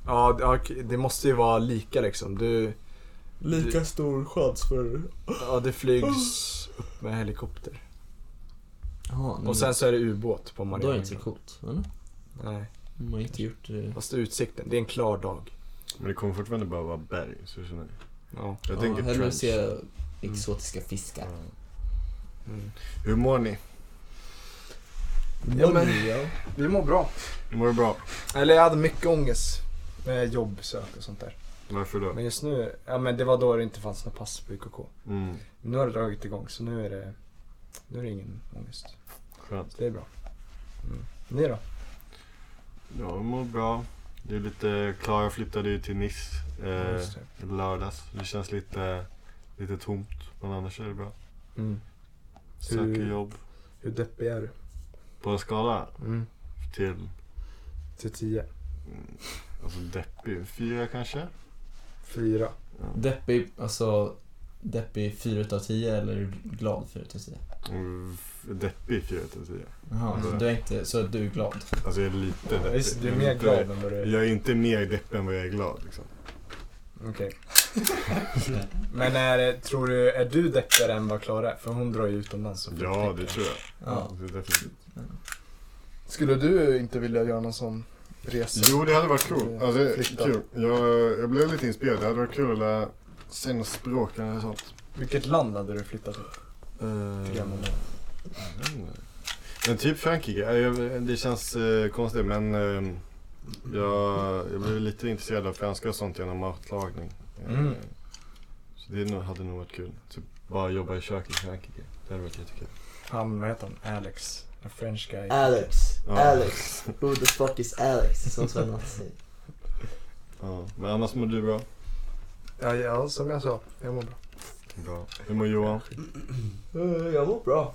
S1: Ja, det- ja, det måste ju vara lika liksom. Du... Lika
S3: stor chans för...
S1: Ja, det flygs upp med helikopter.
S3: Jaha,
S1: Och sen så är det ubåt på
S3: Då är det
S1: Mariana.
S3: inte så coolt, eller?
S1: Nej,
S3: Man har inte gjort
S5: eh,
S3: det.
S1: fast utsikten. Det är en klar dag.
S2: Men det kommer fortfarande bara vara berg, så känner jag.
S1: Ja.
S2: Jag tänker
S5: hellre
S2: trench.
S5: se exotiska fiskar.
S2: Ja.
S1: Mm.
S2: Hur mår ni?
S1: Ja, men-
S3: Ja.
S1: Vi mår bra.
S2: Mår du bra?
S1: Eller jag hade mycket ångest med jobbsök och sånt där.
S2: Varför då?
S1: Men just nu, ja men det var då det inte fanns några pass på UKK.
S2: Mm,
S1: Nu har det dragit igång så nu är det, nu är det ingen ångest.
S2: skönt.
S1: Så det är bra. Ni då?
S2: Jag mår bra. Det är lite... Klara flyttade ju till Nice eh,
S1: Just det.
S2: lördags. Det känns lite, lite tomt. Men annars är det bra.
S1: Mm.
S2: Söker
S1: Hur-
S2: jobb.
S1: Hur deppig är du?
S2: På en skala
S1: Mm.
S2: till...
S1: Till 10.
S2: mm, Alltså deppig. Fyra kanske?
S1: 4.
S5: Deppig, alltså deppig 4 utav 10 eller glad 4 utav 10?
S2: Mm, f- Deppig fyra till tio.
S5: Jaha, så,
S2: Mm.
S5: du är inte, så du är glad?
S2: Alltså jag är lite deppig.
S1: Visst, du är
S2: Jag
S1: mer
S2: inte-
S1: glad än vad du är.
S2: Jag är inte mer deppig än vad jag är glad liksom.
S1: Okej. Men är, tror du, är du deppigare än vad Klara är? För hon drar ju utomlands. och
S2: Ja, det
S1: flyttar.
S2: tror jag.
S5: Ja.
S2: Det är definitivt.
S1: Skulle du inte vilja göra någon sån resa?
S2: Jo, det hade varit coolt.
S1: Flytta.
S2: Alltså, det är kul. Jag, jag blev lite inspirerad. Det hade varit kul att lära sig något språk eller sånt.
S1: Vilket land hade du flyttat till?
S2: Eh,
S1: Till gamla.
S2: jag vet inte. Eh, Men typ Frankrike. Eh, jag- Det känns eh, konstigt men eh, jag, jag blev lite intresserad av franska och sånt genom matlagning. Eh,
S1: Mm.
S2: Så det nog- hade nog varit kul. Typ bara jobba i kök i Frankrike. Det hade varit jättekul.
S1: Han, vad heter han? Alex. En french guy.
S3: Alex,
S2: Ja.
S3: Alex, who the fuck is Alex? Som Sven alltid säger.
S2: Ja. Men annars mår du bra?
S1: Ja, ja, som jag sa. Jag mår bra.
S2: Bra. Hur mår Johan?
S3: Eh, Jag mår bra.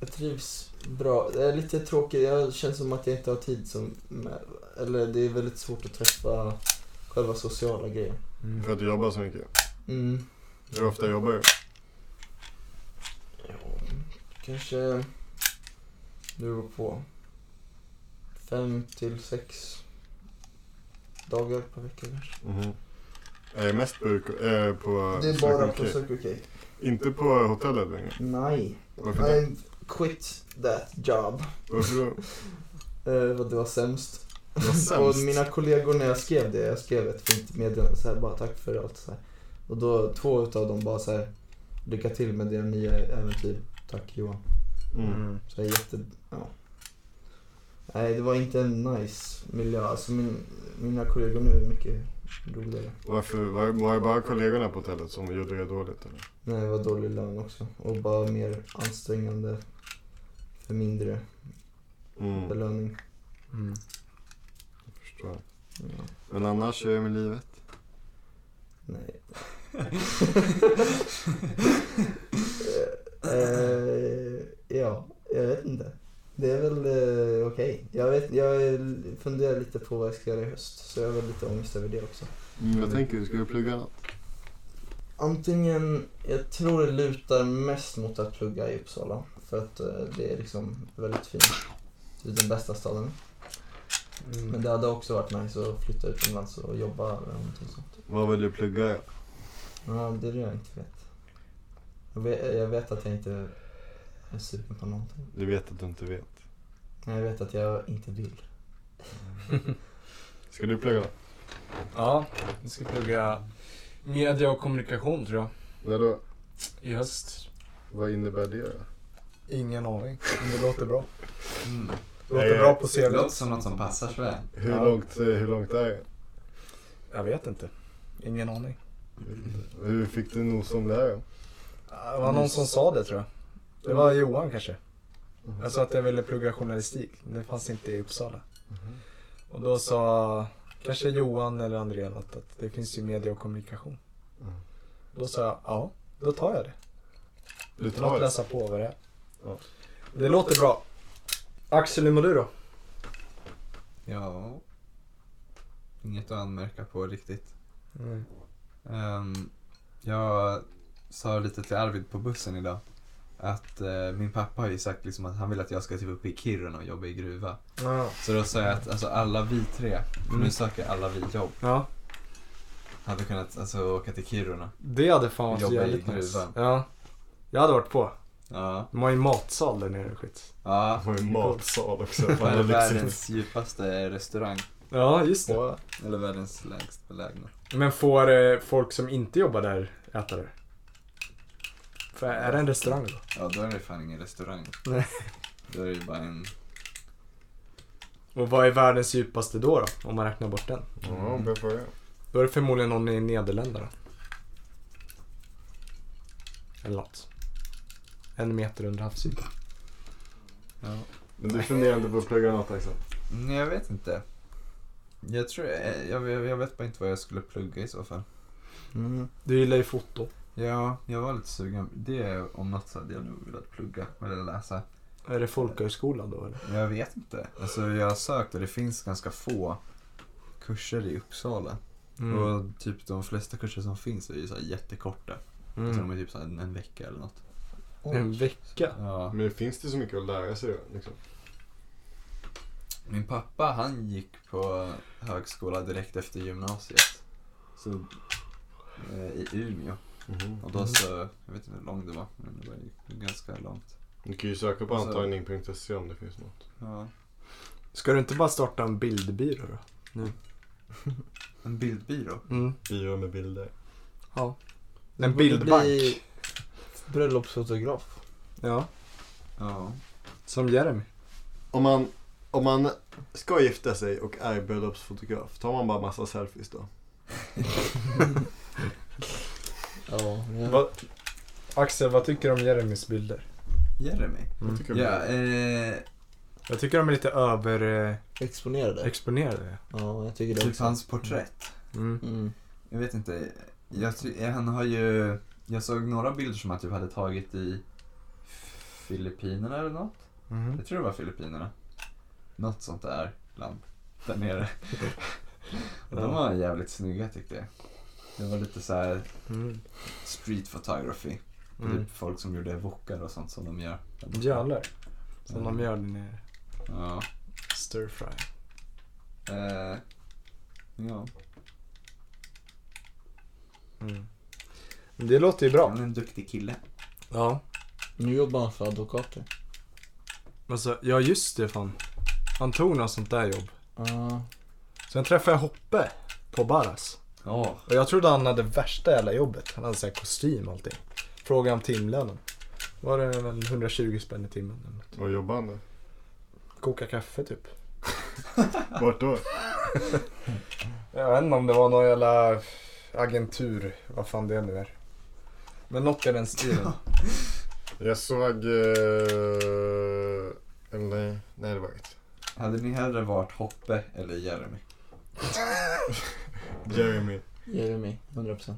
S3: Jag trivs bra. Det är lite tråkigt. Jag känner som att jag inte har tid. Som, med, eller det är väldigt svårt att träffa själva sociala grejer.
S2: För att du jobbar så mycket.
S3: Mm.
S2: Hur ofta jobbar du?
S3: Ja, kanske... Det beror på. Fem till sex dagar per vecka kanske.
S2: Mhm. Är det mest på, eh, på
S3: Det är bara på
S2: Circle K?
S3: Circle K.
S2: Inte på hotellet längre?
S3: Nej.
S2: Varför det?
S3: I quit that job.
S2: Varför då?
S3: Uh, vad det var sämst.
S2: Det var sämst.
S3: Och mina kollegor när jag skrev det, jag skrev ett fint meddelande så här, bara tack för allt så här. Och då två utav dem bara så här, lycka till med dina nya äventyr. Tack Johan.
S2: Mm.
S3: Så jag är jätte, ja. Nej det var inte en nice miljö. Alltså min, mina kollegor nu är mycket roligare.
S2: Varför, var, var det bara kollegorna på hotellet som gjorde det dåligt eller?
S3: Nej det var dålig lön också. Och bara mer ansträngande. För mindre
S2: Mm.
S3: belöning.
S1: Mm.
S2: jag Förstår.
S3: Ja.
S2: Men annars, hur är det med livet?
S3: Nej. Eh, eh, ja, jag vet inte. Det är väl eh, okej. Jag, vet- jag funderar lite på vad jag ska göra i höst. Så jag har väl lite ångest över det också.
S2: Jag tänker, ska du plugga något?
S3: Antingen, jag tror det lutar mest mot att plugga i Uppsala. För att eh, det är liksom väldigt fint. Det är den bästa staden.
S1: Mm.
S3: Men det hade också varit nice att flytta utomlands och jobba eller någonting sånt.
S2: Vad vill du plugga? ja?
S3: Ja, det är det jag inte vet. Jag vet, jag vet att jag inte är sugen på någonting.
S2: Du vet att du inte vet.
S3: Nej, Jag vet att jag inte vill.
S2: Ska du plugga något?
S1: Ja, jag ska plugga media och kommunikation tror jag.
S2: När då?
S1: I höst.
S2: Vad innebär det? då?
S1: Ingen aning. Men det låter bra.
S4: Mm.
S1: Det låter
S2: Nej,
S1: bra på
S4: Det
S1: CV.
S4: låter som något som passar Sverige.
S2: Hur,
S1: Ja.
S2: långt, eh, hur långt är det?
S1: Jag vet inte. Ingen aning.
S2: Hur fick du nos om det här? då?
S1: Det var någon som sa det tror jag. Det var Johan kanske.
S2: Mm-hmm.
S1: Jag sa att jag ville plugga journalistik. Det fanns inte i Uppsala.
S2: Mm-hmm.
S1: Och då sa kanske Johan eller André något att det finns ju media och kommunikation.
S2: Mm.
S1: Då sa jag ja, då tar jag det.
S2: Du
S1: Utan att
S2: tar det?
S1: läsa på vad det är.
S2: Ja.
S1: Det låter bra. Axel, hur mår du då?
S4: Ja. Inget att anmärka på riktigt.
S1: Mm.
S4: Ehm, jag sa lite till Arvid på bussen idag att eh, min pappa har ju sagt liksom att han vill att jag ska typ upp i Kiruna och jobba i gruva.
S1: Ja.
S4: Så då sa jag att alltså, alla vi tre, nu söker alla vi jobb.
S1: ja.
S4: Hade kunnat alltså, åka till Kiruna.
S1: Det hade fan varit
S4: Jobba i
S1: jävligt nice.
S4: gruvan.
S1: Ja. Jag hade varit på.
S4: Ja.
S1: De har ju matsal där nere och skit.
S4: ja.
S2: Det var ju matsal också. Fan,
S4: Vad är
S2: vad lyxigt.
S4: världens djupaste restaurang?
S1: Ja, just det.
S4: På, eller världens lägst belägna?
S1: Men får eh, folk som inte jobbar där äta det? För är det en restaurang då?
S4: Ja, då är det fan ingen restaurang.
S1: Nej.
S4: Då är det ju bara en...
S1: Och vad är världens djupaste då, då om man räknar bort den?
S2: Ja,
S4: Mm.
S2: bra fråga.
S1: Då är det förmodligen någon i Nederländerna. Eller något. En meter under havsytan.
S4: Ja.
S2: Men du funderar inte på att plugga något liksom. Axel?
S4: Mm, jag vet inte. Jag tror, eh, jag, jag, jag vet bara inte vad jag skulle plugga i så fall.
S5: Mm.
S1: Du gillar ju foto.
S4: Ja, jag var lite sugen. Det om något så hade jag nog velat plugga eller läsa.
S1: Är det folkhögskolan då eller?
S4: Jag vet inte. Alltså jag har sökt och det finns ganska få kurser i Uppsala.
S1: Mm.
S4: Och typ de flesta kurser som finns är ju så här jättekorta. Alltså
S1: Mm.
S4: de är typ så här en, en vecka eller något.
S3: Mm.
S1: En vecka?
S4: Ja.
S2: Men finns det så mycket att lära sig då? Liksom?
S4: Min pappa han gick på högskola direkt efter gymnasiet. Så, eh, I Umeå.
S2: Mhm.
S4: Och då så, jag vet inte hur lång det var, men det var ju ganska långt.
S2: Du kan ju söka på
S4: Och så-
S2: antagning.se om det finns något.
S4: Ja.
S1: Ska du inte bara starta en bildbyrå då?
S4: En bildbyrå.
S1: Mm.
S2: Byrå med bilder.
S1: En
S3: borde
S1: bildbank.
S3: bli Bröllopsfotograf.
S1: Ja,
S4: Ja.
S1: som Jeremy.
S2: Om man, om man ska gifta sig och är bröllopsfotograf, tar man bara massa selfies då?
S3: Ja, ja.
S1: Vad- Axel, vad tycker du om Jeremys bilder?
S4: Jeremy.
S1: Mm.
S2: Tycker du?
S4: Ja, eh,
S1: Jag tycker de är lite eh, överexponerade.
S3: Exponerade. Ja, jag tycker det
S4: typ
S3: också.
S4: hans porträtt.
S1: Mm.
S3: Mm.
S4: Jag vet inte. Jag, ty- eh, han har ju, jag såg några bilder som han typ hade tagit i Filippinerna eller något.
S1: Mm.
S4: Jag tror det var Filippinerna. Något sånt där land där nere. Och de var jävligt snygga tyckte jag. Det var lite så här
S1: Mm.
S4: street photography.
S1: Mm.
S4: Typ folk som gjorde wokar och sånt som de gör. där borta.
S1: Jävlar. Som
S4: Mm.
S1: de gör där nere.
S4: Ja.
S1: Stir fry.
S4: Eh, ja.
S1: Mm. Men Det låter ju bra.
S4: Han är en duktig kille.
S1: Ja.
S3: Nu jobbar han för advokater.
S1: Alltså, ja just det fan. Han tog något sånt där jobb.
S3: Ja.
S1: Sen träffade jag Hoppe på Barras.
S4: Ja.
S1: Och jag trodde han hade värsta jävla jobbet. Han hade sån här kostym och allting. Frågade om timlönen. Var det väl 120 spänn i timmen? eller något?
S2: Vad jobbar han med?
S1: Koka kaffe typ.
S2: Vart då?
S1: Jag vet inte om det var någon jävla agentur. Vad fan det nu är. Men något i den stilen.
S2: Jag såg... Eh, eller nej, det var inget.
S4: Hade ni hellre varit Hoppe eller Jeremy?
S2: Jeremy.
S3: Jeremy, 100%.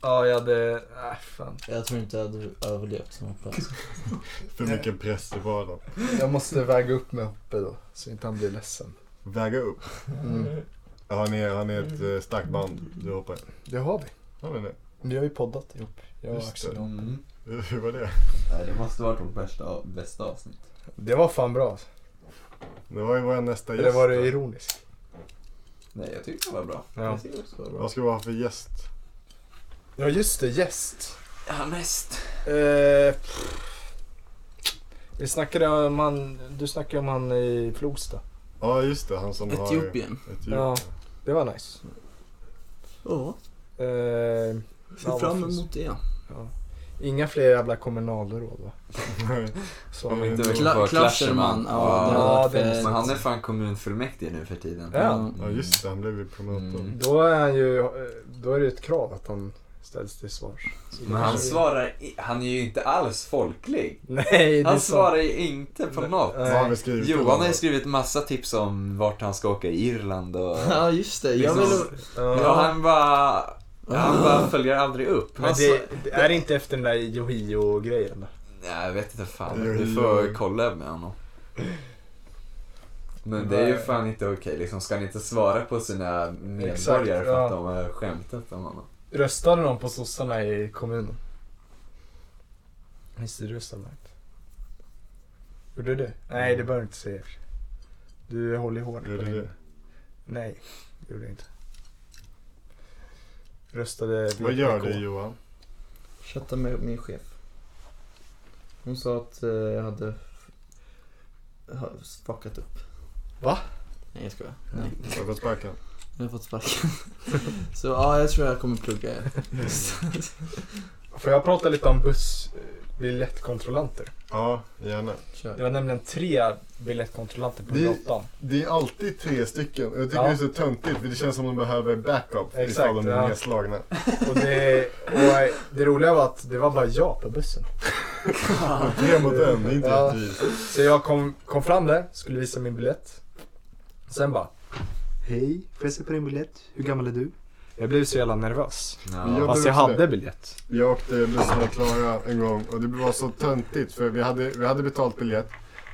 S1: ja, jag hade... Äh, fan.
S3: Jag tror inte jag hade överlevt som hoppas.
S2: För mycket press i vardagen.
S1: Jag måste väga upp med Hoppe då. Så inte han blir ledsen.
S2: Väga upp.
S1: Mm.
S2: Har ni, har ni ett eh, starkt band? Du hoppar.
S1: Det har vi.
S2: Har ni det?
S1: Vi har ju poddat ihop. Jag och
S2: Just
S1: Axel.
S2: det.
S4: Mm.
S2: Hur var det?
S4: Nej, det måste varit vårt bästa, bästa avsnitt.
S1: Det var fan bra.
S2: Det var ju vår nästa gäst.
S1: Eller var
S2: då.
S1: det ironiskt?
S4: Nej, jag tyckte det var bra.
S1: Ja.
S2: Vad ska vi ha för gäst?
S1: Ja just det, gäst.
S4: Ja, näst.
S1: Eh, pff. vi snackade om han, du snackade om han i Flogsta.
S2: Ja, just det. Han som har...
S5: Etiopien.
S2: Etiopien.
S1: Ja, det var nice.
S5: Ja,
S1: Eh, ja,
S5: ser
S1: vad
S5: fram
S1: finns-
S5: emot det.
S1: ja. Inga fler jävla kommunalråd va?
S2: Ja,
S1: Som,
S2: men-
S4: Inte
S5: Kla-
S4: på
S5: Klascherman, ja,
S1: det
S4: Ja,
S1: var-
S5: ja,
S1: det är-
S5: det
S4: Men han är fan kommunfullmäktige nu för tiden.
S1: Ja.
S5: Mm.
S2: ja, just det. Han blev ju promotor.
S4: Mm.
S1: då, är han ju, eh, då är det ju ett krav att han ställs till svars. Så
S4: Men
S1: då-
S4: han svarar, i- han är ju inte alls folklig.
S1: Nej, det är
S4: Han
S1: sant.
S4: svarar ju inte på något.
S2: Vad har vi skrivit?
S4: Johan har ju skrivit massa tips om vart han ska åka i Irland och...
S5: Ja, just det. Jag
S4: Liksom-
S5: vill...
S4: Ja,
S1: Ja,
S4: han bara... Han bara följer aldrig upp. Alltså,
S1: men
S4: Han
S1: det, det är inte efter den där Johio-grejen?
S4: Nej, jag vet inte fan.
S2: Det är
S4: Du
S2: ju-
S4: får kolla med honom. Men det är ju fan inte okej. Liksom, ska han inte svara på sina
S1: Exakt,
S4: medborgare
S1: ja.
S4: för att de har skämtat om honom?
S1: Röstade de på sossarna i kommunen? Visst, du röstade Mark? Gjorde du? Nej, det behöver du inte säga. i och för sig. Du håller ju hårt på
S2: Gjorde
S1: din...
S2: du?
S1: Nej, det gjorde jag inte. Röstade
S2: Vad gör du Johan?
S3: Chatta med min chef. Hon sa att eh, jag hade f- ha- fuckat upp.
S1: Va?
S3: Nej, jag skojar. Nej,
S2: Har du fått sparken?
S3: jag har fått sparken. Så ja, jag tror jag kommer plugga.
S1: Får jag prata lite om bussbiljettkontrollanter?
S2: Ja, gärna.
S1: Det var nämligen tre biljettkontrollanter på
S2: Det-
S1: gatan.
S2: Det är alltid tre stycken. Jag tycker
S1: Ja.
S2: det är så töntigt för det känns som de behöver backup
S1: Exakt,
S2: ifall de blir
S1: ja.
S2: nedslagna.
S1: Och det, och det roliga var att det var bara jag på bussen.
S2: Tre mot en, det är inte
S1: Ja.
S2: rättvist.
S1: Så jag kom, kom fram där, skulle visa min biljett. Sen bara. Hej, får jag se på din biljett? Hur gammal är du? Jag blev så jävla nervös.
S2: Jag
S1: Fast jag
S2: blev också
S1: hade biljett.
S2: Jag åkte eh, buss med Klara en gång och det var så töntigt för vi hade, vi hade betalt biljett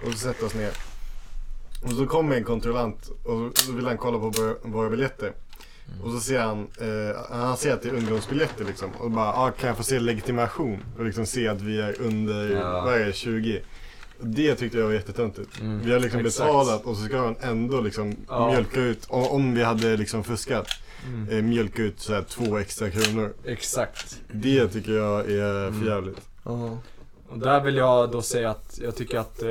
S2: och så satte oss ner. Och så kom en kontrollant och så ville han kolla på våra- våra biljetter. Och så ser han, eh, han ser att det är ungdomsbiljetter liksom. Och bara, ah, kan jag få se legitimation? Och liksom se att vi är under,
S4: Ja.
S2: vad är det, 20? Det tyckte jag var jättetöntigt.
S4: Mm,
S2: Vi har liksom
S4: exakt.
S2: betalat och så ska han ändå liksom
S4: Ja. Mm.
S2: mjölka ut, o- om vi hade liksom fuskat, eh, mjölka ut så här två extra kronor.
S1: Exakt.
S2: Det tycker jag är
S1: Mm.
S2: förjävligt.
S3: Ja.
S1: Och där vill jag då säga att jag tycker att eh,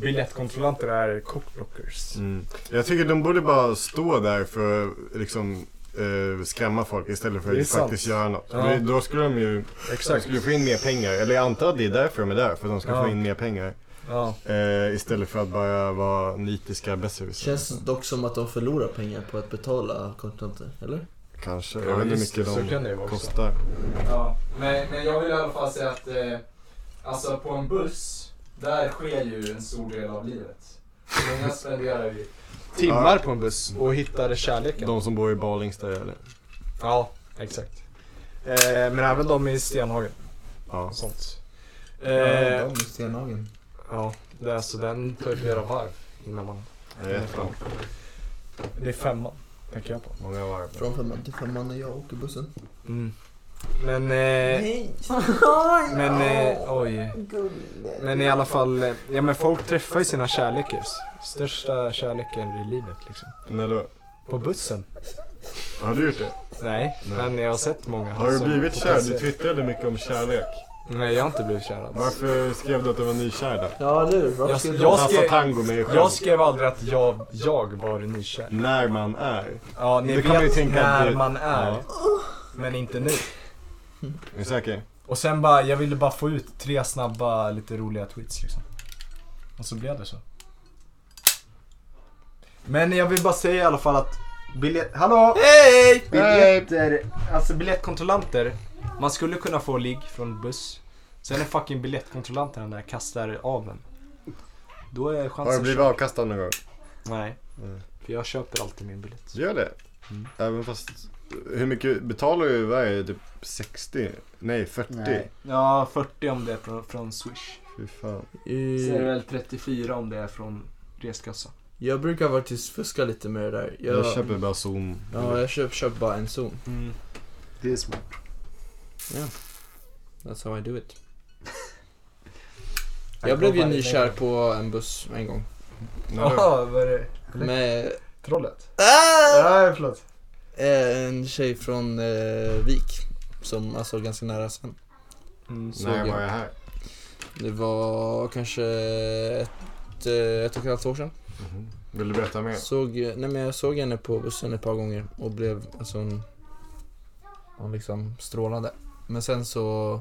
S1: biljettkontrollanter är cockblockers.
S2: Mm. Jag tycker de borde bara stå där för att liksom eh, skrämma folk istället för
S1: Det är
S2: att faktiskt
S1: sant.
S2: göra något.
S1: Ja.
S2: Men Då skulle de ju de
S1: Exakt.
S2: skulle få in mer pengar. Eller jag antar att det är därför de är där, för att de ska
S1: Ja.
S2: få in mer pengar.
S1: Ja.
S2: Eh, istället för att bara vara nitiska besserwissrar.
S3: Känns dock som att de förlorar pengar på att betala kontanter, eller?
S2: Kanske. Jag vet inte hur mycket
S1: Så
S2: de
S1: kan det ju vara också.
S2: kostar.
S1: Ja, men, men jag vill i alla fall säga att eh, alltså på en buss, där sker ju en stor del av livet. Många spenderar ju timmar på en buss och hittar kärleken.
S2: De som bor i Balingsta eller?
S1: Ja, exakt. Eh, men även de i Stenhagen
S2: Ja.
S1: och sånt.
S3: Ja,
S1: Eh,
S3: de i Stenhagen.
S1: ja, det är så den tar ju flera varv innan man...
S2: Det är jättebra.
S1: Det är femman, tänker jag på.
S2: Många varv.
S3: Från femman till femman när jag åker bussen.
S1: Mm. Men... Eh,
S3: Nej!
S1: Men eh, oj. Men i alla fall, eh, ja men folk träffar ju sina kärlekar. Största kärleken i livet liksom.
S2: När då?
S1: På bussen?
S2: Har du gjort det?
S1: Nej,
S2: Nej.
S1: men jag har sett många.
S2: Har du
S1: som
S2: blivit kär?
S1: potentiellt-
S2: Du twittrade mycket om kärlek.
S1: Nej, jag har inte blivit kär alls.
S2: Varför skrev du att du var nykär då?
S3: Ja, eller hur? Varför
S1: Jag-
S3: skulle
S1: jag-
S3: jag...
S2: Dansa
S1: skrev-
S2: tango med dig själv.
S1: Jag skrev aldrig att jag, jag var nykär.
S2: När man är.
S1: Ja, ni
S2: Det kan man ju
S1: vet
S2: tänka att
S1: när
S2: det-
S1: man är.
S2: Ja.
S1: Men inte nu.
S2: Är du säker?
S1: Och sen bara, jag ville bara få ut tre snabba, lite roliga tweets liksom. Och så blev det så. Men jag vill bara säga i alla fall att biljett... Hallå! Hej! Biljetter, alltså biljettkontrollanter. Man skulle kunna få ligg från buss. Sen är fucking biljettkontrollanten den där kastar av en. Då är
S2: Har du
S1: chansen...
S2: blivit avkastad någon gång?
S1: Nej.
S2: Mm.
S1: För jag köper alltid min biljett.
S2: Gör det?
S1: Mm.
S2: Även fast... Hur mycket betalar du varje? Typ 60? Nej, 40?
S1: Nej. Ja, 40 om det är från, från Swish.
S2: Fy fan.
S1: Sen är det
S3: Eh,
S1: väl 34 om det är från reskassa.
S3: Jag brukar faktiskt fuska lite med det där. Jag,
S2: Jag köper bara Zoom.
S3: Ja, jag köper, köper bara en zon.
S1: Mm. Det är smart.
S3: That's how I do it.
S1: Jag
S3: Jag blev ju
S1: provar det
S3: nykär
S1: med-
S3: på en buss en gång.
S2: När då?
S1: Jaha, vad är det?
S3: Med
S1: Trollet?
S3: ah!
S1: Nej, förlåt.
S3: eh, en tjej från eh, Vik. Som alltså ganska nära sen.
S1: Mm, så.
S2: När
S3: jag.
S2: var jag här?
S3: Det var kanske ett, eh, ett och ett halvt år sedan.
S2: Mhm. Vill du berätta mer?
S3: Såg, nej men jag såg henne på bussen ett par gånger och blev, alltså hon, hon liksom strålade. Men sen så...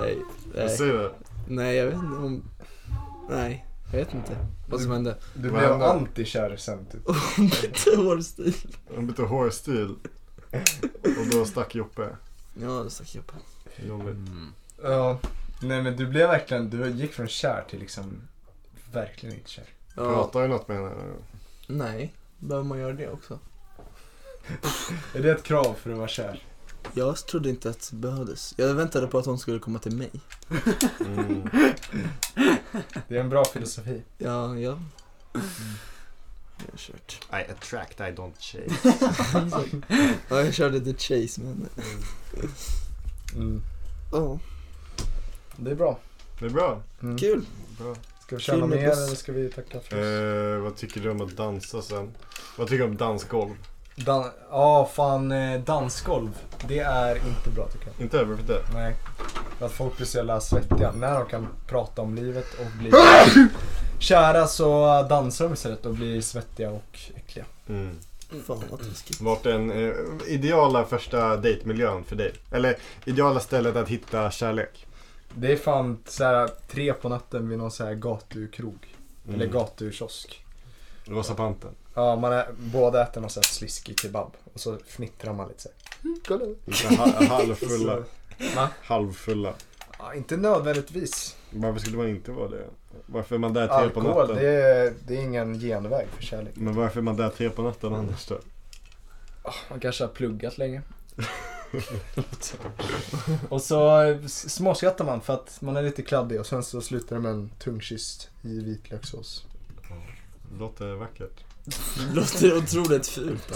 S3: nej,
S2: Jag
S3: nej,
S2: ser det.
S3: nej, jag vet inte om... Nej, jag vet inte vad som hände.
S1: Du
S2: Vad hände?
S1: antikär sen typ.
S3: Hon bytte hårstil.
S2: Hon bytte hårstil. Och då stack Joppe.
S3: Ja, det stack jag på.
S2: Jobbigt.
S4: Mm.
S1: Ja. Nej men du blev verkligen, du gick från kär till liksom verkligen inte kär.
S3: Ja,
S2: Pratar du något med henne?
S3: nej, behöver man göra det också?
S1: Är det ett krav för att vara kär?
S3: Jag trodde inte att det behövdes. Jag väntade på att hon skulle komma till mig.
S2: Mm.
S1: Det är en bra filosofi.
S3: Ja, ja. Jag har kört.
S2: I attract, I don't shake.
S3: Ja, jag körde The Chase men...
S1: Mm.
S3: Ja,
S1: Det är bra.
S2: Det är bra.
S1: Mm.
S3: kul.
S2: bra.
S1: Ska vi
S3: Kul
S1: känna
S3: med
S1: mer
S3: buss.
S1: eller ska vi tacka för oss?
S2: Eh, vad tycker du om att dansa sen? Vad tycker du om dansgolv?
S1: Dan- ja fan, eh, dansgolv. Det är inte bra tycker jag.
S2: Inte över för det.
S1: Nej. För att folk blir så jävla svettiga. När de kan prata om livet och bli kära så dansar de istället och blir svettiga och äckliga.
S2: Mm.
S10: Fan vad taskigt.
S2: Vart den eh, ideala första dejtmiljön för dig? Eller ideala stället att hitta kärlek?
S1: Det är fan så här, tre på natten vid någon så här gatukrog.
S2: Mm.
S1: Eller gatukiosk.
S2: Rosa panten.
S1: Ja, man är, båda äter någon så här sliskig kebab. Och så fnittrar man lite så här. "Mm, kolla."
S2: Lite ha- halvfulla.
S1: Va?
S2: halvfulla.
S1: Ja, inte nödvändigtvis.
S2: Varför skulle man inte vara det? Varför är man där tre på
S1: Alkohol,
S2: natten?
S1: det är, det är ingen genväg för kärlek.
S2: Men varför är man där tre på natten annars då?
S5: Man kanske har pluggat länge.
S1: Och så eh, s- småskrattar man för att man är lite kladdig och sen så slutar det med en tung kyss i vitlökssås.
S2: Låter vackert.
S10: Det låter otroligt fult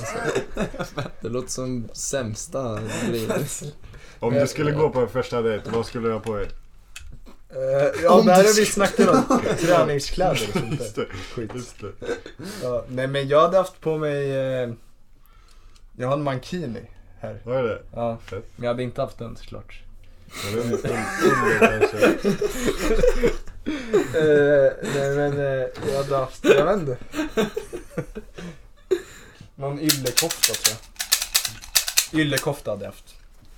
S10: alltså.
S5: Det låter som sämsta grejen.
S2: Om du skulle gå på en första dejt, vad skulle du ha på dig?
S1: Eh, ja,
S5: Om du
S1: det här har vi
S5: skulle-
S1: snackat om. Träningskläder och sånt
S2: Just
S1: där.
S2: det.
S1: Skit.
S2: Just det.
S1: Ja, nej, men jag hade haft på mig... Eh, jag har en mankini här.
S2: Vad är det?
S1: Ja,
S2: Fett.
S1: men jag hade inte haft den såklart.
S2: Är det en- en- en- kanske?
S1: Eh, nej men eh, jag hade haft, jag vet inte. Någon yllekofta tror jag. Yllekofta hade jag haft.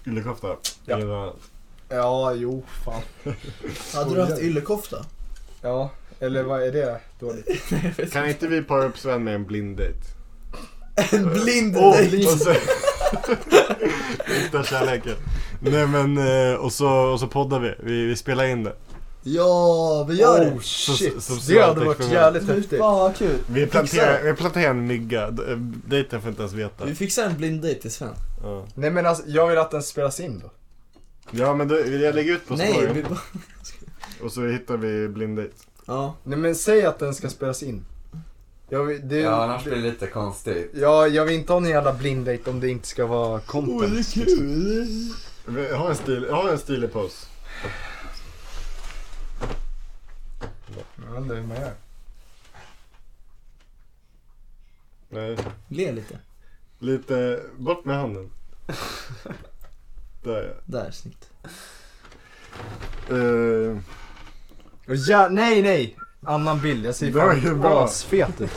S2: Yllekofta?
S1: Ja.
S2: Eller vad?
S1: Ja, jo fan.
S10: Hade du haft yllekofta?
S1: Ja, eller vad är det dåligt?
S2: Kan inte vi para upp Sven med en blind dejt?
S10: En blind
S2: Åh,
S10: dejt!
S2: och så... Hitta kärleken. Nej men, eh, och så, och så poddar vi. vi. Vi spelar in det.
S10: Ja, vi gör
S1: Oh
S10: det!
S1: shit,
S2: Så- så-
S1: det hade varit
S2: experiment.
S1: jävligt
S10: Fy
S1: häftigt.
S10: Fan vad kul!
S2: Vi
S10: fixar
S2: planterar,
S10: det.
S2: vi planterar en mygga. D- eh, Dejten får inte ens veta.
S10: Vi fixar en blind dejt till Sven.
S2: Ja,
S1: Nej men alltså, jag vill att den spelas in då.
S2: ja men då, jag lägger ut på
S10: Nej, vi
S2: storyn.
S10: bara...
S2: Och så hittar vi blind dejt.
S10: Ja.
S1: Nej men säg att den ska spelas in. Jag vill, det,
S4: Ja, annars blir
S1: det,
S4: det lite konstigt.
S1: ja, jag vill inte ha en jävla blind date om det inte ska vara content.
S10: kul!
S2: Vi- Ha en, stil, ha en stilig pose.
S1: Jag vet inte hur man gör.
S2: Nej,
S10: Le lite.
S2: lite bort med handen. Där ja.
S10: Där, snyggt.
S2: Eh,
S1: Och ja, nej nej! Annan bild, jag ser
S2: Det var ju
S1: fan
S2: bra.
S1: asfet ut.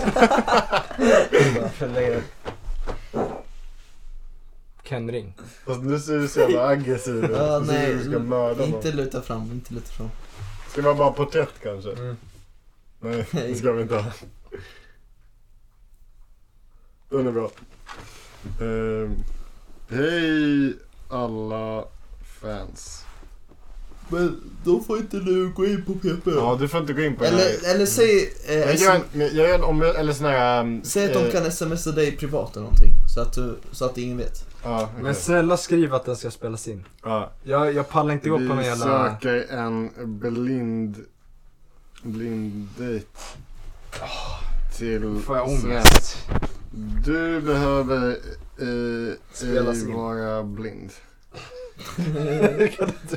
S1: Ken Ring.
S2: fast nu ser du så jävla aggressiv ut.
S10: Ja,
S2: Du ser
S10: nej, mm,
S2: ut som du ska mörda någon.
S10: Inte luta fram, inte luta fram.
S2: Ska vi ha bara porträtt kanske?
S10: Mm.
S2: Nej, det ska vi inte ha. Den är bra. Ehm, hej alla fans.
S10: Men då får inte du gå in på PP.
S2: Ja, du får inte gå in på den här.
S10: Eller, eller säg... Eh,
S2: Jag gör en, men jag gör en om, eller sån här... ehm,
S10: Säg att de
S2: eh,
S10: kan smsa dig privat eller någonting. Så att, du, så att ingen vet.
S2: Ja, okej.
S1: Men snälla skriv att den ska spelas in.
S2: ja.
S1: Jag, jag pallar inte gå på någon
S2: Vi
S1: jävla...
S2: söker en blind... Blind dejt. Till
S1: Ah. Får jag
S2: Sven.
S1: ångest?
S2: Du behöver eh,
S1: Spelas
S2: ej
S1: in.
S2: vara blind.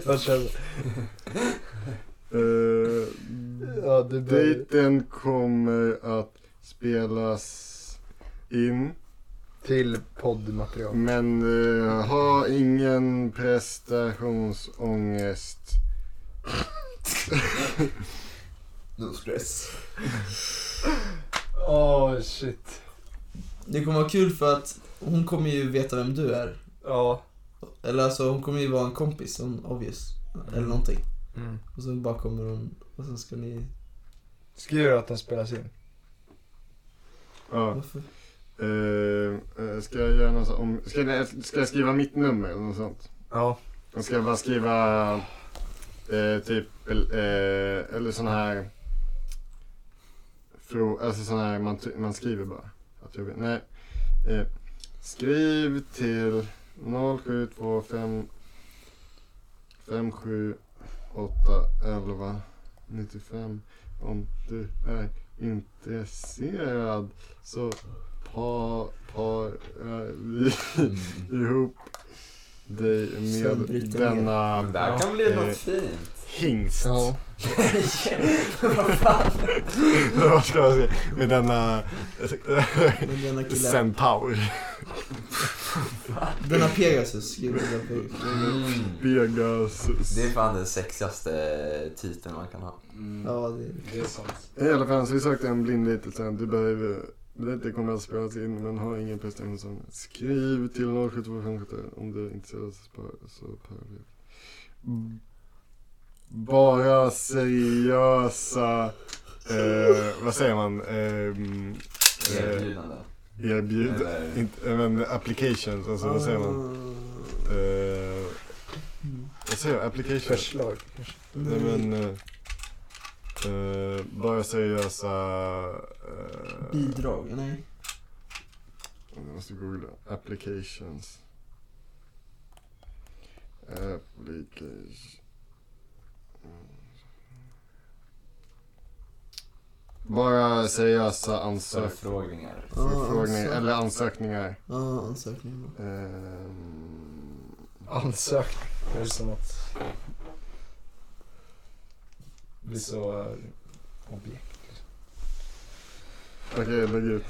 S1: Jag känner-
S2: Eh,
S1: Ja, du börjar.
S2: dejten kommer att spelas in.
S1: Till poddmaterial.
S2: Men eh, ha ingen prestationsångest.
S10: No stress.
S1: Åh oh, shit.
S10: Det kommer vara kul för att hon kommer ju veta vem du är.
S1: Ja.
S10: Eller alltså hon kommer ju vara en kompis, hon, obvious. Eller någonting.
S1: Mm.
S10: Och sen bara kommer hon och sen ska ni...
S1: Skriv att den spelas in.
S2: Ja.
S10: Varför?
S2: Eh, eh, ska jag göra något så- om, ska, jag, ska jag skriva mitt nummer eller något sånt?
S1: Ja.
S2: Jag ska bara skriva eh, typ, eh, eller sån här, frå, alltså sån här man, ty- man skriver bara. Att jag, vet- nej. Eh, skriv till 0725 578 95 om du är intresserad så par, parar vi ihop dig
S10: Sen
S2: med
S10: bryter ner.
S2: denna
S4: Men det här kan bli något fint.
S2: hingst.
S1: Ja.
S2: Vad ska man säga? Med denna
S10: Men denna killen...
S2: centaur.
S10: Denna Pegasus. Gud, denna Pegasus.
S2: Pegasus.
S4: Mm. Det är fan den sexigaste titeln man kan ha.
S10: Ja, det...
S2: Hej alla fans, vi sökte en blind dejt till sen. Du behöver, Detta kommer att spelas in men har ingen prestation. Skriv till 0725 om du är intresserad av spö- så parallellt. Bara seriösa, eh, vad säger man, Ehm, eh,
S4: Erbjudande.
S2: erbjud,
S4: Eller-
S2: inte, eh, men applications, alltså vad säger man?
S10: Ah.
S2: Eh, vad säger jag? Applications?
S1: Förslag.
S2: Nej men... eh, eh, bara seriösa... eh,
S10: Bidrag? Nej.
S2: Jag måste googla. Applications. Application. Mm. Bara seriösa ansök
S4: Förfrågningar.
S2: förfrågningar eller ansökningar.
S10: Ja, ah, ansökningen.
S2: Ehm,
S1: Ansökning. Det är som att bli så eh, objekt.
S2: Okej, lägg ut.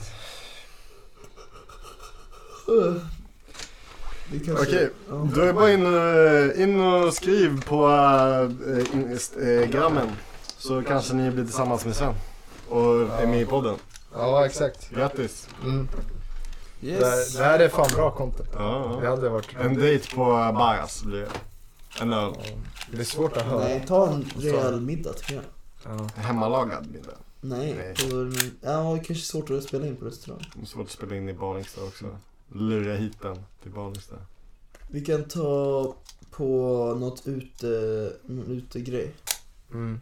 S10: Det kanske...
S2: Okej,
S10: Ja.
S2: då är det bara in, eh, in och skriv på eh, in- eh, grammen. Så kanske ni blir tillsammans med Sven. Och är med i podden.
S1: Ja, exakt.
S2: Grattis!
S1: Mm. Det, här,
S10: Yes.
S1: det här är fan bra content.
S2: Ja,
S1: Det
S2: ja.
S1: hade varit...
S2: En dejt på Baras blir det. En öl.
S1: Det är svårt att höra.
S10: Nej, ta en rejäl middag tycker jag.
S1: Ja.
S2: Hemmalagad middag. Nej.
S10: Nej, på en... Ja, det kanske är svårt att spela in på restaurang.
S2: Det är Svårt att spela in i Balingstad också. Lura hit den till Balingstad.
S10: Vi kan ta på något ute... Någon utegrej.
S1: Mm.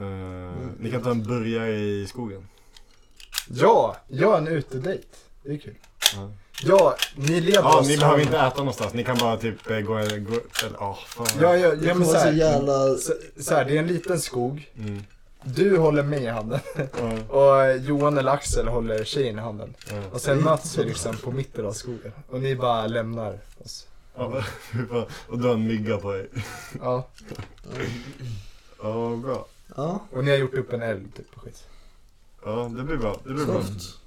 S2: Eh, ni kan ta en burgare i skogen.
S1: Ja, ja en utedejt. Det är kul.
S2: Ja.
S1: Ja, ni leder
S2: Ja,
S1: oss.
S2: ni behöver inte äta någonstans. Ni kan bara typ eh, gå... gå eller, ah, fan.
S1: Ja, ja,
S10: Det
S1: ja
S10: kommer
S1: men så
S10: vara så
S1: här,
S10: jävla...
S1: så, så här, det är en liten skog.
S2: Mm.
S1: Du håller mig i handen
S2: Ja,
S1: och eh, Johan eller Axel håller tjejen i handen.
S2: ja.
S1: Och sen möts vi liksom på mitten av skogen. Och ni bara lämnar oss.
S2: Ja, men, fy fan. och du har en mygga på dig.
S1: Ja,
S2: Ja, bra.
S10: Ja,
S1: och ni har gjort upp en eld typ och skit.
S2: Ja, det blir bra. Det blir bra.
S10: soft.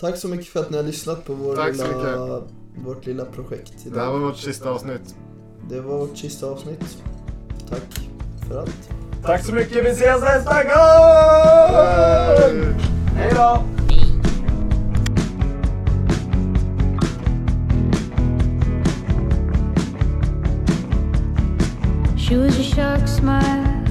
S10: Tack så mycket för att ni har lyssnat på vår
S2: Tack så
S10: lilla, vårt lilla projekt
S2: Det här
S10: idag.
S2: var vårt sista avsnitt.
S10: Det var vårt sista avsnitt. Tack för allt.
S1: Tack så mycket, vi ses nästa gång!
S2: Hej!
S1: Hej då!
S11: She was a shark smile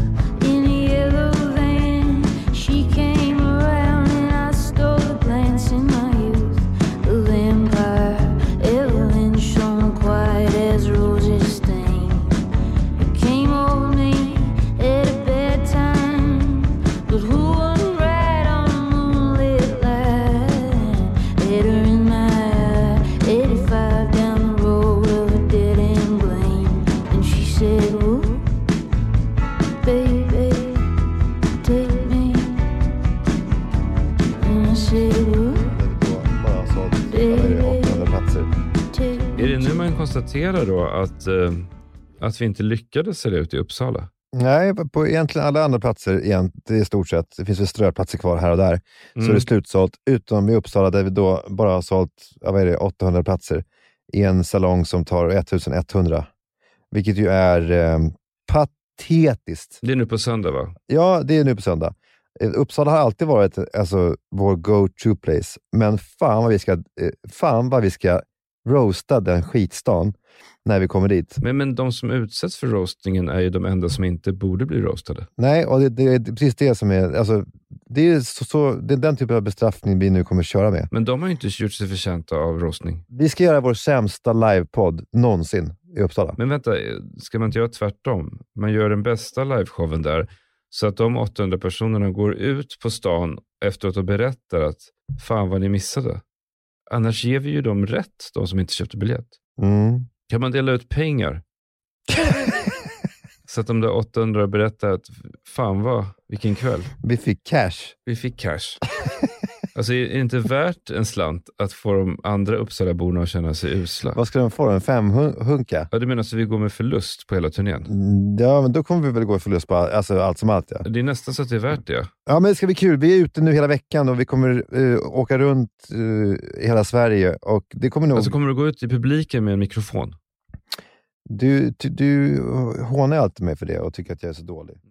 S11: in a yellow van. She came around and I stole a glance in my youth. A vampire, Evelyn shone quiet as roses stain. It came over me at a bad time. But who would ride on a moonlit line? Later in my eye, 85 down the road of a dead end lane. And she said, Ooh, baby, take me. And I said, Ooh, baby, take me.
S12: Är det nu man konstaterar då att, eh, att vi inte lyckades sälja ut i Uppsala?
S13: Nej, på egentligen alla andra platser egent- i stort sett, det finns väl ströplatser kvar här och där,
S12: Mm.
S13: så är det slutsålt. Utom i Uppsala där vi då bara har sålt ja, vad är det, 800 platser i en salong som tar 1100. Vilket ju är eh, patetiskt.
S12: Det är nu på söndag va?
S13: Ja, det är nu på söndag. Eh, Uppsala har alltid varit alltså, vår go-to place, men fan vad vi ska, eh, fan vad vi ska roasta den skitstan när vi kommer dit.
S12: Men, men de som utsätts för roastingen är ju de enda som inte borde bli roastade.
S13: Nej, och det, det är precis det som är... Alltså, det är, så, så, det är den typen av bestraffning vi nu kommer köra med.
S12: Men de har ju inte gjort sig förtjänta av roastning.
S13: Vi ska göra vår sämsta livepodd någonsin i Uppsala.
S12: Men vänta, eh, ska man inte göra tvärtom? Man gör den bästa liveshowen där, så att de 800 personerna går ut på stan efteråt och berättar att fan vad ni missade. Annars ger vi ju dem rätt, de som inte köpte biljett.
S13: Mm.
S12: Kan man dela ut pengar? Så att de där 800 berättar att fan vad, vilken kväll.
S13: Vi fick cash.
S12: Vi fick cash. Alltså är det inte värt en slant att få de andra Uppsalaborna att känna sig usla?
S13: Vad ska de få? En femhunka?
S12: Ja, du menar så vi går med förlust på hela turnén?
S13: Mm, Ja, men då kommer vi väl gå i förlust på all- alltså, allt som allt. Ja.
S12: Det är nästan så att det är värt det.
S13: ja, men det ska bli kul. Vi är ute nu hela veckan och vi kommer eh, åka runt eh, i hela Sverige. Och det kommer nog...
S12: Alltså kommer du gå ut i publiken med en mikrofon?
S13: Du, du, du hånar alltid mig för det och tycker att jag är så dålig.